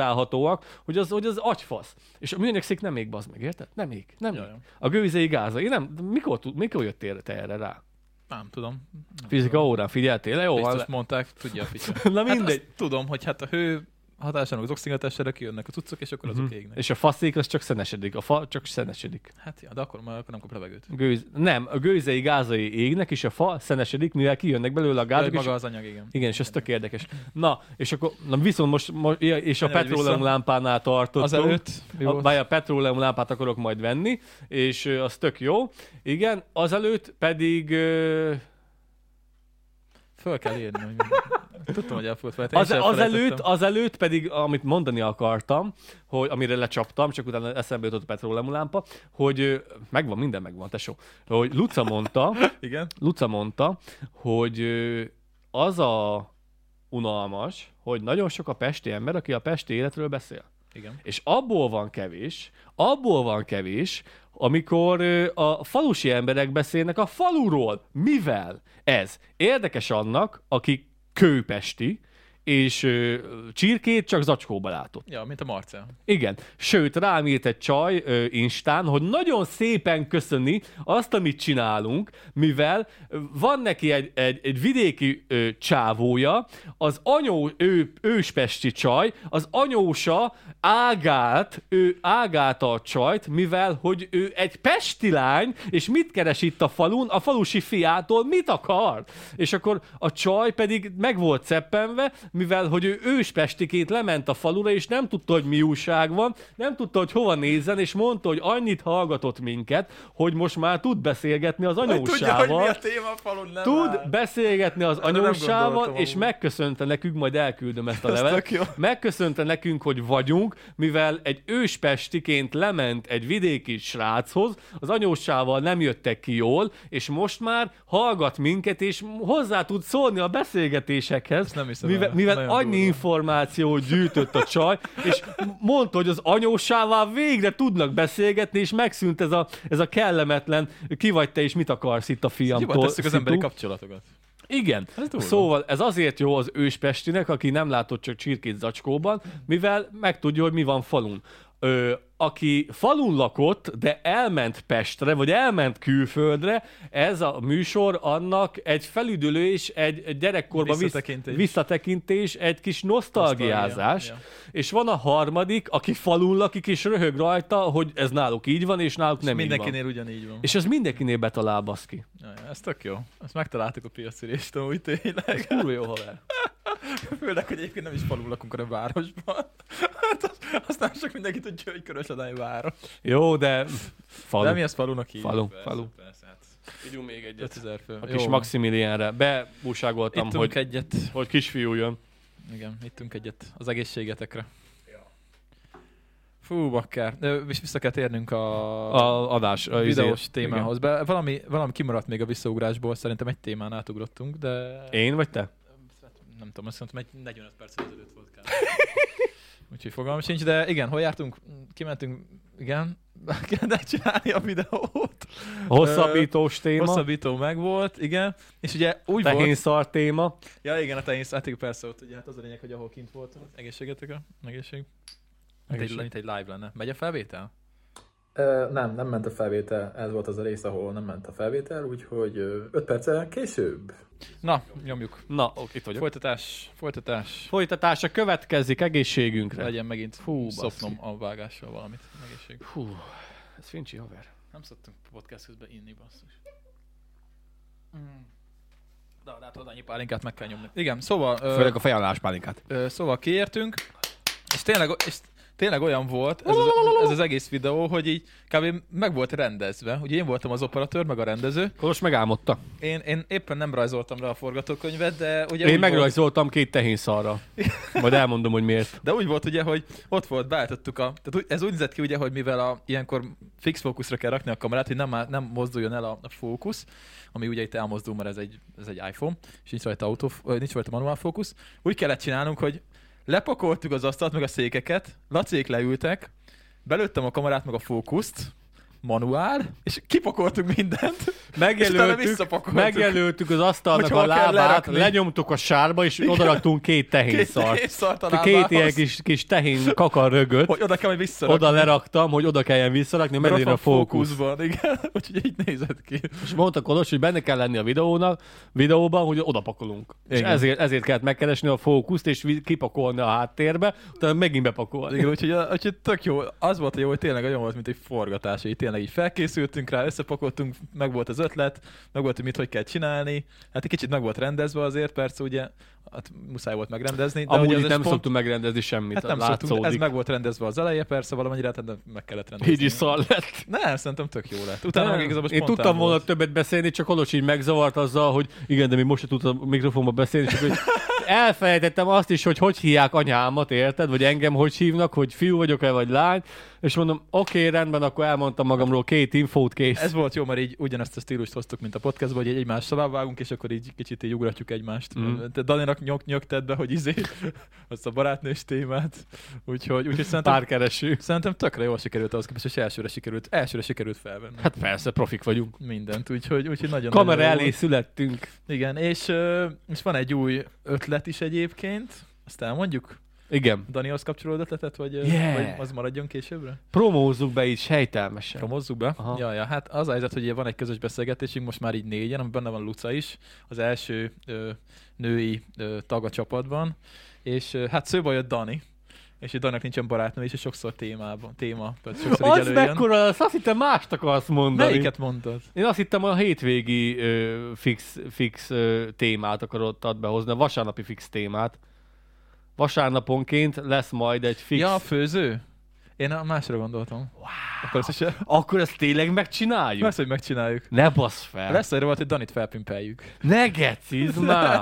beadaptálhatóak, hogy az, hogy az agyfasz. És a műanyag nem ég, bazd meg, érted? Nem ég, nem ég.
Jaj, jaj.
A gőzei gázai, nem? de Mikor, tud- mikor jöttél te erre rá?
Nem tudom.
Fizika órán figyeltél? Le, Jó, van.
Biztos mondták, tudja a fitya.
Na mindegy.
Hát azt tudom, hogy hát a hő hatásának az oxigénhatására kijönnek a cuccok, és akkor azok égnek.
Mhm. És a faszék az csak szenesedik, a fa csak szenesedik.
Hát ja, de akkor már akkor nem kap levegőt.
Gőz... Nem, a gőzei gázai égnek, és a fa szenesedik, mivel kijönnek belőle a
Jaj,
gázok, és
maga az anyag, igen.
Igen, és ez tök érdekes. Na, és akkor, na viszont most, most ja, és a
Menj vagy
petróleum
vissza.
lámpánál tartottunk.
Az előtt mi
A,
volt?
bár a petróleum lámpát akarok majd venni, és ö, az tök jó. Igen, azelőtt pedig... ö,
Föl kell írni. Hogy... Tudtam, hogy el fogod felejteni.
Az, azelőtt, azelőtt pedig, amit mondani akartam, hogy amire lecsaptam, csak utána eszembe jutott a petróleum lámpa, hogy ö, megvan, minden megvan, tesó. Hogy Luca mondta,
Igen.
Luca mondta, hogy ö, az a unalmas, hogy nagyon sok a pesti ember, aki a pesti életről beszél.
Igen.
És abból van kevés, abból van kevés, amikor ö, a falusi emberek beszélnek a faluról. Mivel? Ez érdekes annak, aki kőpesti, és ö, csirkét csak zacskóba látott.
Ja, mint a Marcel.
Igen. Sőt, rám írt egy csaj ö, Instán, hogy nagyon szépen köszöni azt, amit csinálunk, mivel van neki egy, egy, egy vidéki ö, csávója, az anyó, ő, őspesti csaj, az anyósa ágált, ő ágálta a csajt, mivel, hogy ő egy pesti lány, és mit keres itt a falun, a falusi fiától mit akar? És akkor a csaj pedig meg volt szeppenve, mivel, hogy ő őspestiként lement a falura, és nem tudta, hogy mi újság van, nem tudta, hogy hova nézzen, és mondta, hogy annyit hallgatott minket, hogy most már tud beszélgetni az anyósával.
téma a falun, nem
Tud beszélgetni az
nem
anyósával,
gondoltam
és
amúgy.
megköszönte nekünk, majd elküldöm ezt a
Az
levelet.
tök jó.
Megköszönte nekünk, hogy vagyunk, mivel egy őspestiként lement egy vidéki sráchoz, az anyósával nem jöttek ki jól, és most már hallgat minket, és hozzá tud szólni a beszélgetésekhez,
nem hiszem
mivel,
el.
mivel
Nagyon
annyi
durva.
információt gyűjtött a csaj, és mondta, hogy az anyósával végre tudnak beszélgetni, és megszűnt ez a, ez a kellemetlen, ki vagy te, és mit akarsz itt a
Jobban
fiamtól.
tesszük az emberi
szitu.
kapcsolatokat.
Igen.
Hát Ez durva.
szóval ez azért jó az őspestinek, aki nem látott csak csirkét zacskóban, mivel megtudja, hogy mi van falun. Ö, aki falun lakott, de elment Pestre, vagy elment külföldre, ez a műsor annak egy felüdülés, egy gyerekkorba
Visszatekintés.
Vissza, visszatekintés, egy kis nosztalgiázás,
Nosztalgia,
és van a harmadik, aki falun lakik, és röhög rajta, hogy ez náluk így van, és náluk nem így van.
Mindenkinél ugyanígy van.
És ez mindenkinél betalál, baszki.
Ja, ja, ez tök jó. Ezt megtaláltuk a piacirést, úgy tényleg.
Kurva jó haver.
Főleg, hogy egyébként nem is falul lakunk, hanem városban. Hát az, aztán csak mindenki tudja, hogy körös adály város.
Jó, de falu.
De mi az falunak így?
Falu,
Persze,
falu.
Persze, hát
Vigyünk még egyet.
5000 fő.
A
Jó.
kis Maximilienre. Beúságoltam,
Ittunk
hogy,
egyet.
hogy kisfiú jön.
Igen, ittunk egyet az egészségetekre. Fú, bakker. Ö, És vissza kell térnünk a,
A adás. A izé-
videós témához. Be, valami, valami kimaradt még a visszaugrásból, szerintem egy témán átugrottunk, de...
Igen. Én vagy te?
Nem tudom, azt mondtam, egy 45 perc ezelőtt volt kár. Úgyhogy fogalmam sincs, de igen, hol jártunk? Kimentünk, igen, kellett csinálni a videót.
A hosszabbítós téma. Hosszabb...
Hosszabbító meg volt, igen. És ugye úgy
Tehén
volt...
szar téma.
Ja, igen, a tehén, hát igen, persze ott, ugye hát az a lényeg, hogy ahol kint voltunk. Egészségetekre, egészség. Mint Hát egy,
Egészség.
mint egy live lenne. Megy a felvétel? Ö, nem, nem ment a felvétel. Ez volt az a rész, ahol nem ment a felvétel, úgyhogy 5 perccel később. Na, nyomjuk.
Na, ok, itt vagyok.
Folytatás, folytatás.
Folytatása következik egészségünkre.
Legyen megint Hú, szopnom a vágással valamit. Egészség.
Hú, ez fincsi haver.
Nem szoktunk podcast közben inni, basszus. Mm. De látod, hát annyi pálinkát meg kell nyomni. Igen, szóval, ö,
a fejánlás pálinkát.
ö, szóval kiértünk, és tényleg, és tényleg olyan volt ez az, ez az egész videó, hogy így kb. meg volt rendezve. Ugye én voltam az operatőr, meg a rendező.
Akkor most megálmodta.
Én, én éppen nem rajzoltam rá a forgatókönyvet, de ugye...
Én
úgy volt-
megrajzoltam két tehén szarra. Majd elmondom, hogy miért.
De úgy volt ugye, hogy ott volt, beállítottuk a... Tehát úgy- ez úgy nézett ki ugye, hogy mivel a, ilyenkor fix fókuszra kell rakni a kamerát, hogy nem, áll- nem mozduljon el a, a fókusz, ami ugye itt elmozdul, mert ez egy, ez egy iPhone, és nincs rajta, auto, ö, nincs rajta manuál fókusz. Úgy kellett csinálnunk, hogy lepakoltuk az asztalt, meg a székeket, lacék leültek, belőttem a kamerát, meg a fókuszt, manuál, és kipakoltuk mindent. És utána
Megjelöltük,
visszapakoltuk.
megjelöltük az asztalnak
Hogy
a
hol kell
lábát,
lerakni.
lenyomtuk a sárba, és odaraktunk két tehén
Két
szart.
szart a
Két
lábához,
ilyen kis, kis tehén kakarögöt.
Hogy oda kell, hogy visszarakni.
Oda leraktam, hogy oda kelljen visszarakni, mert
Mert
a
ott van
fókusz.
fókuszban, igen. Úgyhogy így nézett ki.
És mondta Kolos, hogy benne kell lenni a videónak, videóban, hogy oda pakolunk. És
Igen.
ezért, ezért kellett megkeresni a fókuszt, és vi- kipakolni a háttérbe, utána megint bepakolni.
Igen, úgyhogy, úgyhogy tök jó. Az volt a jó, hogy tényleg olyan volt, mint egy forgatás. Így tényleg így felkészültünk rá, összepakoltunk, meg volt az ötlet, meg volt, hogy mit hogy kell csinálni. Hát egy kicsit meg volt rendezve azért, persze ugye, hát muszáj volt megrendezni. De
Amúgy
ugye
itt
ez
nem
egy
szoktunk megrendezni semmit,
Hát nem
látszódik.
szoktunk, ez meg volt rendezve az eleje, persze valamennyire, hát de meg kellett rendezni.
Így is szar lett.
Nem, szerintem tök jó lett. Utána meg igazából
Én
spontán
tudtam volna
volt.
többet beszélni, csak Kolos így megzavart azzal, hogy igen, de még most se tudtam a mikrofonba beszélni, csak hogy elfelejtettem azt is, hogy hogy hívják anyámat, érted? Vagy engem hogy hívnak, hogy fiú vagyok-e, vagy lány. És mondom, oké, rendben, akkor elmondtam magamról két infót, kész.
Ez volt jó, mert így ugyanezt a stílust hoztuk, mint a podcastban, hogy így egymás szavába vágunk, és akkor így kicsit így ugratjuk egymást.
Mm.
Mm. Te Daninak nyok, nyögted be, hogy izé, azt a barátnős témát. Úgyhogy, úgyhogy szerintem, Pár...
Párkereső.
szerintem tökre jól sikerült ahhoz képest, hogy elsőre sikerült, elsőre sikerült felvenni. Hát.
Hát persze, profik vagyunk.
Mindent, úgyhogy, úgyhogy nagyon
Kamera
nagyon jó
elé születtünk.
volt. Igen, és, ö, és van egy új ötlet is egyébként. Azt elmondjuk?
Igen.
Danihoz kapcsolódó ötletet, vagy, ö,
Yeah.
vagy az maradjon későbbre?
Promózzuk be így helytelmesen.
Promozzuk be.
Aha.
Ja, ja, hát az a helyzet, hogy ugye van egy közös beszélgetésünk, most már így négyen, amiben benne van Luca is, az első ö, női ö, tag a csapatban, és ö, hát szóba jött Dani, és itt Daninak nincsen barátnő, és sokszor témában, téma, tehát sokszor így
az
előjön.
mekkora lesz? Azt hittem mást akarsz mondani.
Melyiket mondtad?
Én azt hittem a hétvégi ö, fix, fix ö, témát akarod behozni, a vasárnapi fix témát. Vasárnaponként lesz majd egy fix.
Ja, a főző? Én a másra gondoltam. Wow. Akkor ezt is
Akkor ezt tényleg megcsináljuk?
lesz, hogy megcsináljuk.
Ne basz fel!
Lesz egy volt, hogy Danit felpimpeljük.
Ne geciz már!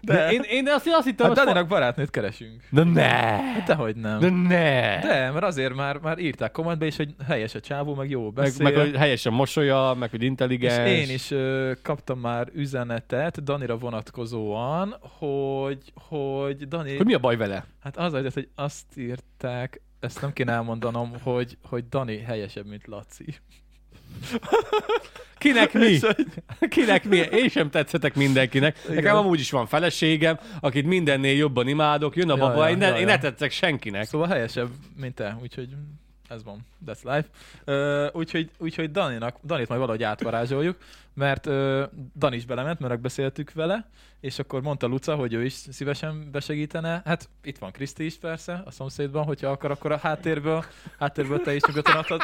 De.
De.
én, én azt, azt hittem,
Hát
hogy...
Daninak barátnőt keresünk.
Na ne!
Dehogy nem.
Na ne!
De, mert azért már, már írták kommentbe is, hogy helyes a csávó, meg jó
Meg,
beszél.
meg, hogy helyesen mosolya, meg hogy
És
intelligens.
én is ö, kaptam már üzenetet Danira vonatkozóan, hogy, hogy Dani,
Hogy mi a baj vele?
hát az az, hogy azt írták, ezt nem kéne elmondanom, hogy, hogy Dani helyesebb, mint Laci.
Kinek mi?
És, hogy
Kinek mi? Én sem tetszetek mindenkinek. Igen. Nekem
Igen.
amúgy is van feleségem, akit mindennél jobban imádok, jön a
Ja,
baba,
ja,
én, ne,
ja,
én
ja.
ne tetszek senkinek.
szóval helyesebb, mint te, úgyhogy ez van, that's life. Ö, úgyhogy, úgyhogy Daninak, Danit majd valahogy átvarázsoljuk, mert ö, Dani is belement, mert megbeszéltük vele, és akkor mondta Luca, hogy ő is szívesen besegítene. Hát itt van Kriszti is persze, a szomszédban, hogyha akar, akkor a háttérből, háttérből te is nyugodtan adhat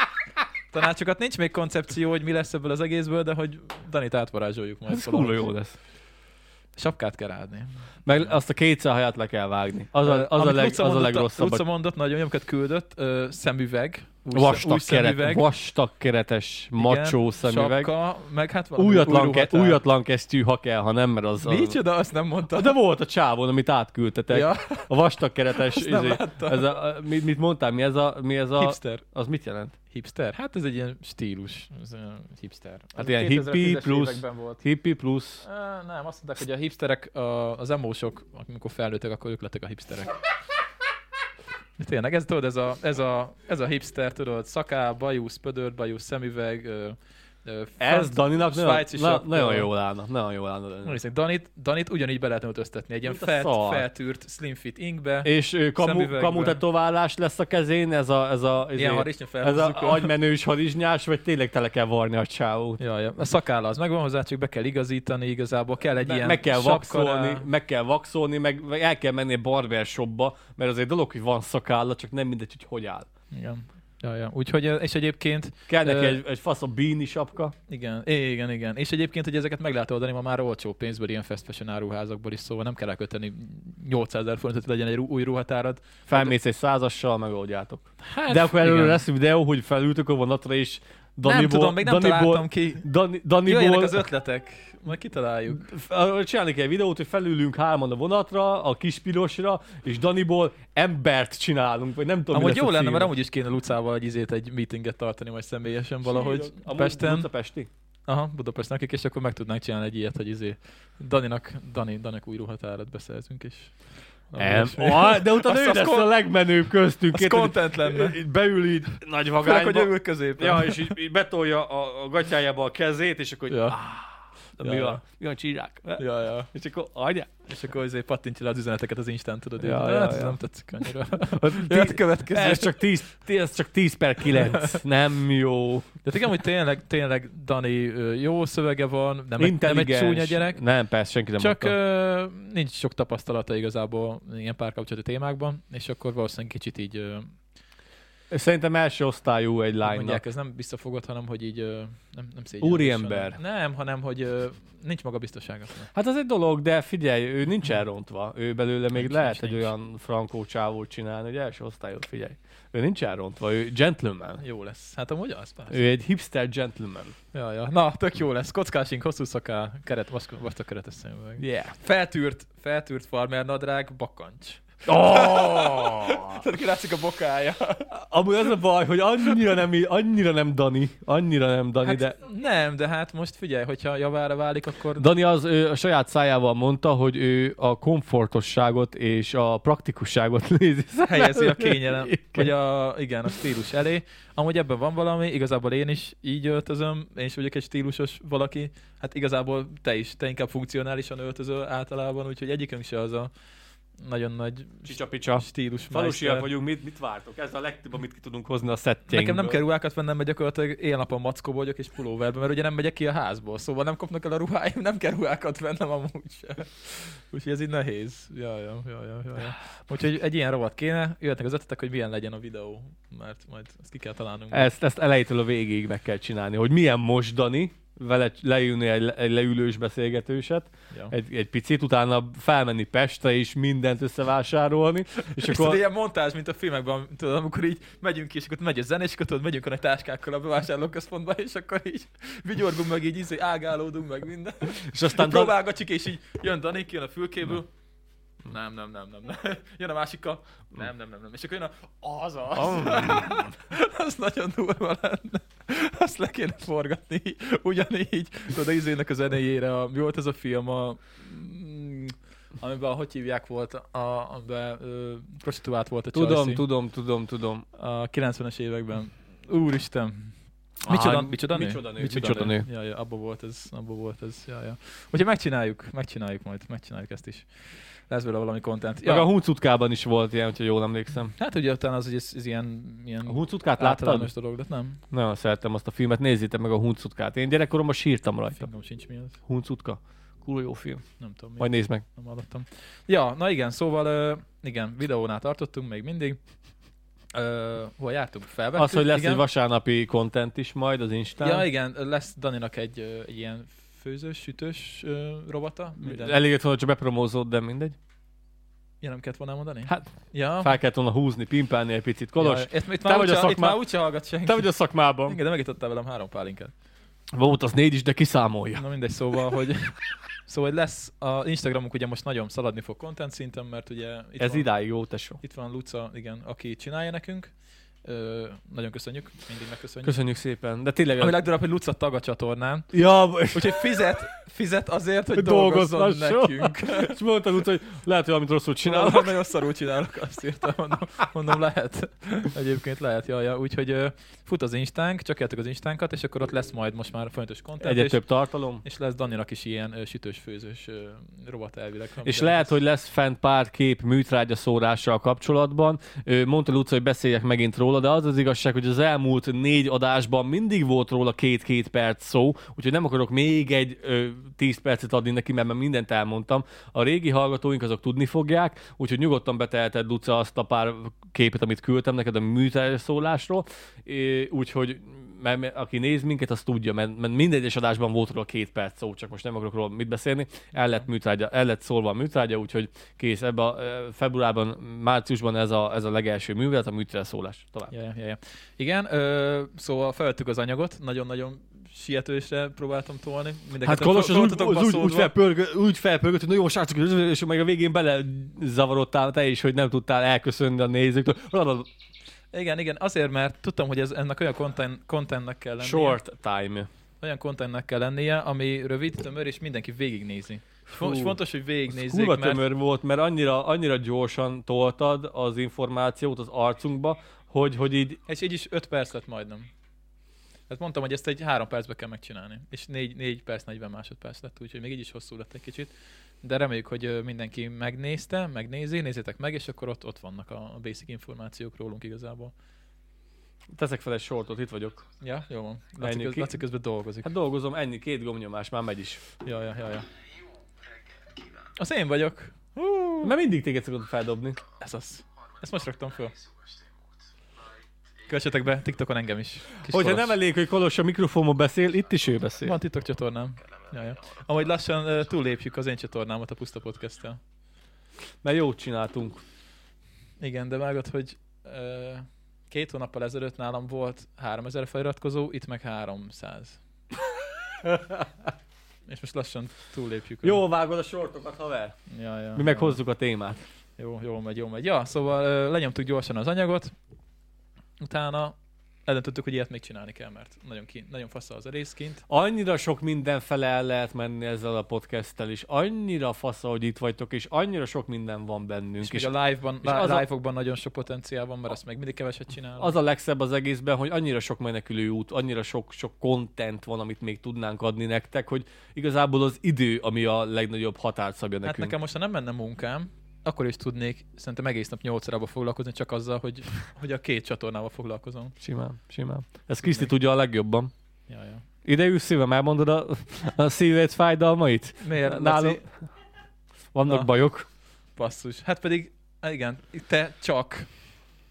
tanácsokat. Nincs még koncepció, hogy mi lesz ebből az egészből, de hogy Danit átvarázsoljuk majd.
Szóval Ez
valahogy.
kurva jó lesz.
Sapkát kell ráadni.
Meg azt a két haját le kell vágni. Az a, az a,
Amit
leg,
Luca
az a
mondott,
legrosszabb.
Luca
A
mondott, nagyon jókat küldött, ö, szemüveg. Új,
vastag,
új
keret, vastag keretes,
igen,
macsó szemüveg.
Sapka, meg hát valami
Újatlan,
új
ke,
ruhatár.
újatlan kesztyű, ha kell, ha nem, mert az... az...
Micsoda, azt nem mondta.
De volt Hát a csávon, amit átküldtetek.
Ja,
A vastag keretes,
nem
izé,
láttam.
ez a, a- mit, mit mondtál, mi ez a, mi ez a,
hipster.
az mit jelent?
Hipster? Hát ez egy ilyen stílus. Ez olyan hipster. Ez
Hát ilyen
2010-es
hippie plusz-
években Volt.
Hippie plusz
Ö, nem, azt mondták, hogy a hipsterek, a, az emósok, amikor felnőttek, akkor ők lettek a hipsterek. De Tényleg, ez, tudod, ez a, ez a, ez a hipster, tudod, szaká, bajusz, pödört, bajusz, szemüveg, ö, ö,
Ez
franc-
Daninak nagyon,
svájci
na,
sapka.
nagyon jól állna. Nagyon jól állna.
Nem
Dani.
Hm. hiszem, Danit, Danit ugyanígy be lehetne öltöztetni, egy ilyen
Mint a
felt,
szar.
feltűrt slim fit inkbe,
És ő, kamu,
Szemüvegben.
kamu tetoválás lesz a kezén, ez a, ez a, ez
ilyen
a,
harisnya
izé, ez a
felhúzzuk. A...
agymenős harizsnyás, vagy tényleg tele kell varni a csávót.
Ja, ja. A szakálla az megvan hozzá, csak be kell igazítani igazából, kell egy ilyen
Meg kell
sapka
vaxolni,
rá.
meg kell vaxolni, meg meg el kell menni a barbershopba, mert az egy dolog, hogy van szakálla, csak nem mindegy, hogy hogy áll.
Igen. Ja, ja. Úgyhogy, és egyébként,
Kell neki
Ö,
egy, egy fasz a bíni sapka.
igen, igen, igen. És egyébként, hogy ezeket meg lehet oldani ma már olcsó pénzből, ilyen fast fashion áruházakból is, szóval nem kell elköteni 800 ezer forintot, hogy legyen egy rú- új ruhatárad.
Felmész egy százassal, megoldjátok.
Hát,
De akkor előre
igen.
lesz videó, hogy felültök a vonatra és Daniból,
nem tudom, még nem
Daniból,
találtam ki.
Dani,
Jöjjenek
Daniból,
az ötletek, majd kitaláljuk.
F- arról Csinálni kell egy videót, hogy felülünk hárman a vonatra, a kis pirosra, és Daniból embert csinálunk, vagy nem tudom, mi
Amúgy
lesz a
jó lenne,
cím.
mert amúgy is kéne Lucával egy izét, egy meetinget tartani majd személyesen valahogy
Amúgy
Pesten.
Budapesti.
Aha, Budapesten akik, és akkor meg tudnánk csinálni egy ilyet, hogy izé Daninak, Dani, Danek új ruhatárat beszerzünk, és... valami
Em,
ilyesmi.
ah, de utána
Azt-
ő
azt
lesz
kon-
a legmenőbb köztünk.
Az
érted?
content lenne.
Így Beül így nagy
Főleg, hogy
vagányba.
ő ül középen.
Ja, és így, így betolja a, a gatyájába a kezét, és akkor így,
Ja.
ja.
Ja,
mi
ja.
van? Mi van, csírák?
Ja, ja.
És akkor, anya,
És akkor izé pattintja le az üzeneteket az Instán, tudod?
Ja,
így,
ja,
hát ez
ja.
nem tetszik annyira.
Jöhet
Jöhet következő.
ez csak 10, ez csak 10 per 9, nem jó.
De hát igen, hogy tényleg, tényleg Dani ö, jó szövege van, nem, egy- nem egy
Intelligens.
csúnya gyerek.
Nem, persze, senki nem
Csak
mondta.
ö, nincs sok tapasztalata igazából ilyen párkapcsolati témákban, és akkor valószínűleg kicsit így, ö,
Szerintem első osztályú egy
hogy mondják,
lánynak.
ez nem visszafogott, hanem hogy így ö, nem, nem szégyen.
Úriember.
Nem, hanem hogy ö, nincs magabiztossága.
Hát az egy dolog, de figyelj, ő nincs elrontva. Ő belőle még
Nincs,
lehet
nincs,
egy
nincs.
olyan frankó csávót csinálni, hogy első osztályot figyelj. Ő nincs elrontva, ő gentleman.
Jó lesz. Hát amúgy az persze.
Ő egy hipster gentleman.
Ja, ja. Na, tök jó lesz. Kockásink, hosszú szaká, keret, vastag vastag keretes szemüveg.
Yeah.
Feltűrt, feltűrt farmer nadrág, bakancs.
Oh!
Tehát kilátszik a bokája.
Amúgy az a baj, hogy annyira nem, í- annyira nem Dani, annyira nem Dani,
Hát,
de
Nem, de hát most figyelj, hogyha javára válik, akkor...
Dani az ő, a saját szájával mondta, hogy ő a komfortosságot és a praktikusságot nézi.
helyezi a kényelem, vagy a, igen, a stílus elé. Amúgy ebben van valami, igazából én is így öltözöm, én is vagyok egy stílusos valaki, hát igazából te is, te inkább funkcionálisan öltözöl általában, úgyhogy egyikünk se az a nagyon nagy
Csicsa-picsa.
stílus
Falusiak
meister.
vagyunk, mit, mit vártok? Ez a legtöbb, amit ki tudunk hozni a szettjeinkből.
Nekem nem kell ruhákat vennem, mert gyakorlatilag éjjel napon mackóba vagyok és pulóverben, mert ugye nem megyek ki a házból, szóval nem kopnak el a ruháim, nem kell ruhákat vennem amúgy se. Úgyhogy ez így nehéz. Ja, ja, ja, ja, ja, ja. Úgyhogy egy ilyen rovat kéne, jöhetnek az ötletek, hogy milyen legyen a videó, mert majd ezt ki kell találnunk.
Ezt, ezt elejétől a végéig meg kell csinálni, hogy milyen most Dani, vele leülni egy, le- egy leülős beszélgetőset,
ja.
egy, egy picit, utána felmenni Pestre és mindent összevásárolni, és
És akkor...
akkor
ilyen montázs, mint a filmekben, tudod, amikor így megyünk ki, és akkor megy a zene, és akkor tudod, megyünk a nagy táskákkal a bevásárlóközpontba, és akkor így vigyorgunk meg, így izé, ágálódunk meg minden.
és aztán Dan-
Próbálgatjuk, és így jön Dani, kijön a fülkéből. Nem, nem, nem, nem, nem. Jön a másikkal. Nem, nem, nem, nem. És akkor jön a... Az az. az nagyon durva lenne. Azt le kéne forgatni. Ugyanígy. Tudod, izének a zenéjére. A, mi volt ez a film? A, mm, amiben, hogy hívják volt, a, amiben ö, prostituált volt a
Tudom,
Chelsea.
tudom, tudom, tudom.
A 90-es években. Úristen. Micsoda,
Á,
micsoda nő?
micsoda nő, micsoda nő.
Ja, ja, abba volt ez, abba volt ez, ja, ja. Úgyhogy megcsináljuk, megcsináljuk majd, megcsináljuk ezt is. Lesz belőle valami kontent.
Meg a
Ja,
huncutkában is volt ilyen, hogyha jól emlékszem.
hát ugye utána az, hogy ez, ez ilyen, ilyen
A huncutkát láttad?
általános dolog, de nem.
Nagyon szerettem azt a filmet, nézzétek meg a huncutkát. Én gyerekkoromban sírtam rajta.
Fingom sincs mi az,
Huncutka. Kurva jó film.
nem tudom mi,
Majd nézd meg.
nem hallottam. Ja, na igen, szóval ö, igen, videónál tartottunk még mindig. Ö, hol jártunk? Felvettük?
Az, hogy lesz
igen.
egy vasárnapi content is majd az Instán.
Ja, igen, lesz Daninak egy, ö, egy ilyen főzős, sütős ö, robata. Minden. El...
Elég lett volna, csak bepromózott, de mindegy.
Ja, nem kellett volna elmondani?
Hát,
ja.
fel kellett volna húzni, pimpálni egy picit. Kolos,
Ja, ezt, itt,
te
már
vagy a
úgyse, itt
szakmá-
már úgyse hallgat senki.
te vagy a szakmában.
Igen, de megítottál velem három pálinkát.
Volt az négy is, de kiszámolja.
Na mindegy, szóval, hogy... Szóval hogy lesz, a Instagramunk ugye most nagyon szaladni fog content szinten, mert ugye itt,
Ez
van,
idáig jó, tesó.
itt van Luca, igen, aki csinálja nekünk. Ö, nagyon köszönjük, mindig megköszönjük.
Köszönjük szépen. De tényleg...
Ami legdurvább, hogy Luca tag a csatornán,
Ja,
úgyhogy fizet, fizet azért, hogy
Dolgozzon
dolgozzon
so.
nekünk.
és mondtad úgy, hogy lehet, hogy valamit rosszul csinálok.
Csinálok, nagyon szarul csinálok, azt írtam, mondom, mondom lehet. Egyébként lehet, jaj, ja. úgyhogy ö, fut az Instánk, csak az Instánkat, és akkor ott lesz majd most már folyamatos kontent,
Egyre
és,
több tartalom.
és lesz Daninak is ilyen ö, sütős-főzős ö, robot elvileg.
És lehet, hogy lesz fent pár kép műtrágya szórással kapcsolatban. Ö, Mondta Luca, hogy beszéljek megint róla, róla, de az az igazság, hogy az elmúlt négy adásban mindig volt róla két-két perc szó, úgyhogy nem akarok még egy ö, tíz percet adni neki, mert már mindent elmondtam. A régi hallgatóink azok tudni fogják, úgyhogy nyugodtan beteheted, Luca, azt a pár képet, amit küldtem neked a műtelszólásról, É, úgyhogy mert, mert aki néz minket, az tudja, mert, mert minden egyes adásban volt róla két perc szó, csak most nem akarok róla mit beszélni. El lett, műtrágya, el lett szólva a műtrágya, úgyhogy kész. Ebben a ö, februárban, márciusban ez a, ez a legelső művelet, a műtrágyaszólás. Tovább.
Ja, ja, ja. Igen, ö, szóval felvettük az anyagot, nagyon-nagyon sietősre próbáltam tolni. Mind a
Hát
ketten
Kolos
fel-
az úgy,
voltatok
az úgy, úgy,
baszódva.
felpörgött, úgy felpörgött, hogy nagyon srácok, és meg a végén bele zavarodtál te is, hogy nem tudtál elköszönni a nézőktől.
Igen, igen, azért, mert tudtam, hogy ez, ennek olyan content, contentnek kell lennie,
Short time.
olyan contentnek kell lennie, ami rövid, tömör, és mindenki végignézi. És fo- és
Fú,
fontos, hogy
Ez
végignézzék,
kurva
mert...
tömör volt, mert annyira, annyira gyorsan toltad az információt az arcunkba, hogy, hogy így
És így is 5 perc lett majdnem. Hát mondtam, hogy ezt egy 3 percbe kell megcsinálni. És 4, 4 perc, 40 másodperc lett, úgyhogy még így is hosszú lett egy kicsit. De reméljük, hogy ö, mindenki megnézte, megnézi, nézzétek meg, és akkor ott, ott vannak a a basic információk rólunk igazából.
teszek fel egy sortot, itt vagyok.
Ja, jó van. Laci,
Menjünk
köz,
ki.
Laci közben dolgozik.
Hát dolgozom, ennyi, két gomnyomás, már megy is.
Ja, ja, ja, ja. Az én vagyok. Hú,
Mert mindig téged szokott feldobni.
ez az. Ezt most raktam föl. Kövessetek be TikTokon engem is. Kis
Hogyha
Kolos.
nem elég, hogy Kolos a mikrofonba beszél, itt is ő beszél.
Van titok csatornám. Ja, ja. Amúgy lassan uh, túllépjük az én csatornámat a Puszta podcast -tel.
Mert jót csináltunk.
Igen, de vágod, hogy uh, két hónappal ezelőtt nálam volt 3000 feliratkozó, itt meg 300. És most lassan túllépjük.
Jó vágod a sortokat, haver.
Ja, ja,
Mi meg
ja.
hozzuk a témát.
Jó, jól megy, jól megy. Ja, szóval uh, lenyomtuk gyorsan az anyagot, utána eldöntöttük, hogy ilyet még csinálni kell, mert nagyon, kint, nagyon fasza az a rész kint.
Annyira sok minden fele el lehet menni ezzel a podcasttel is. Annyira fasza, hogy itt vagytok, és annyira sok minden van
És,
bennünk.
még a live-ban,
és az a-
live-okban nagyon sok potenciál van, mert azt még mindig keveset csinálunk.
Az a legszebb az egészben, hogy annyira sok menekülő út, annyira sok, sok content van, amit még tudnánk adni nektek, hogy igazából az idő, ami a legnagyobb határt szabja
Hát
nekünk.
nekem most, ha nem menne munkám, akkor is tudnék szerintem egész nap 8 órába foglalkozni, csak azzal, hogy, hogy a két csatornával foglalkozom.
Simán, simán. Ez Kriszti tudja a legjobban.
Ja, ja.
Ide ülsz szívem, elmondod a, a szíved fájdalmait?
Miért?
Nálam-
Nálam...
Vannak
Na.
Na. bajok.
Basszus. Hát pedig, hát igen, te csak,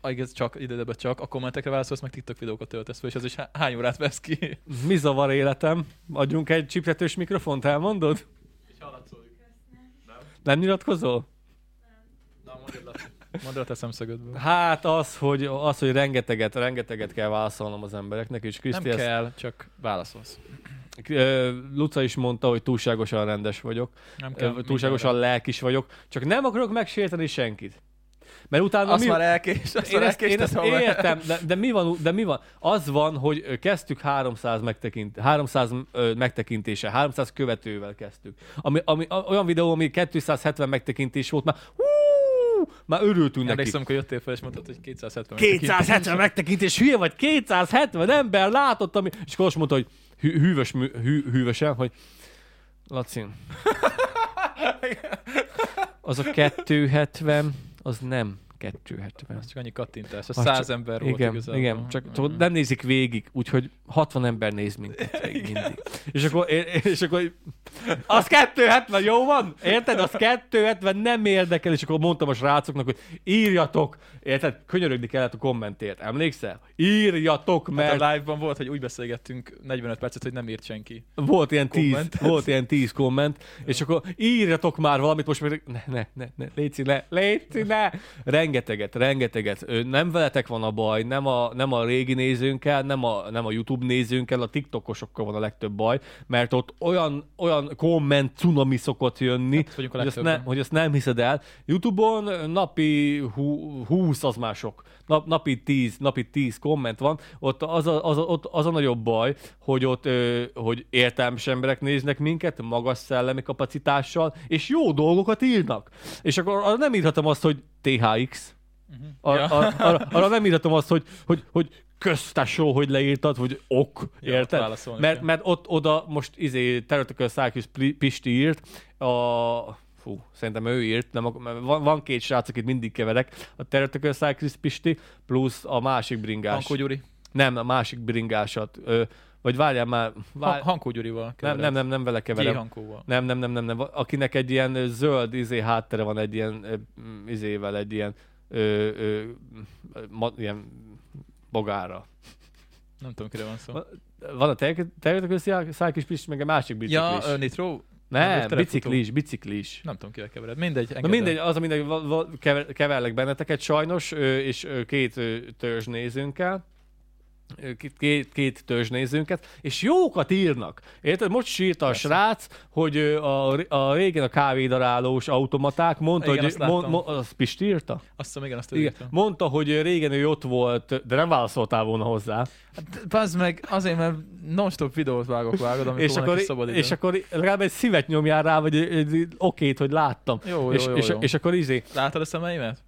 ah, igaz, csak, idedebe csak, a kommentekre válaszolsz, meg TikTok videókat töltesz fel, és az is há- hány órát vesz ki.
Mi zavar életem? Adjunk egy csiptetős mikrofont, elmondod? Nem nyilatkozol?
Mondd el a te szemszögödből.
Hát az, hogy, az, hogy rengeteget, rengeteget kell válaszolnom az embereknek,
Nem
és Kriszti ezt
kell, csak válaszolsz.
Ö, Luca is mondta, hogy túlságosan rendes vagyok,
Nem kell.
ö, túlságosan lelkis vagyok, csak nem akarok megsérteni senkit. Mert utána
mindenre. Azt
mi...
már elkés, azt
én
már
ezt, én ezt
elkésted, haver.
értem, de, de, mi van, de mi van? Az van, hogy ö, kezdtük 300, megtekint, 300 ö, megtekintése, 300 követővel kezdtük. Ami, ami, a- olyan videó, ami 270 megtekintés volt, már, hú, már örültünk neki.
Emlékszem, amikor jöttél fel, és mondtad, hogy 270.
270 megtekintés, hülye vagy, 270 ember látott, ami... És Kolos mondta, hogy hű, hűvös, mű- hű, hűvösen, hogy Laci, az a 270, az nem 270.
Ez csak annyi kattintás. A
Az
száz
csak-
ember volt
Igen,
igazából.
igen, csak tudod,
Mhm.
nem nézik végig, úgyhogy 60 ember néz minket végig mindig. És akkor, és akkor az 270, jó van? Érted? Az 270 nem érdekel, és akkor mondtam a srácoknak, hogy írjatok, érted? Könyörögni kellett a kommentért, emlékszel? Írjatok, mert
Hát a live-ban volt, hogy úgy beszélgettünk 45 percet, hogy nem írt senki.
Volt ilyen, tíz,
Kommentet.
volt ilyen tíz komment, és akkor írjatok már valamit, most meg ne, ne, ne, ne léci, ne, léci, ne. Rengeteget, rengeteget. Ö, Nem veletek van a baj, nem a, nem a régi nézőnkkel, nem a, nem a YouTube nézőnkkel, a TikTokosokkal van a legtöbb baj, mert ott olyan, olyan komment cunami szokott jönni,
Hát vagyunk a
hogy, azt ne,
legtöbben.
hogy azt nem hiszed el. YouTube-on napi hú- 20 az már sok. Nap, napi 10, napi 10 komment van. Ott az a, az a, ott az a nagyobb baj, hogy ott ö, hogy értelmes emberek néznek minket, magas szellemi kapacitással, és jó dolgokat írnak. És akkor arra nem írhatom azt, hogy THX. Ar,
Mhm. Ja.
ar, ar, arra nem írhatom azt, hogy, hogy, hogy köztesó, hogy leírtad, hogy ok,
Ja, ott
érted?
válaszolni
hát mert,
kell.
mert ott oda most izé területekről Szákius Pisti írt, a, fú, fú, szerintem ő írt, nem, ak- mert van, van két srác, akit mindig keverek, a Terrortököl Cyclist Pisti, plusz a másik bringás.
Hankó Gyuri.
Nem, a másik bringásat. Ö, vagy várjál már,
Ha,
vár...
Hankó Gyurival.
nem, nem, nem, nem vele keverem.
G. Hankóval.
Nem, nem, nem, nem, nem. Akinek egy ilyen ö, zöld izé háttere van, egy ilyen ö, mm, izével, egy ilyen, ö, ö, ma, ilyen bogára.
Nem tudom, kire van szó.
Ma- Van a területek szájkis pisti, meg a másik
Ja,
biciklis.
ö, Nitro?
nem,
terepfutó.
biciklis, biciklis.
Nem tudom, kire kevered. Mindegy,
Na
engedd el.
mindegy, az a mindegy, va- va- kever- keverlek benneteket sajnos, ö, és ö, két ö, törzs nézőnkkel, Ö, két, két, két törzs nézőnket, és jókat írnak. Érted? Most sírta a srác, hogy ö, a, a régen a kávédarálós automaták mondta,
Igen,
hogy...
azt láttam.
az Pisti írta?
Azt hiszem, igen, azt ő
Igen.
írta.
Mondta, hogy ö, régen ő ott volt, de nem válaszoltál volna hozzá.
Hát, Bazd meg, azért, mert non-stop videót vágok, vágod, amikor
és akkor,
szabad
és akkor legalább egy szívet nyomjál rá, vagy egy, egy, egy okét, hogy láttam.
Jó, jó,
és,
jó,
és,
jó.
és akkor izé,
Látod a szemeimet?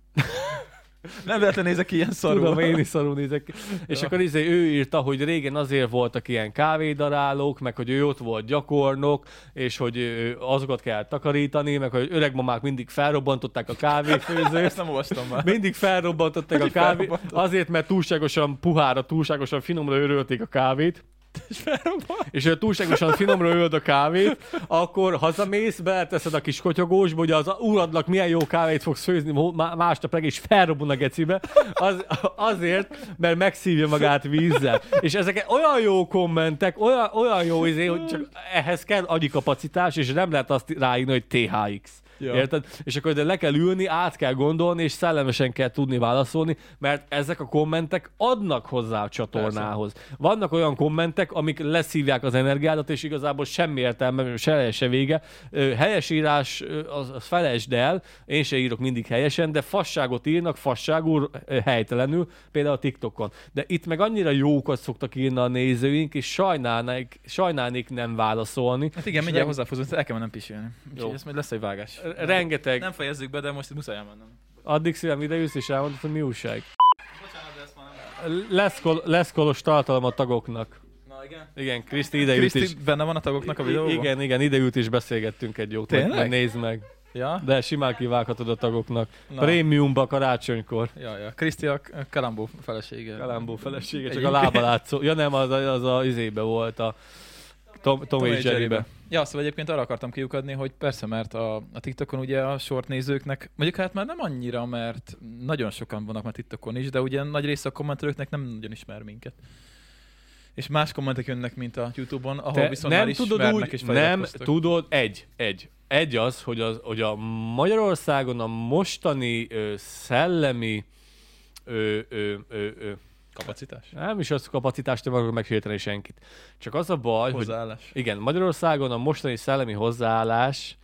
Nem véletlenül nézek ki ilyen szarul.
Tudom, én is szarul nézek ki. És
Ja.
akkor izé, ő írta, hogy régen azért voltak ilyen kávédarálók, meg hogy ő ott volt gyakornok, és hogy ö, azokat kell takarítani, meg hogy öregmamák mindig felrobbantották a kávéfőzőt.
Ezt nem olvastam már.
Mindig felrobbantották a kávét,
felrobbantott?
azért, mert túlságosan puhára, túlságosan finomra örölték a kávét. És ha túlságosan finomra ölöd a kávét, akkor hazamész, beleteszed a kis kotyogósba, hogy az úradnak milyen jó kávét fogsz főzni mo- má- másnap reggel, és felrobban a gecibe, az, azért, mert megszívja magát vízzel. És ezek olyan jó kommentek, olyan, olyan jó izé, hogy csak ehhez kell agyikapacitás, és nem lehet azt ráírni, hogy THX.
Ja.
Ja. Érted? És akkor de le kell ülni, át kell gondolni, és szellemesen kell tudni válaszolni, mert ezek a kommentek adnak hozzá a csatornához. Vannak olyan kommentek, amik leszívják az energiádat, és igazából semmi értelme, se se vége. Ö, Helyesírás, ö, az, az felejtsd el, én se írok mindig helyesen, de fasságot írnak, fasságul, ö, helytelenül, például a TikTokon. De itt meg annyira jókat szoktak írni a nézőink, és sajnálnék, sajnálnék nem válaszolni.
Hát igen, mindjárt hozzáfozunk, el kell mennem pisilni.
Jó.
Úgyhogy ez majd lesz egy vágás.
Rengeteg.
Nem fejezzük be, de most itt muszáj elmennem.
Addig szívem idejössz, és elmondod, hogy mi újság.
Bocsánat, de ezt már nem
Lesz, kol- lesz kolos tartalom a tagoknak.
Na igen.
Igen, Kriszti ideült is.
Kriszti benne van a tagoknak a videóban?
Igen, igen, ideült is beszélgettünk egy jót. Majd,
Tényleg?
majd nézd meg.
Ja?
De simán kivághatod a tagoknak.
Na.
Prémiumba karácsonykor.
Ja, ja. Kriszti a k- Kalambó felesége.
Kalambó felesége, csak a
Egyébként.
lába látszó. Ja nem, az, az a izébe volt a Tom, Tom, és Jerrybe.
Ja, szóval egyébként arra akartam kiukadni, hogy persze, mert a, a TikTokon ugye a short nézőknek, mondjuk hát már nem annyira, mert nagyon sokan vannak már TikTokon is, de ugye nagy része a kommentelőknek nem nagyon ismer minket. És más kommentek jönnek, mint a YouTube-on, ahol
Te
viszont már ismernek és
nem
feliratkoztak.
tudod, egy, egy. Egy az, hogy, az, hogy a Magyarországon a mostani ö, szellemi ö, ö, ö, ö,
Kapacitás?
Nem is az kapacitást nem akarok megsérteni senkit. Csak az a baj, hogy
Hozzáállás.
igen, Magyarországon a mostani szellemi hozzáállás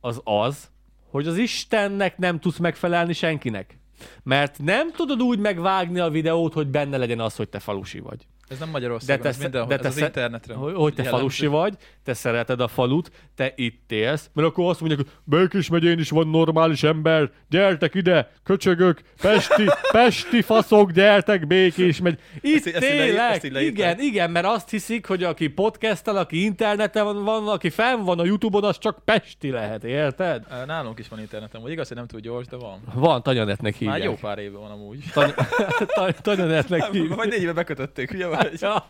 az az, hogy az Istennek nem tudsz megfelelni senkinek. Mert nem tudod úgy megvágni a videót, hogy benne legyen az, hogy te falusi vagy.
Ez nem Magyarországon,
De
de te,
te
ez
sze-
mindenhol,
de
de te
te
ez az
sze-
internetre.
Hogy, hogy te
jellemző.
falusi vagy, te szereted a falut, te itt élsz, mert akkor azt mondják, hogy Békés megyén is van normális ember, gyertek ide, köcsögök, pesti, pesti faszok, gyertek, Békés megy.
Ezt
Itt
így- ezt így leír-
élek,
ezt így leírták.
igen, igen, mert azt hiszik, hogy aki podcasttel, aki interneten van, van, aki fenn van a Youtube-on, az csak pesti lehet, érted?
Á, Nálunk is van internetem, hogy igaz, hogy nem túl gyors, de van.
Van, tanyanetnek
Már
hívják.
jó pár éve van amúgy.
Tany- tany- tanyanetnek hívják. Hát,
Vagy négy éve bekötötték, ugye? Vagy?
Ja.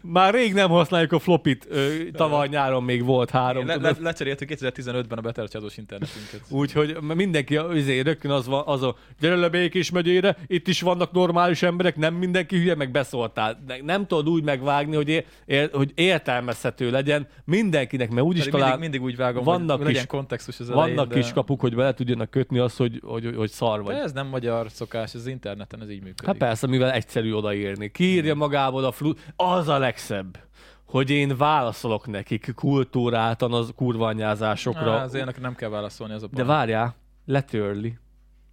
Már rég nem használjuk a flopit, ö, tavaly nyáron még volt három,
Le, le,
tudod?
lecseréltük 2015-ben a betelcsázós internetünket.
Úgyhogy mindenki a- izé, rögtön az, van, az a gyere le Békés megyére, itt is vannak normális emberek, nem mindenki hülye, meg beszóltál. Ne- Nem tudod úgy megvágni, hogy, é, ér, hogy értelmezhető legyen mindenkinek, mert úgyis
Pedig
talán
mindig, mindig úgy vágom,
vannak
vannak hogy legyen
kis-
kontextus az elején,
vannak
de...
kiskapuk, hogy bele tudjanak kötni azt, hogy, hogy, hogy, hogy szar vagy.
De ez nem magyar szokás, ez interneten ez így működik. Mm.
Hát persze, mivel egyszerű odaírni. Kiírja magából a flu... Az a legszebb, hogy én válaszolok nekik kultúráltan az kurvanyázásokra.
Á, az ilyenek nem kell válaszolni, az a
De
baj.
várjál, letörli.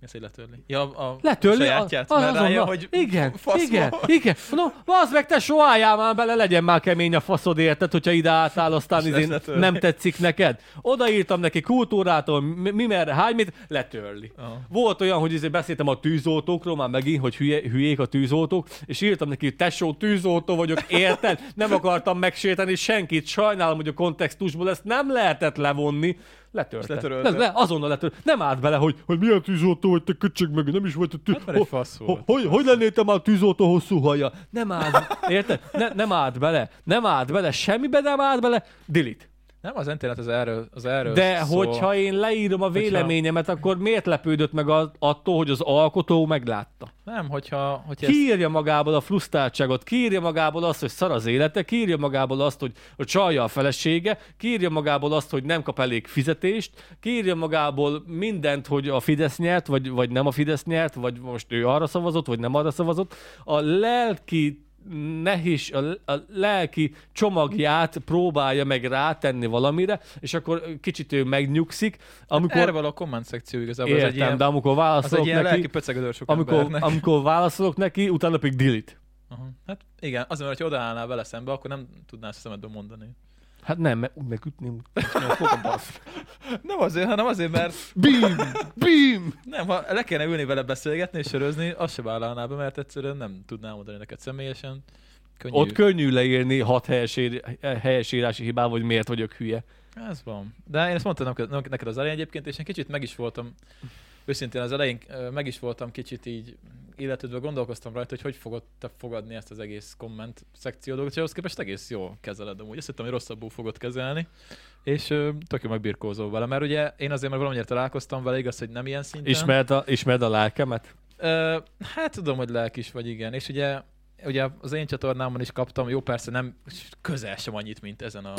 Ezt így letörli. Ja, a
Letörli
sajátját,
a-
mert
azonnal.
rájön, hogy
igen,
fasz
igen,
van.
igen. No, az meg te sohájál már bele, legyen már kemény a faszod, érted, hogyha ide álltál, aztán
És
izén
letörli.
nem tetszik neked. Odaírtam neki kultúrától, mi, mi merre, hány mit, letörli.
Aha.
Volt olyan, hogy izé beszéltem a tűzoltókról, már megint, hogy hülye, hülyék a tűzoltók, és írtam neki, hogy tesó, tűzoltó vagyok, érted? Nem akartam megsérteni senkit, sajnálom, hogy a kontextusból ezt nem lehetett levonni. Letörte.
És letörölte.
Le, le, azonnal letörte. Nem állt bele, hogy, hogy milyen tűzoltó vagy, te köcsög meg, nem is vagy a tű...
Hát mert egy fasz
Ho-
volt.
Hogy, hogy lennél te már tűzoltó hosszú haja? Nem állt, érted? Ne, nem állt bele, nem állt bele, semmibe nem állt bele, delete.
Nem, az internet az erről, az erről
De
szól.
hogyha én leírom a véleményemet, akkor miért lepődött meg az, attól, hogy az alkotó meglátta?
Nem, hogyha... hogyha ezt,
Kiírja magából a frusztráltságot, kiírja magából azt, hogy szar az élete, kiírja magából azt, hogy a csalja a felesége, kiírja magából azt, hogy nem kap elég fizetést, kiírja magából mindent, hogy a Fidesz nyert, vagy, vagy nem a Fidesz nyert, vagy most ő arra szavazott, vagy nem arra szavazott. A lelki nehéz, a, a lelki csomagját próbálja meg rátenni valamire, és akkor kicsit ő megnyugszik, amikor...
erre való a komment szekció igazából,
Értem,
az egy ilyen,
de amikor
az egy
válaszolok
ilyen lelki
neki,
pöcegödör sok
amikor,
embernek.
amikor válaszolok neki, utána pedig delete.
Aha. Hát igen, azért, mert ha odaállnál vele szembe, akkor nem tudnál szemedbe mondani.
Hát nem, mert úgy megütném.
Nem azért, hanem azért, mert
Bim! Bim!
nem, ha le kéne ülni vele beszélgetni és sörözni, azt se vállalná be, mert egyszerűen nem tudnám mondani neked személyesen. Könnyű.
Ott könnyű leírni hat helyes, ér- helyes írási hibával, hogy miért vagyok hülye.
Ez van. De én ezt mondtam neked- neked neked az elején egyébként, és én kicsit meg is voltam, őszintén az elején ö, meg is voltam kicsit így illetődve gondolkoztam rajta, hogy hogy fogod te fogadni ezt az egész komment szekció dolgot, és ahhoz képest egész jól kezeled amúgy. Azt hittem, hogy rosszabbul fogod kezelni, és ö, tök jól megbirkózol vele, mert ugye én azért már valamennyire találkoztam vele, igaz, hogy nem ilyen szinten.
Ismered a, ismered a lelkemet?
Ö, hát tudom, hogy lelkis vagy, igen. És ugye, ugye az én csatornámon is kaptam, jó persze nem közel sem annyit, mint ezen a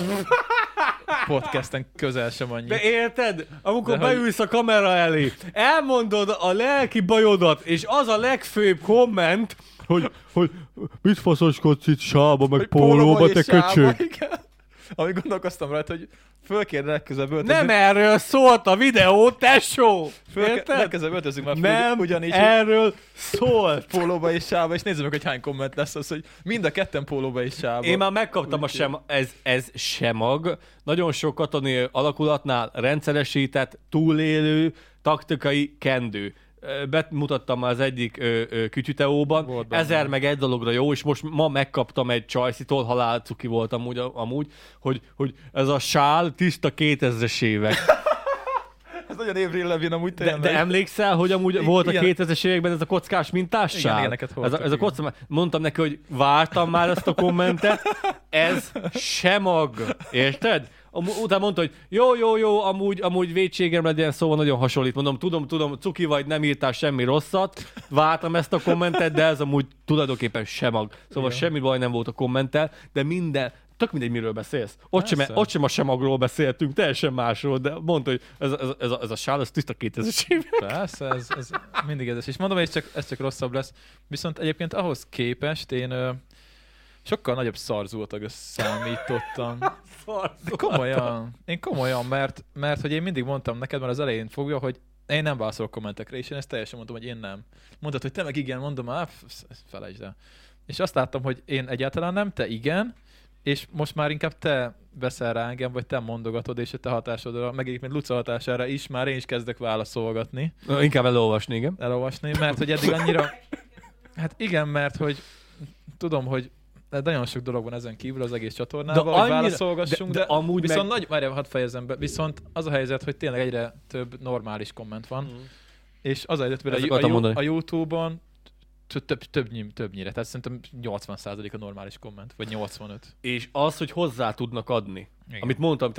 podcasten közel sem annyit.
De érted? Amikor
De hogy-
beülsz a kamera elé, elmondod a lelki bajodat, és az a legfőbb komment, hogy, hogy mit faszoskodsz itt sába, meg pólóba, te köcsög.
Ami gondolkoztam rajta, hogy fölkérne legközelebb
Nem
öltözünk.
erről szólt a videó, tesó!
fölke-
Érted?
legközelebb öltözünk már
Nem
nem, ugyanígy, el...
erről szólt.
pólóba és sába, és nézzük meg, hogy hány komment lesz az, hogy mind a ketten pólóba és sába.
Én már megkaptam a sem, ez, ez semag. Nagyon sok katonai alakulatnál rendszeresített, túlélő, taktikai kendő. Ö, Bemutattam az egyik ö, ö, kütyüteóban,
Volt benne.
ezer meg egy dologra jó, és most ma megkaptam egy csajszitól, halálcuki volt amúgy, amúgy hogy, hogy ez a sál tiszta 2000-es évek.
Ez nagyon Avril Levin amúgy
De,
tényleg.
de emlékszel, hogy amúgy
I-
volt a
igen.
2000-es években ez a kockás mintás
Igen,
sál?
ilyeneket
ez a,
hordtak,
ez a
igen.
kocka, Szóval mondtam neki, hogy vártam már ezt a kommentet, ez semag, érted? Am- Utána mondta, hogy jó, jó, jó, amúgy, amúgy vétségemre legyen szóval nagyon hasonlít. Mondom, tudom, tudom, cuki vagy, nem írtál semmi rosszat, vártam ezt a kommentet, de ez amúgy tulajdonképpen semag. Szóval
Igen.
semmi baj nem volt a kommentel, de minden, tök mindegy, miről beszélsz. Ott sem, e,
Persze.
ott sem a semagról beszéltünk, teljesen másról, de mondta, hogy ez, ez, ez, a, ez a sál, ez tiszta 2000-es évek.
Persze, ez, ez mindig ez. És mondom, ez csak, ez csak rosszabb lesz. Viszont egyébként ahhoz képest én ö, sokkal nagyobb szarzultagra számítottam. De komolyan, én komolyan, mert, mert hogy én mindig mondtam neked már az elején fogja, hogy én nem válaszolok kommentekre, és én ezt teljesen mondtam, hogy én nem. Mondtad, hogy te meg igen, mondom, á, f- f- felejtsd el. És azt láttam, hogy én egyáltalán nem, te igen, és most már inkább te veszel rá engem, vagy te mondogatod, és a te hatásodra, meg egyébként Luca hatására is már én is kezdek válaszolgatni
Ö, Inkább elolvasni, igen.
elolvasni, mert hogy eddig annyira... Hát igen, mert hogy tudom, hogy de nagyon sok dolog van ezen kívül az egész csatornában,
De
de hogy
annyira-
válaszolgassunk,
de-
de,
de amúgy
viszont
meg-
nagy, várjál, hadd fejezem be, viszont az a helyzet, hogy tényleg egyre több normális komment van, és az a helyzet, hogy
Ezt
a,
Mhm. akartam
a,
mondani.
a, a Youtube-on t- több, több, többnyire, tehát szerintem 80% a normális komment, vagy 85.
És az, hogy hozzá tudnak adni.
Igen.
Amit mondtam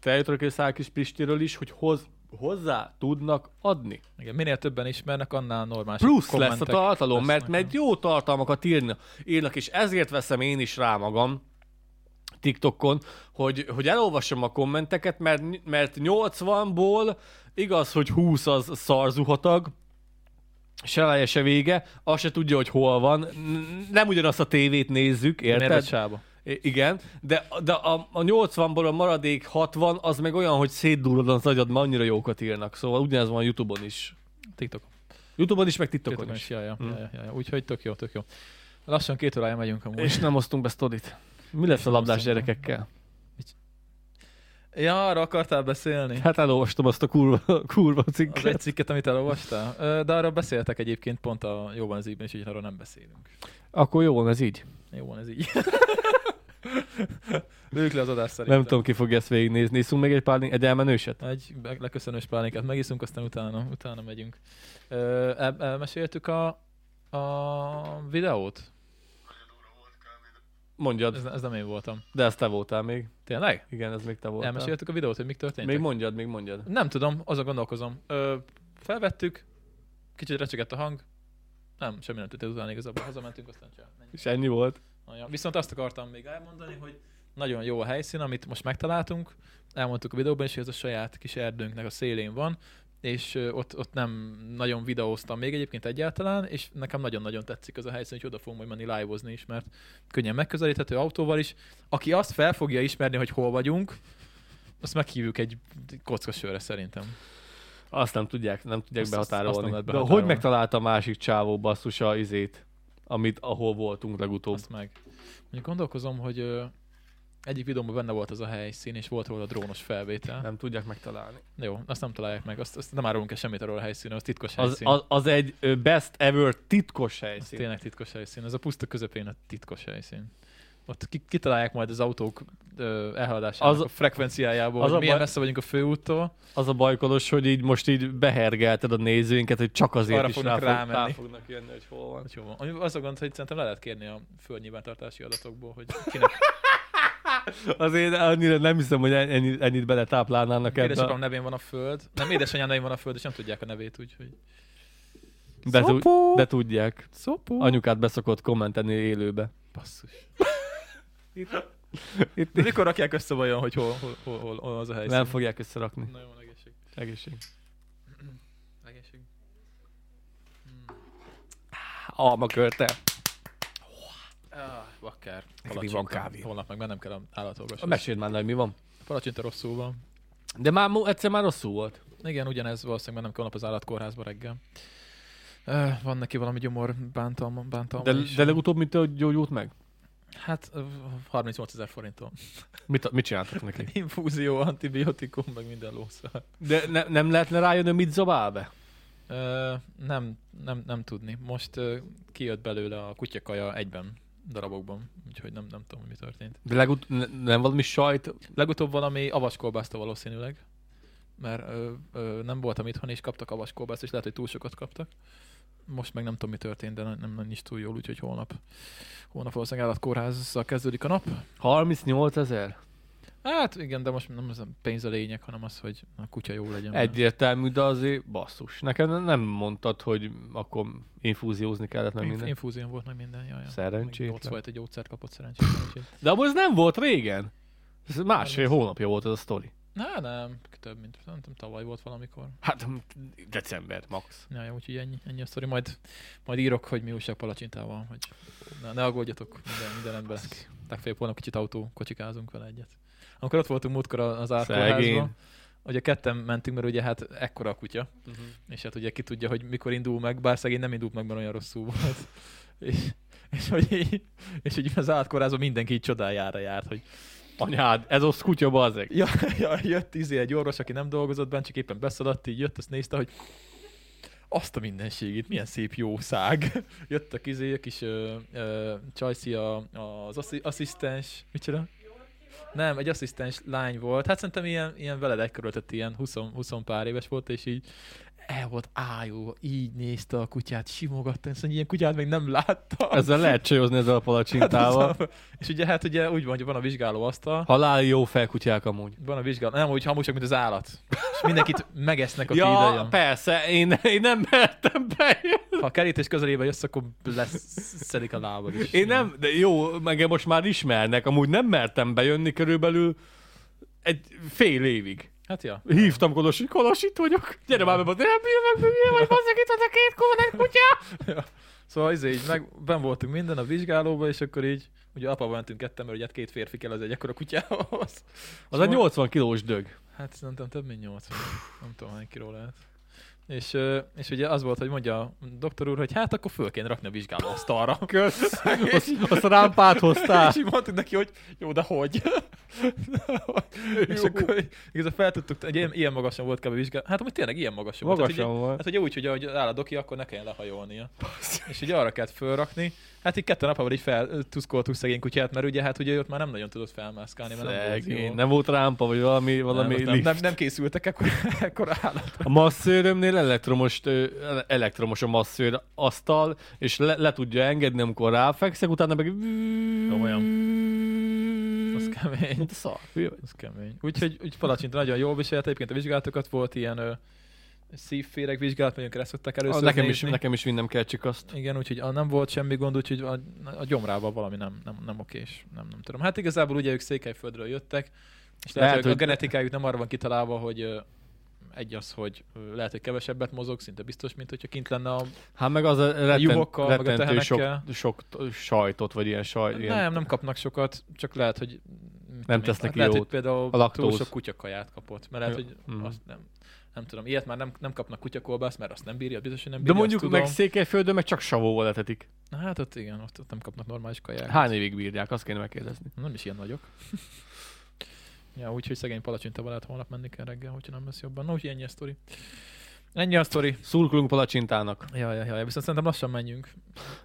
Teotrökészák is Pistiről is, hogy hoz, hozzá tudnak adni.
Igen, minél többen ismernek, annál normális
Plusz lesz a
kommentek
tartalom, mert,
lesznek,
mert jó tartalmakat írna, írnak, és ezért veszem én is rá magam TikTokon, hogy, hogy elolvassam a kommenteket, mert, mert 80-ból igaz, hogy 20 az szarzuhatag, se eleje, se vége, azt se tudja, hogy hol van. N- Nem ugyanazt a tévét nézzük,
Minél
érted?
vagy sába.
I- Igen, de, de a, a 80-ból a maradék 60, az meg olyan, hogy szétdurrad az agyad, mert annyira jókat írnak. Szóval ugyanez van YouTube-on is.
TikTok.
YouTube-on is, meg TikTokon
TikTokon
is.
is. Ja, ja, ja, ja, ja, ja. Úgyhogy tök jó, tök jó. Lassan két órája megyünk amúgy.
És nem osztunk be sztorit. Mi lesz a labdás
osztunk be.
gyerekekkel?
Ja, arra akartál beszélni?
Hát elolvastam azt a kurva, kurva
Az egy
cikket.
cikket, amit elolvastál? Ö, De arra beszéltek egyébként pont a Jóban az ígyben, és így arról nem beszélünk.
Akkor jó van, ez így.
Jó van, ez így. Lőjük le az adást szerintem.
Nem tudom, ki fogja ezt végignézni. Iszunk még egy pár egy elmenőset?
Egy be- leköszönős pálinkát megiszunk, aztán utána, utána megyünk. Ö, el, elmeséltük a, a videót?
Mondjad,
Ez, ez nem én voltam.
de ezt te voltál még.
Tényleg?
Igen, ez még te voltál.
Elmeséltük a videót, hogy mi történt?
Még mondjad, még mondjad.
Nem tudom, azon gondolkozom. Ö, felvettük, kicsit recsegett a hang, nem, semmi nem történt utána igazából, hazamentünk, aztán csak ennyi.
És ennyi volt.
Na ja. Viszont azt akartam még elmondani, hogy nagyon jó a helyszín, amit most megtaláltunk. Elmondtuk a videóban is, hogy ez a saját kis erdőnknek a szélén van, és ö, ott, ott nem nagyon videóztam még egyébként egyáltalán, és nekem nagyon-nagyon tetszik az a helyszín, hogy oda fogom majd menni live is, mert könnyen megközelíthető autóval is. Aki azt fel fogja ismerni, hogy hol vagyunk, azt meghívjuk egy kocka sörre szerintem.
Azt nem tudják, nem tudják
Azt- azt-
behatárolni.
azt nem lehet
De
behatárolni.
hogy megtalálta a másik csávó basszus a izét, amit ahol voltunk legutóbb?
Azt meg. Mondjuk gondolkozom, hogy ö, egyik videóban benne volt az a helyszín, és volt róla a drónos felvétel.
Nem tudják megtalálni.
Jó, azt nem találják meg, azt, azt nem árulunk el semmit arról a helyszínről, az titkos
Az,
helyszín. Az,
az, az egy ö, best ever titkos
az
helyszín.
tényleg titkos helyszín, ez a puszta közepén a titkos helyszín. Ott ki, kitalálják majd az autók ö, elhaladásának
Az-
az, a frekvenciájából,
az
az
a
hogy milyen
baj-
messze vagyunk a főúttól.
Az a bajkolos, hogy így most így behergelted a nézőinket, hogy csak azért
Arra
is
fognak
rá, fog, rá
rámenni.
fognak jönni, hogy hol van.
Hogy Jó van. Ami az a gond, hogy szerintem le lehet kérni a földnyilvántartási adatokból, hogy kinek,
Azért annyira nem hiszem, hogy ennyit, ennyit beletáplálnának ebbe.
édesapám
a-
nevén van a föld. Nem, édesanyám nevén van a föld, és nem tudják a nevét, úgyhogy...
De, tu-
Szopó!
de tudják.
Szopó! Anyu...
Anyukát beszokott kommentelni élőbe.
Basszus.
Itt
De mikor rakják össze vajon, hogy hol, hol, hol, hol, hol az a helyszín?
nem fogják összerakni.
Na jó, van, egészség.
Egészség.
Egészség.
Almakörte.
Ah, akár.
Neked így van kávé.
Holnap meg mennem kell a állatorvoshoz.
Meséld már, hogy mi van.
A palacsinta rosszul van.
De már mo- egyszer már rosszul volt.
Igen, ugyanez valószínűleg mennem kell holnap az állatkórházba reggel. Ö, Van neki valami gyomor bántalma, bántalma
De,
de, is.
de legutóbb mint hogy gyógyult meg?
Hát ö, 38 ezer forinttól.
Mit, mit csináltak neki?
Infúzió, antibiotikum, meg minden lószal.
De ne, nem lehetne rájönni, hogy mit zabál be?
Ö, nem, nem, nem tudni. Most ö, kijött belőle a kutyakaja egyben darabokban, úgyhogy nem, nem tudom, hogy mi történt.
De legut- ne, nem valami sajt?
Legutóbb valami avaskolbászta valószínűleg, mert ö, ö, nem voltam itthon, és kaptak avaskolbászt, és lehet, hogy túl sokat kaptak. Most meg nem tudom, mi történt, de nem, nem, nem is túl jól, úgyhogy holnap, holnap valószínűleg állatkórházzal kezdődik a nap.
38 ezer?
Hát igen, de most nem az a pénz a lényeg, hanem az, hogy a kutya jó legyen.
Egyértelmű, de azért basszus. Nekem nem mondtad, hogy akkor infúziózni kellett meg
Inf-
minden.
infúzión volt meg minden, jaj. jaj.
Szerencsétlen.
Meg 8 fajta gyógyszert kapott szerencsétlen. úgyhogy-
De amúgy ez nem volt régen. Ez másfél hónapja volt ez a sztori.
Na, nem, több, mint nem tudom, tavaly volt valamikor.
Hát december max.
Ja, jó, úgyhogy ennyi, ennyi a sztori. Majd, majd írok, hogy mi újság palacsintával, hogy ne, ne aggódjatok, minden, minden rendben lesz. Legfeljebb holnap kicsit autó, kocsikázunk vele egyet. Amikor ott voltunk múltkor a- az
Szegény.
árkóházban, ugye ketten mentünk, mert ugye hát ekkora a kutya,
Mhm.
és hát ugye ki tudja, hogy mikor indul meg, bár szegény nem indult meg, mert olyan rosszul volt. És, és hogy, így, és hogy az átkorázó mindenki így csodájára járt, hogy
Anyád, ez az kutya bazeg.
Ja, ja, jött izé egy orvos, aki nem dolgozott benne, csak éppen beszaladt, így jött, azt nézte, hogy azt a mindenségét, milyen szép jószág. Jöttek izé, a kis ö, ö, Csajci a, az asszi, asszisztens, mit csinál? Nem, egy asszisztens lány volt. Hát szerintem ilyen, ilyen veled egykörültett, ilyen 20, 20 pár éves volt, és így el volt ájó, így nézte a kutyát, simogatta, szóval ilyen kutyát még nem látta.
Ezzel lehet csajozni ezzel a palacsintával.
Hát az a- és ugye hát ugye úgy van, hogy van a vizsgálóasztal,
Halál jó felkutyák amúgy.
van a vizsgálat. Nem úgy hamusak, mint az állat. És mindenkit megesznek, aki ja,
ja,
ide jön.
persze, én, én nem mertem bejönni.
Ha a kerítés közelébe jössz, akkor leszedik a lábad is.
Én nem, de jó, engem most már ismernek, amúgy nem mertem bejönni körülbelül egy fél évig.
Hát ja.
Hívtam Kolos, hogy Kolos, itt vagyok. Gyere már be, mondta, nem bírnak, nem bírnak, vagy bazzeg, itt van a két kónák kutya.
Szóval izé, így meg, ben voltunk minden a vizsgálóba, és akkor így, ugye apa mentünk kettem, mert ugye hát két férfi kell az egy ekkora kutyához.
Az egy 80 kilós dög.
Hát szerintem több mint 8. Nem tudom, hány kiló lehet. És, ö, és ugye az volt, hogy mondja a doktor úr, hogy hát akkor föl kéne rakni a vizsgálóasztalra.
Kösz. Azt, azt a rámpát hoztál.
És így mondtuk neki, hogy jó, de hogy? és
Jó.
akkor igazán fel tudtuk, hogy ilyen, ilyen magasan volt kb. vizsgál. Hát amúgy tényleg ilyen magasan, volt. Hát,
Magasan
ugye,
volt.
hát ugye úgy, hogy ahogy áll a doki, akkor ne kelljen lehajolnia. és ugye arra kellett fölrakni. Hát így ketten napában így feltuszkoltuk szegény kutyát, mert ugye hát ugye ott már nem nagyon tudott felmászkálni, mert nem volt
Szegény,
jó.
nem volt rámpa, vagy valami, valami
nem,
lift.
nem, nem, készültek ekkor, ekkor állat.
A masszőrömnél elektromos, ö, elektromos a masszőr asztal, és le, le tudja engedni, amikor ráfekszek, utána meg...
Komolyan. Az kemény.
Mint a szar. hülye vagy.
Ez kemény. Úgyhogy úgy palacsinta nagyon jól viselte, egyébként a vizsgálatokat volt ilyen ö, szívféreg vizsgálat, mondjuk ezt szokták először
Nekem is,
nézni.
nekem is vinnem kell csak azt.
Igen, úgyhogy a- nem volt semmi gond, úgyhogy a, a gyomrában valami nem, nem, nem okés, nem, nem tudom. Hát igazából ugye ők Székelyföldről jöttek, és lehet,
Lehet,
lehet hogy,
hogy-
a genetikájuk nem arra van kitalálva, hogy ö, egy az, hogy ö, lehet, hogy kevesebbet mozog, szinte biztos, mint hogyha kint lenne a...
Hát meg az a retten,
juhokkal, meg a
rettentő sok,
tehenekkel.
sok t- sajtot, vagy ilyen sajt, ilyen
Nem, nem kapnak sokat, csak lehet, hogy... mit tudom én,
tesz neki
lehet,
jót.
Hogy például
A laktóz.
túl sok kutyakaját kapott, mert lehet,
Jó.
hogy
Mhm.
azt nem, nem tudom, ilyet már nem, nem kapnak kutyakolbászt, mert azt nem bírja, biztos, hogy nem
De
bírja,
mondjuk
azt
meg
tudom.
Székelyföldön meg csak savóval etetik.
Na, Hát ott igen, ott, ott nem kapnak normális kaját.
Hány évig bírják, azt kéne megkérdezni.
Nem is ilyen vagyok. ja, úgyhogy szegény palacsintába lehet holnap menni kell reggel, hogyha nem lesz jobban. Na, úgyhogy ennyi a sztori. Ennyi a sztori.
Szurkolunk palacsintának.
Ja, ja, ja, viszont szerintem lassan menjünk.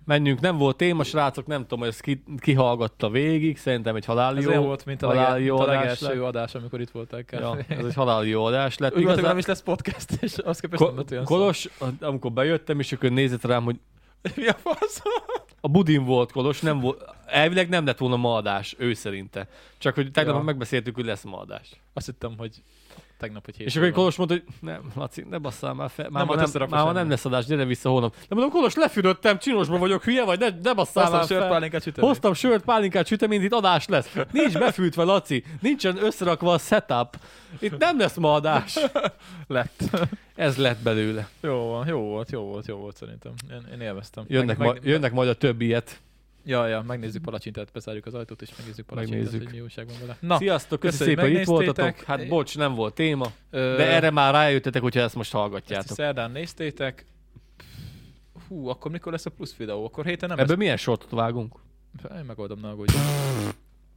Menjünk, nem volt téma, srácok, nem tudom, hogy ezt ki, ki hallgatta végig, szerintem egy halál
Ez
jó.
olyan volt, mint a,
halál
lege,
jó
mint a
adás
legelső
lett.
adás, amikor itt voltak.
Ja,
Ja,
ez egy halál jó adás lett.
Úgy gondolom,
Igazán-
nem is lesz podcast, és azt képest nem lett
Ko-
olyan
Kolos, amikor bejöttem, és akkor nézett rám, hogy
szó. Mi a fasz?
a budin volt Kolos, nem volt, elvileg nem lett volna ma adás, ő szerinte. Csak hogy tegnap
Ja.
már megbeszéltük, hogy lesz ma adás.
Azt hittem, hogy tegnap, hogy hét.
És akkor egy
van.
Kolos mondta, hogy nem, Laci, ne basszál már fel, már,
Nem volt
ma nem, már
összerakva
ma
semmi.
nem lesz adás, gyere vissza holnap. De mondom, Kolos, lefürödtem, csinosban vagyok, hülye vagy, ne, ne basszál
Hoztam
már fel.
sörpálinkát sütni.
Hoztam sört, pálinkát, süteményt, itt adás lesz. Nincs befűtve, Laci, nincsen összerakva a setup. Itt nem lesz ma adás.
Lett.
Ez lett belőle.
Jó, van, jó volt, jó volt, jó volt szerintem. Én, én élveztem.
Jönnek,
Meg-
ma,
meg-
jönnek majd a többiet.
Ja, ja, megnézzük palacsintát, bezárjuk az ajtót, és megnézzük palacsintát,
Megnézzük.
hogy mi újság van vele.
Na,
Na,
Sziasztok, köszi
köszönjük,
szépen, hogy itt
megnéztétek.
voltatok. Hát bocs, nem volt téma,
ö,
de erre már rájöttetek, hogyha ezt most
ezt a
hallgatjátok.
szerdán néztétek. Hú, akkor mikor lesz a plusz videó? Akkor héten nem
Ebből milyen sortot vágunk?
lesz... Én megoldom, ne aggódj.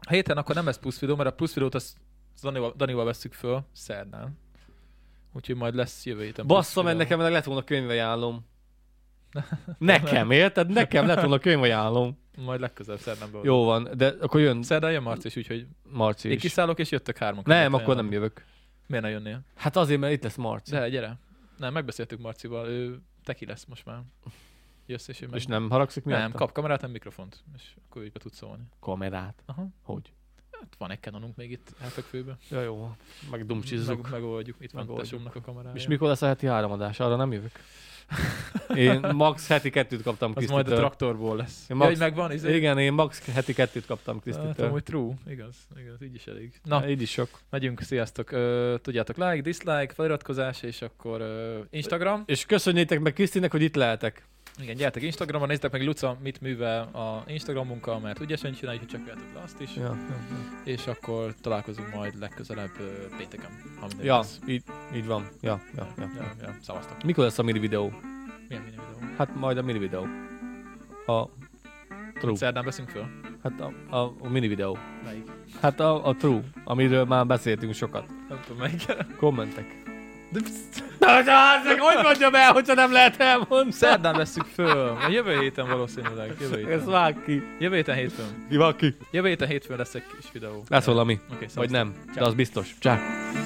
Héten akkor nem lesz plusz videó, mert a plusz videót azt Danival, Danival vesszük föl szerdán. Úgyhogy majd lesz jövő héten. plusz
Bassza, mert
videó.
nekem ennek lett volna könyvajánlom. Nekem, érted? Nekem lett volna könyvajánlom.
Majd legközelebb szerdán beoldom.
Jó van, de akkor jön
Szerdán jön Marci is, úgyhogy
Marci
én
is.
kiszállok, és jöttök hárman.
Nem, akkor nem jövök.
Miért ne jönnél?
Hát azért, mert itt lesz Marci.
De gyere. Nem, megbeszéltük Marcival, ő teki lesz most már. Jössz, és ő meg...
És nem haragszik miatta?
Nem, kap kamerát, nem mikrofont, és akkor így be tudsz szólni.
Kamerát.
Aha.
Hogy?
Hát van egy Canonunk még itt elfekvőben.
Ja, jó. Meg
Meg,
dumcsizzuk.
megoldjuk, itt van
Megoldjuk.
tesómnak a kamerája.
És mikor lesz a heti áramadás? Arra nem jövök. Én max heti kettőt kaptam
Az majd a
Krisztitől.
traktorból lesz.
Én
Ja,
Max-
hogy megvan, ez
Igen, én max heti kettőt kaptam
Hát,
Krisztitől.
amúgy true, igaz, igaz, így is elég. Na,
Na, így is sok.
megyünk, sziasztok. Ö, tudjátok, like, dislike, feliratkozás, és akkor ö, Instagram.
És köszönjétek meg Krisztinek, hogy itt lehetek.
Igen, gyertek Instagramon, nézzétek meg Luca mit művel a Instagramunkkal, mert ügyesen csináljuk, hogy csekkeltük le azt is.
Ja,
És akkor találkozunk majd legközelebb ö, pénteken. ha minden
ja
lesz.
így, így van. Ja, ja, ja.
ja, ja, szavaztak.
Mikor lesz a mini videó?
Milyen minden videó?
Hát majd a mini videó. A true.
Szerdán veszünk föl?
Hát a, a, a mini videó.
Melyik?
Hát a, a true, amiről már beszéltünk sokat.
Nem tudom melyik.
Kommentek.
De
Na, de hát meg hogy mondjam el, hogyha nem lehet elmondani?
Szerdán veszünk föl. A jövő héten valószínűleg. Jövő
Ez
héten.
vág ki.
Jövő héten hétfőn.
Ki vág ki?
Jövő héten hétfőn lesz egy kis videó.
Lesz valami.
Oké, okay,
Vagy nem, de az biztos. Csá.